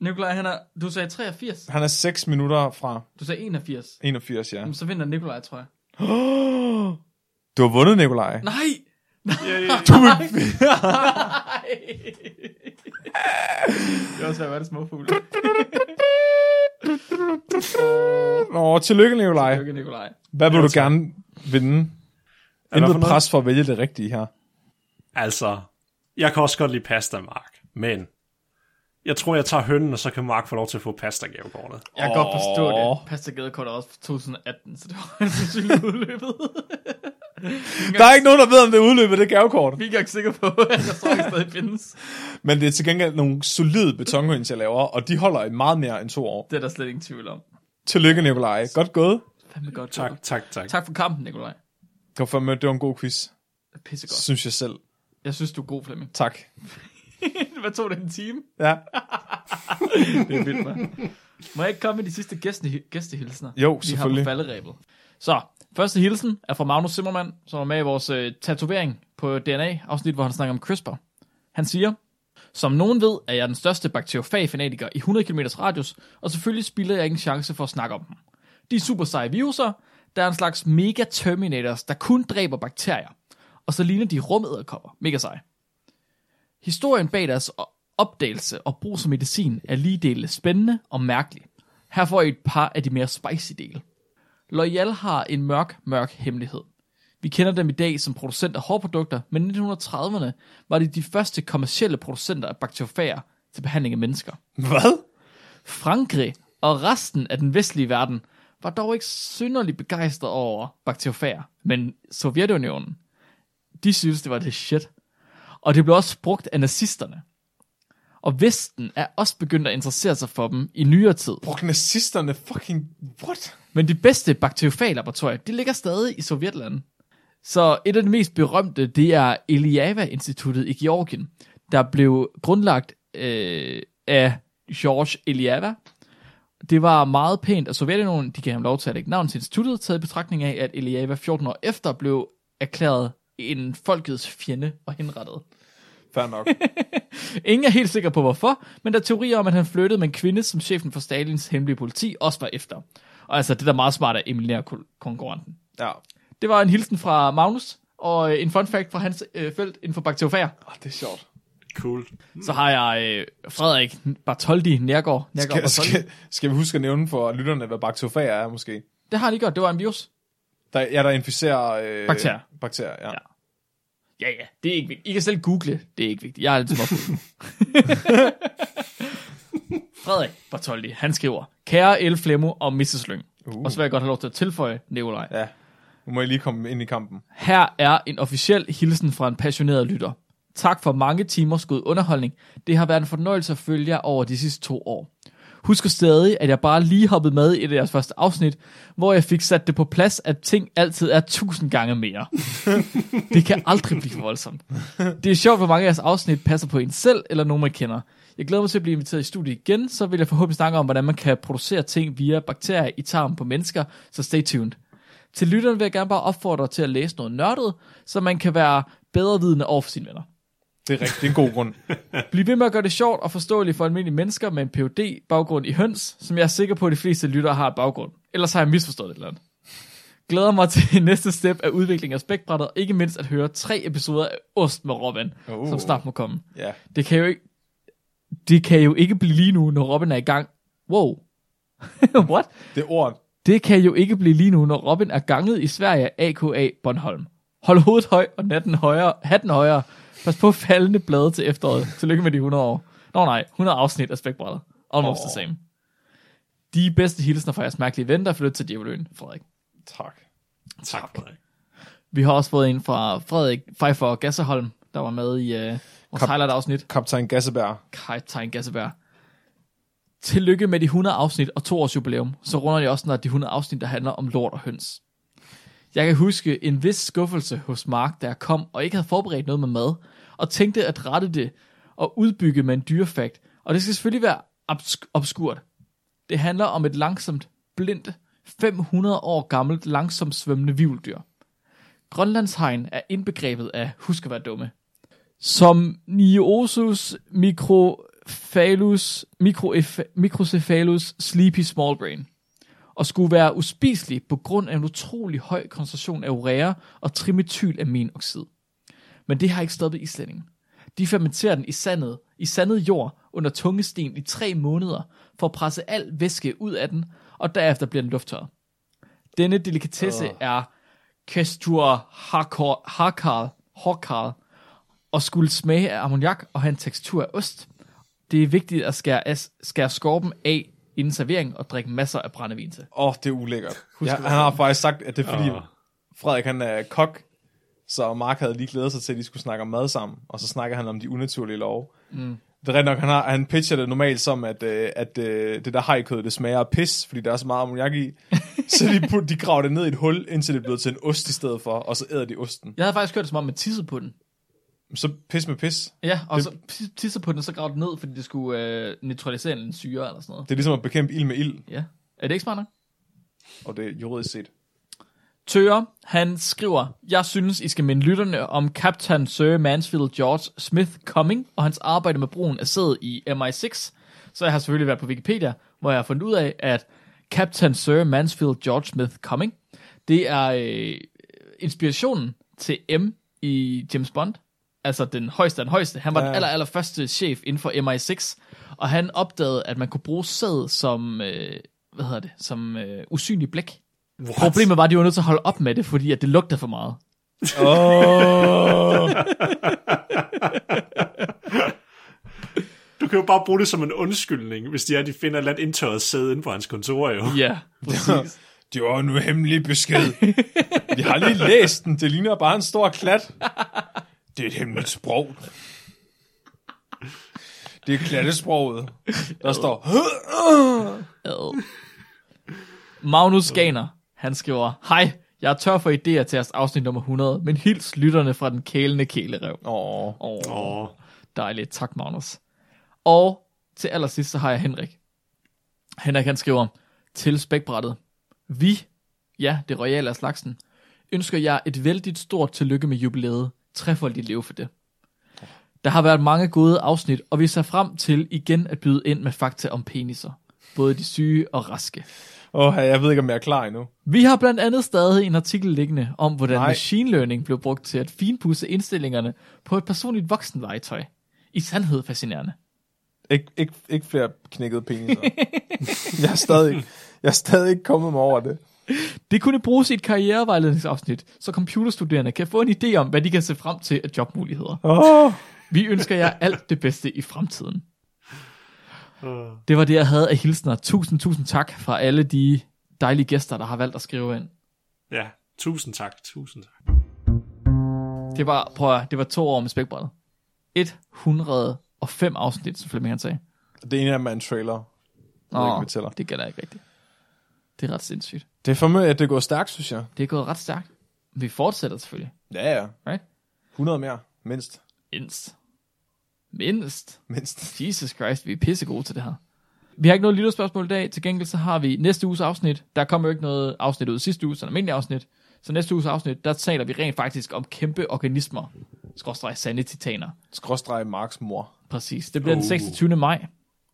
Speaker 1: Nicolaj, han er, du sagde 83.
Speaker 5: og- Han er 6 minutter fra
Speaker 1: Du sagde 81.
Speaker 5: 81, ja.
Speaker 1: Jamen, så vinder Nicolaj, tror jeg.
Speaker 5: Du har vundet, Nikolaj.
Speaker 1: Nej!
Speaker 4: Ja, ja,
Speaker 5: Du er
Speaker 1: Nej! det er også svært at være det småfugle.
Speaker 5: Nå, tillykke, Nikolaj.
Speaker 1: Lykke, Nicolaj.
Speaker 5: Hvad vil du gerne vinde?
Speaker 4: hvad for
Speaker 5: Intet
Speaker 4: noget?
Speaker 5: pres for at vælge det rigtige her.
Speaker 4: Altså, jeg kan også godt lide pasta, Mark. Men jeg tror, jeg tager hønnen, og så kan Mark få lov til at få pasta-gavekortet.
Speaker 1: Jeg kan godt forstå det. Pasta Gadekort er også fra 2018, så det var højst sandsynligt udløbet.
Speaker 5: Der er ikke nogen, der ved, om det er udløbet af det gavekort.
Speaker 1: Vi er ikke engang sikre på, at der tror, ikke stadig findes.
Speaker 5: Men det er til gengæld nogle solide betonhøns, jeg laver, og de holder i meget mere end to år.
Speaker 1: Det er der slet ingen tvivl om.
Speaker 5: Tillykke, Nikolaj. Godt gået.
Speaker 1: Fandme godt.
Speaker 4: Tak,
Speaker 1: gået.
Speaker 4: tak, tak.
Speaker 1: Tak for kampen, Nikolaj.
Speaker 5: Det var, fandme, det var en god quiz,
Speaker 1: Pissegodt.
Speaker 5: synes jeg selv.
Speaker 1: Jeg synes, du er god, Flemming.
Speaker 5: Tak.
Speaker 1: Hvad tog det en time?
Speaker 5: Ja.
Speaker 1: Det er vildt, man. Må jeg ikke komme med de sidste gæste, gæstehilsener?
Speaker 5: Jo,
Speaker 1: Vi har
Speaker 5: selvfølgelig.
Speaker 1: på falderæbet. Så, første hilsen er fra Magnus Zimmermann, som var med i vores øh, tatovering på DNA-afsnit, hvor han snakker om CRISPR. Han siger, som nogen ved, er jeg den største bakteriofag-fanatiker i 100 km radius, og selvfølgelig spilder jeg ingen chance for at snakke om dem. De er super seje viruser, der er en slags mega-terminators, der kun dræber bakterier. Og så ligner de rumæderkopper. Mega seje. Historien bag deres opdagelse og brug som medicin er lige dele spændende og mærkelig. Her får I et par af de mere spicy dele. Loyal har en mørk, mørk hemmelighed. Vi kender dem i dag som producent af hårprodukter, men i 1930'erne var de de første kommercielle producenter af bakteriofager til behandling af mennesker.
Speaker 5: Hvad?
Speaker 1: Frankrig og resten af den vestlige verden var dog ikke synderligt begejstret over bakteriofager, men Sovjetunionen, de synes det var det shit. Og det blev også brugt af nazisterne. og Vesten er også begyndt at interessere sig for dem i nyere tid.
Speaker 5: Prognosisterne fucking... What?
Speaker 1: Men de bedste bakteriofaglaboratorier, de ligger stadig i Sovjetland. Så et af de mest berømte, det er Eliava-instituttet i Georgien, der blev grundlagt øh, af George Eliava. Det var meget pænt, at Sovjetunionen, de gav ham lov til at lægge navn til instituttet, taget i betragtning af, at Eliava 14 år efter blev erklæret en folkets fjende og henrettet.
Speaker 5: Fair nok.
Speaker 1: Ingen er helt sikker på hvorfor, men der er teorier om, at han flyttede med en kvinde, som chefen for Stalins hemmelige politi også var efter. Og altså, det der er meget smart at eliminere kon- konkurrenten.
Speaker 5: ja.
Speaker 1: Det var en hilsen fra Magnus, og øh, en fun fact fra hans øh, felt inden for bakteriofager.
Speaker 5: Oh, det er sjovt.
Speaker 4: Cool.
Speaker 1: Så har jeg øh, Frederik Bartoldi Nærgaard. Nærgaard
Speaker 5: Skal,
Speaker 1: Bartholdi.
Speaker 5: skal, skal vi huske at nævne for lytterne, hvad bakteriofager er måske?
Speaker 1: Det har han lige gjort, det var en virus.
Speaker 5: Der, ja, der inficerer... Øh,
Speaker 1: Bakterier.
Speaker 5: Bakterier, ja.
Speaker 1: Ja. Ja, ja, det er ikke vigtigt. I kan selv google, det er ikke vigtigt. Jeg er lidt småfuld. Frederik Bartoldi, han skriver, Kære El Flemmo og Mrs. Lyng. Uh. Og så vil jeg godt have lov til at tilføje, Nikolaj.
Speaker 5: ja. Nu må jeg lige komme ind i kampen.
Speaker 1: Her er en officiel hilsen fra en passioneret lytter. Tak for mange timers god underholdning. Det har været en fornøjelse at følge jer over de sidste to år. Husker stadig, at jeg bare lige hoppede med i et af jeres første afsnit, hvor jeg fik sat det på plads, at ting altid er tusind gange mere. det kan aldrig blive for voldsomt. Det er sjovt, hvor mange af jeres afsnit passer på en selv, eller nogen man kender. Jeg glæder mig til at blive inviteret i studiet igen, så vil jeg forhåbentlig snakke om, hvordan man kan producere ting via bakterier i tarmen på mennesker, så stay tuned. Til lytterne vil jeg gerne bare opfordre til at læse noget nørdet, så man kan være bedre vidende over for sine venner.
Speaker 5: Det er rigtigt. Det er en god grund.
Speaker 1: Bliv ved med at gøre det sjovt og forståeligt for almindelige mennesker med en phd baggrund i høns, som jeg er sikker på, at de fleste lyttere har et baggrund. Ellers har jeg misforstået et eller andet. Glæder mig til næste step af udvikling af spækbrættet, og ikke mindst at høre tre episoder af Ost med Robin,
Speaker 5: Oh.
Speaker 1: oh. som snart må komme.
Speaker 5: ja.
Speaker 1: Det kan jo ikke, det kan jo ikke blive lige nu, når Robin er i gang. Wow. What?
Speaker 5: Det er ord.
Speaker 1: Det kan jo ikke blive lige nu, når Robin er ganget i Sverige, a.k.a. Bornholm. Hold hovedet højt og natten højere, hatten højere. Pas på faldende blade til efteråret. Tillykke med de 100 år. Nå nej, 100 afsnit af Spækbrættet. Almost oh. the same. De bedste hilsner fra jeres mærkelige ven, der er flyttet til Djæveløen, Frederik.
Speaker 5: Tak.
Speaker 4: Tak. Frederik.
Speaker 1: Vi har også fået en fra Frederik Pfeiffer Gasseholm, der var med i øh, vores
Speaker 5: Kap-
Speaker 1: highlight-afsnit.
Speaker 5: Kaptajn Gasseberg.
Speaker 1: Kaptajn Gasseberg. Tillykke med de 100 afsnit og to års jubilæum. Så runder jeg også snart de 100 afsnit, der handler om lort og høns. Jeg kan huske en vis skuffelse hos Mark, da jeg kom og ikke havde forberedt noget med mad, og tænkte at rette det og udbygge med en dyrefakt. Og det skal selvfølgelig være obsk- obskurt. Det handler om et langsomt, blindt, 500 år gammelt, langsomt svømmende vivldyr. Grønlandshegn er indbegrebet af husk at være dumme som Niosus microphalus, microef- microcephalus sleepy small brain, og skulle være uspiselig på grund af en utrolig høj koncentration af urea og trimethylaminoxid. Men det har ikke stoppet islændingen. De fermenterer den i sandet, i sandet jord under tungesten i tre måneder for at presse al væske ud af den, og derefter bliver den lufttørret. Denne delikatesse er Kestur Harkar, Harkar, Harkar, og skulle smage af ammoniak og have en tekstur af ost. Det er vigtigt at skære, as, skære skorpen af inden servering og drikke masser af brændevin til.
Speaker 5: Åh, oh, det er ulækkert. Ja, han har faktisk sagt, at det er fordi,
Speaker 4: Åh.
Speaker 5: Frederik han er kok, så Mark havde lige glædet sig til, at de skulle snakke om mad sammen, og så snakker han om de unaturlige love. Mm. Det er rigtigt nok, han, har, han pitcher det normalt som, at, øh, at øh, det der hajkød, det smager af pis, fordi der er så meget ammoniak i. så de, put, de graver det ned i et hul, indtil det er blevet til en ost i stedet for, og så æder de osten.
Speaker 1: Jeg havde faktisk hørt det som om, man tissede på den.
Speaker 5: Så pis med pis.
Speaker 1: Ja, og så tis- tissede på den, og så gravede den ned, fordi det skulle øh, neutralisere en syre eller sådan noget.
Speaker 5: Det er ligesom at bekæmpe ild med ild,
Speaker 1: Ja. Er det ikke smart nok?
Speaker 5: og det er juridisk set.
Speaker 1: Tøre, han skriver, Jeg synes, I skal minde lytterne om Captain Sir Mansfield George Smith Cumming og hans arbejde med brugen af sæd i MI6. Så jeg har selvfølgelig været på Wikipedia, hvor jeg har fundet ud af, at Captain Sir Mansfield George Smith Cumming, det er øh, inspirationen til M i James Bond. Altså den højeste af den højeste. Han var ja. den aller, aller første chef inden for MI6, og han opdagede, at man kunne bruge sæd som, øh, hvad hedder det, som øh, usynlig blæk. What? Problemet var, at de var nødt til at holde op med det, fordi at det lugtede for meget.
Speaker 4: Du kan jo bare bruge det som en undskyldning, hvis de er, de finder et eller andet indtørret sæde inde på hans kontor, jo.
Speaker 1: Ja, præcis.
Speaker 5: Det var en hemmelig besked. Vi har lige læst den. Det ligner bare en stor klat. Det er et hemmeligt sprog. Det er klattesproget. Der står,
Speaker 1: Ad. Magnus Ganer, han skriver, Hej, jeg er tør for idéer til jeres afsnit nummer 100, men hils lytterne fra den kælende kælerev.
Speaker 5: åh,
Speaker 1: Åh, oh,
Speaker 4: Og
Speaker 1: dejligt. Tak, Magnus. Og til allersidst, så har jeg Henrik. Henrik, han skriver, til spækbrættet. Vi, ja, det royale af slagsen, ønsker jer et vældigt stort tillykke med jubilæet. Trefoldigt leve for det. Der har været mange gode afsnit, og vi ser frem til igen at byde ind med fakta om peniser. Både de syge og raske.
Speaker 5: åh, jeg ved ikke, om jeg er klar endnu.
Speaker 1: Vi har blandt andet stadig en artikel liggende om, hvordan
Speaker 5: Nej.
Speaker 1: Nej. machine learning blev brugt til at finpudse indstillingerne på et personligt voksenlegetøj. I sandhed fascinerende.
Speaker 5: Ikke, ikke, ikke flere knækkede peniser. jeg, er stadig, jeg er stadig ikke kommet mig over det.
Speaker 1: Det kunne bruges i et karrierevejledningsafsnit, så computerstuderende kan få en idé om, hvad de kan se frem til af jobmuligheder.
Speaker 5: Åh,
Speaker 1: Vi ønsker jer alt det bedste i fremtiden. Det var det, jeg havde af hilsner. Tusind, tusind tak fra alle de dejlige gæster, der har valgt at skrive ind.
Speaker 4: ja, tusind tak, tusind tak.
Speaker 1: Det var, prøv at, høre, det var to år med spækbrættet. 105 afsnit, som Flemming han sagde.
Speaker 5: det ene af dem er en trailer. ved ikke,
Speaker 1: Nå,
Speaker 5: hvad tæller.
Speaker 1: det gælder ikke rigtigt. Det er ret sindssygt.
Speaker 5: Det er for mig, at det går stærkt, synes jeg.
Speaker 1: Det er gået ret stærkt. Vi fortsætter selvfølgelig.
Speaker 5: Ja, ja.
Speaker 1: Right?
Speaker 5: 100 mere. Mindst.
Speaker 1: Mindst. Mindst.
Speaker 5: Mindst.
Speaker 1: Jesus Christ, vi er pissegode til det her. Vi har ikke noget lytterspørgsmål i dag. Til gengæld så har vi næste uges afsnit. Der kommer jo ikke noget afsnit ud sidste uge, så en almindelig afsnit. Så næste uges afsnit, der taler vi rent faktisk om kæmpe organismer. Skråstreg sande titaner.
Speaker 5: Skråstreg Marks mor.
Speaker 1: Præcis. Det bliver den 26. maj.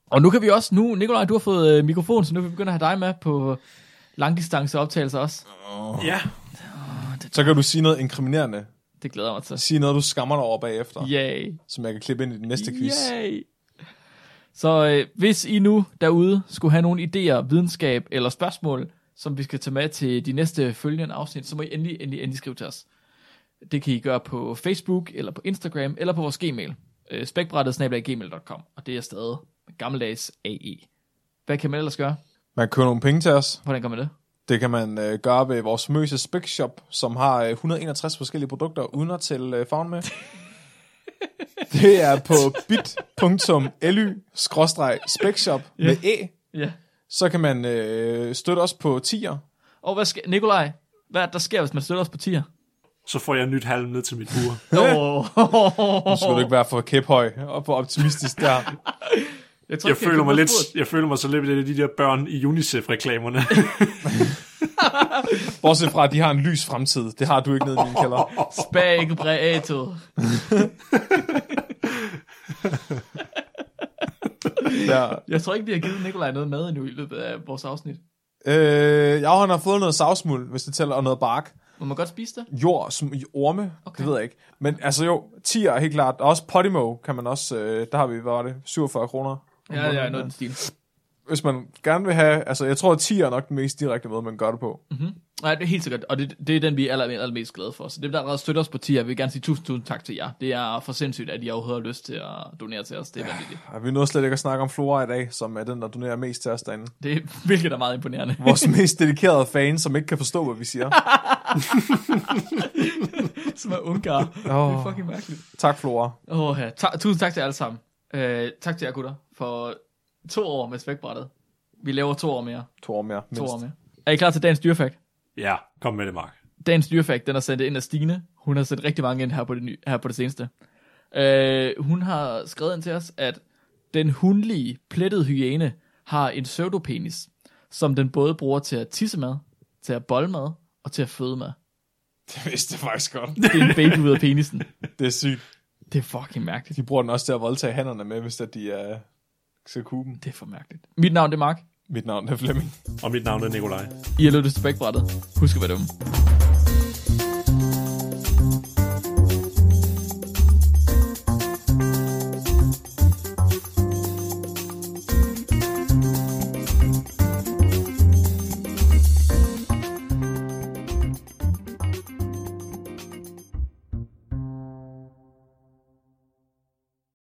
Speaker 1: Og nu kan vi også, nu, Nikolaj, du har fået øh, mikrofon, så nu kan vi begynde at have dig med på langdistanceoptagelser også.
Speaker 4: Ja,
Speaker 5: Så kan du sige noget inkriminerende.
Speaker 1: Det glæder jeg mig til.
Speaker 5: Sige noget, du skammer dig over bagefter.
Speaker 1: Yay.
Speaker 5: Som jeg kan klippe ind i den næste quiz.
Speaker 1: Yay. Så øh, hvis I nu derude skulle have nogle idéer, videnskab eller spørgsmål, som vi skal tage med til de næste følgende afsnit, så må I endelig, endelig, endelig skrive til os. Det kan I gøre på Facebook, eller på Instagram, eller på vores gmail. Øh, spækbrættet-gmail.com Og det er stadig gammeldags AE. Hvad kan man ellers gøre?
Speaker 5: Man køber nogle penge til os.
Speaker 1: Hvordan gør man det?
Speaker 5: Det kan man øh, gøre ved vores famøse Spec Shop, som har øh, 161 forskellige produkter, uden at tælle øh, farven med. det er på bit.ly-specshop med e.
Speaker 1: Ja.
Speaker 5: Så kan man øh, støtte os på 10'er.
Speaker 1: Og hvad sker, Nikolaj, hvad er det, der sker, hvis man støtter os på tier?
Speaker 4: så får jeg nyt halm ned til mit bur.
Speaker 5: Nu skal du ikke være for kæphøj og for optimistisk der.
Speaker 1: Jeg, tror, ikke,
Speaker 4: Jeg føler mig
Speaker 1: købe
Speaker 4: lidt,
Speaker 1: noget
Speaker 4: jeg føler mig så lidt af de der børn i UNICEF-reklamerne.
Speaker 5: Bortset fra, at de har en lys fremtid. Det har du ikke nede i din kælder.
Speaker 1: spurgt. Spag breato.
Speaker 5: Der.
Speaker 1: Jeg tror ikke, vi har givet Nikolaj noget mad endnu i løbet af vores afsnit.
Speaker 5: Øh, jeg har fået noget savsmuld, hvis det tæller, og noget bark.
Speaker 1: Må man godt spise det?
Speaker 5: jord som i orme, okay.
Speaker 1: Okay.
Speaker 5: det ved jeg ikke. Men altså jo, 10 er helt klart. Og også Podimo kan man også, øh, der har vi, hvad var det, 47 kroner.
Speaker 1: Ja, ja, noget i den stil.
Speaker 5: Hvis man gerne vil have, altså jeg tror, at 10 er nok den mest direkte måde, man gør det på.
Speaker 1: Nej, det er helt sikkert, og det, det er den, vi er aller, allermest glade for. Så dem, der allerede støtter os på tier, vil gerne sige tusind, tusind tak til jer. Det er for sindssygt, at I overhovedet har lyst til at donere til os. Det er vanvittigt.
Speaker 5: Og vi nåede slet ikke at snakke om Flora i dag, som er den, der donerer mest til os derinde.
Speaker 1: Det er virkelig er meget imponerende.
Speaker 5: Vores mest dedikerede fan, som ikke kan forstå, hvad vi siger.
Speaker 1: Som er ungar. Det er fucking mærkeligt.
Speaker 5: Tak, Flora.
Speaker 1: Åh, ja. Ta- tusind tak til jer alle sammen. Øh, tak til jer gutter for to år med spækbrættet. Vi laver to år mere.
Speaker 5: To år mere.
Speaker 1: To
Speaker 5: mindst.
Speaker 1: år mere. Er I klar til dagens dyrefakt?
Speaker 4: ja, kom med det, Mark.
Speaker 1: Dagens dyrefakt, den er sendt ind af Stine. Hun har sendt rigtig mange ind her på det, nye, her på det seneste. Øh, hun har skrevet ind til os, at den hundlige plettede hyæne har en pseudopenis, som den både bruger til at tisse med, til at bolle med og til at føde med.
Speaker 5: Det vidste jeg faktisk godt.
Speaker 1: Det er en baby ud af penisen.
Speaker 5: Det er sygt.
Speaker 1: Det er fucking mærkeligt.
Speaker 5: De bruger den også til at voldtage hænderne med, hvis at de er... skal kue dem.
Speaker 1: Det er for mærkeligt. Mit navn det er Mark.
Speaker 5: Mit navn er Flemming.
Speaker 4: Og mit navn er Nikolaj.
Speaker 1: I har lyttet til Spækbrættet. Husk at være dumme.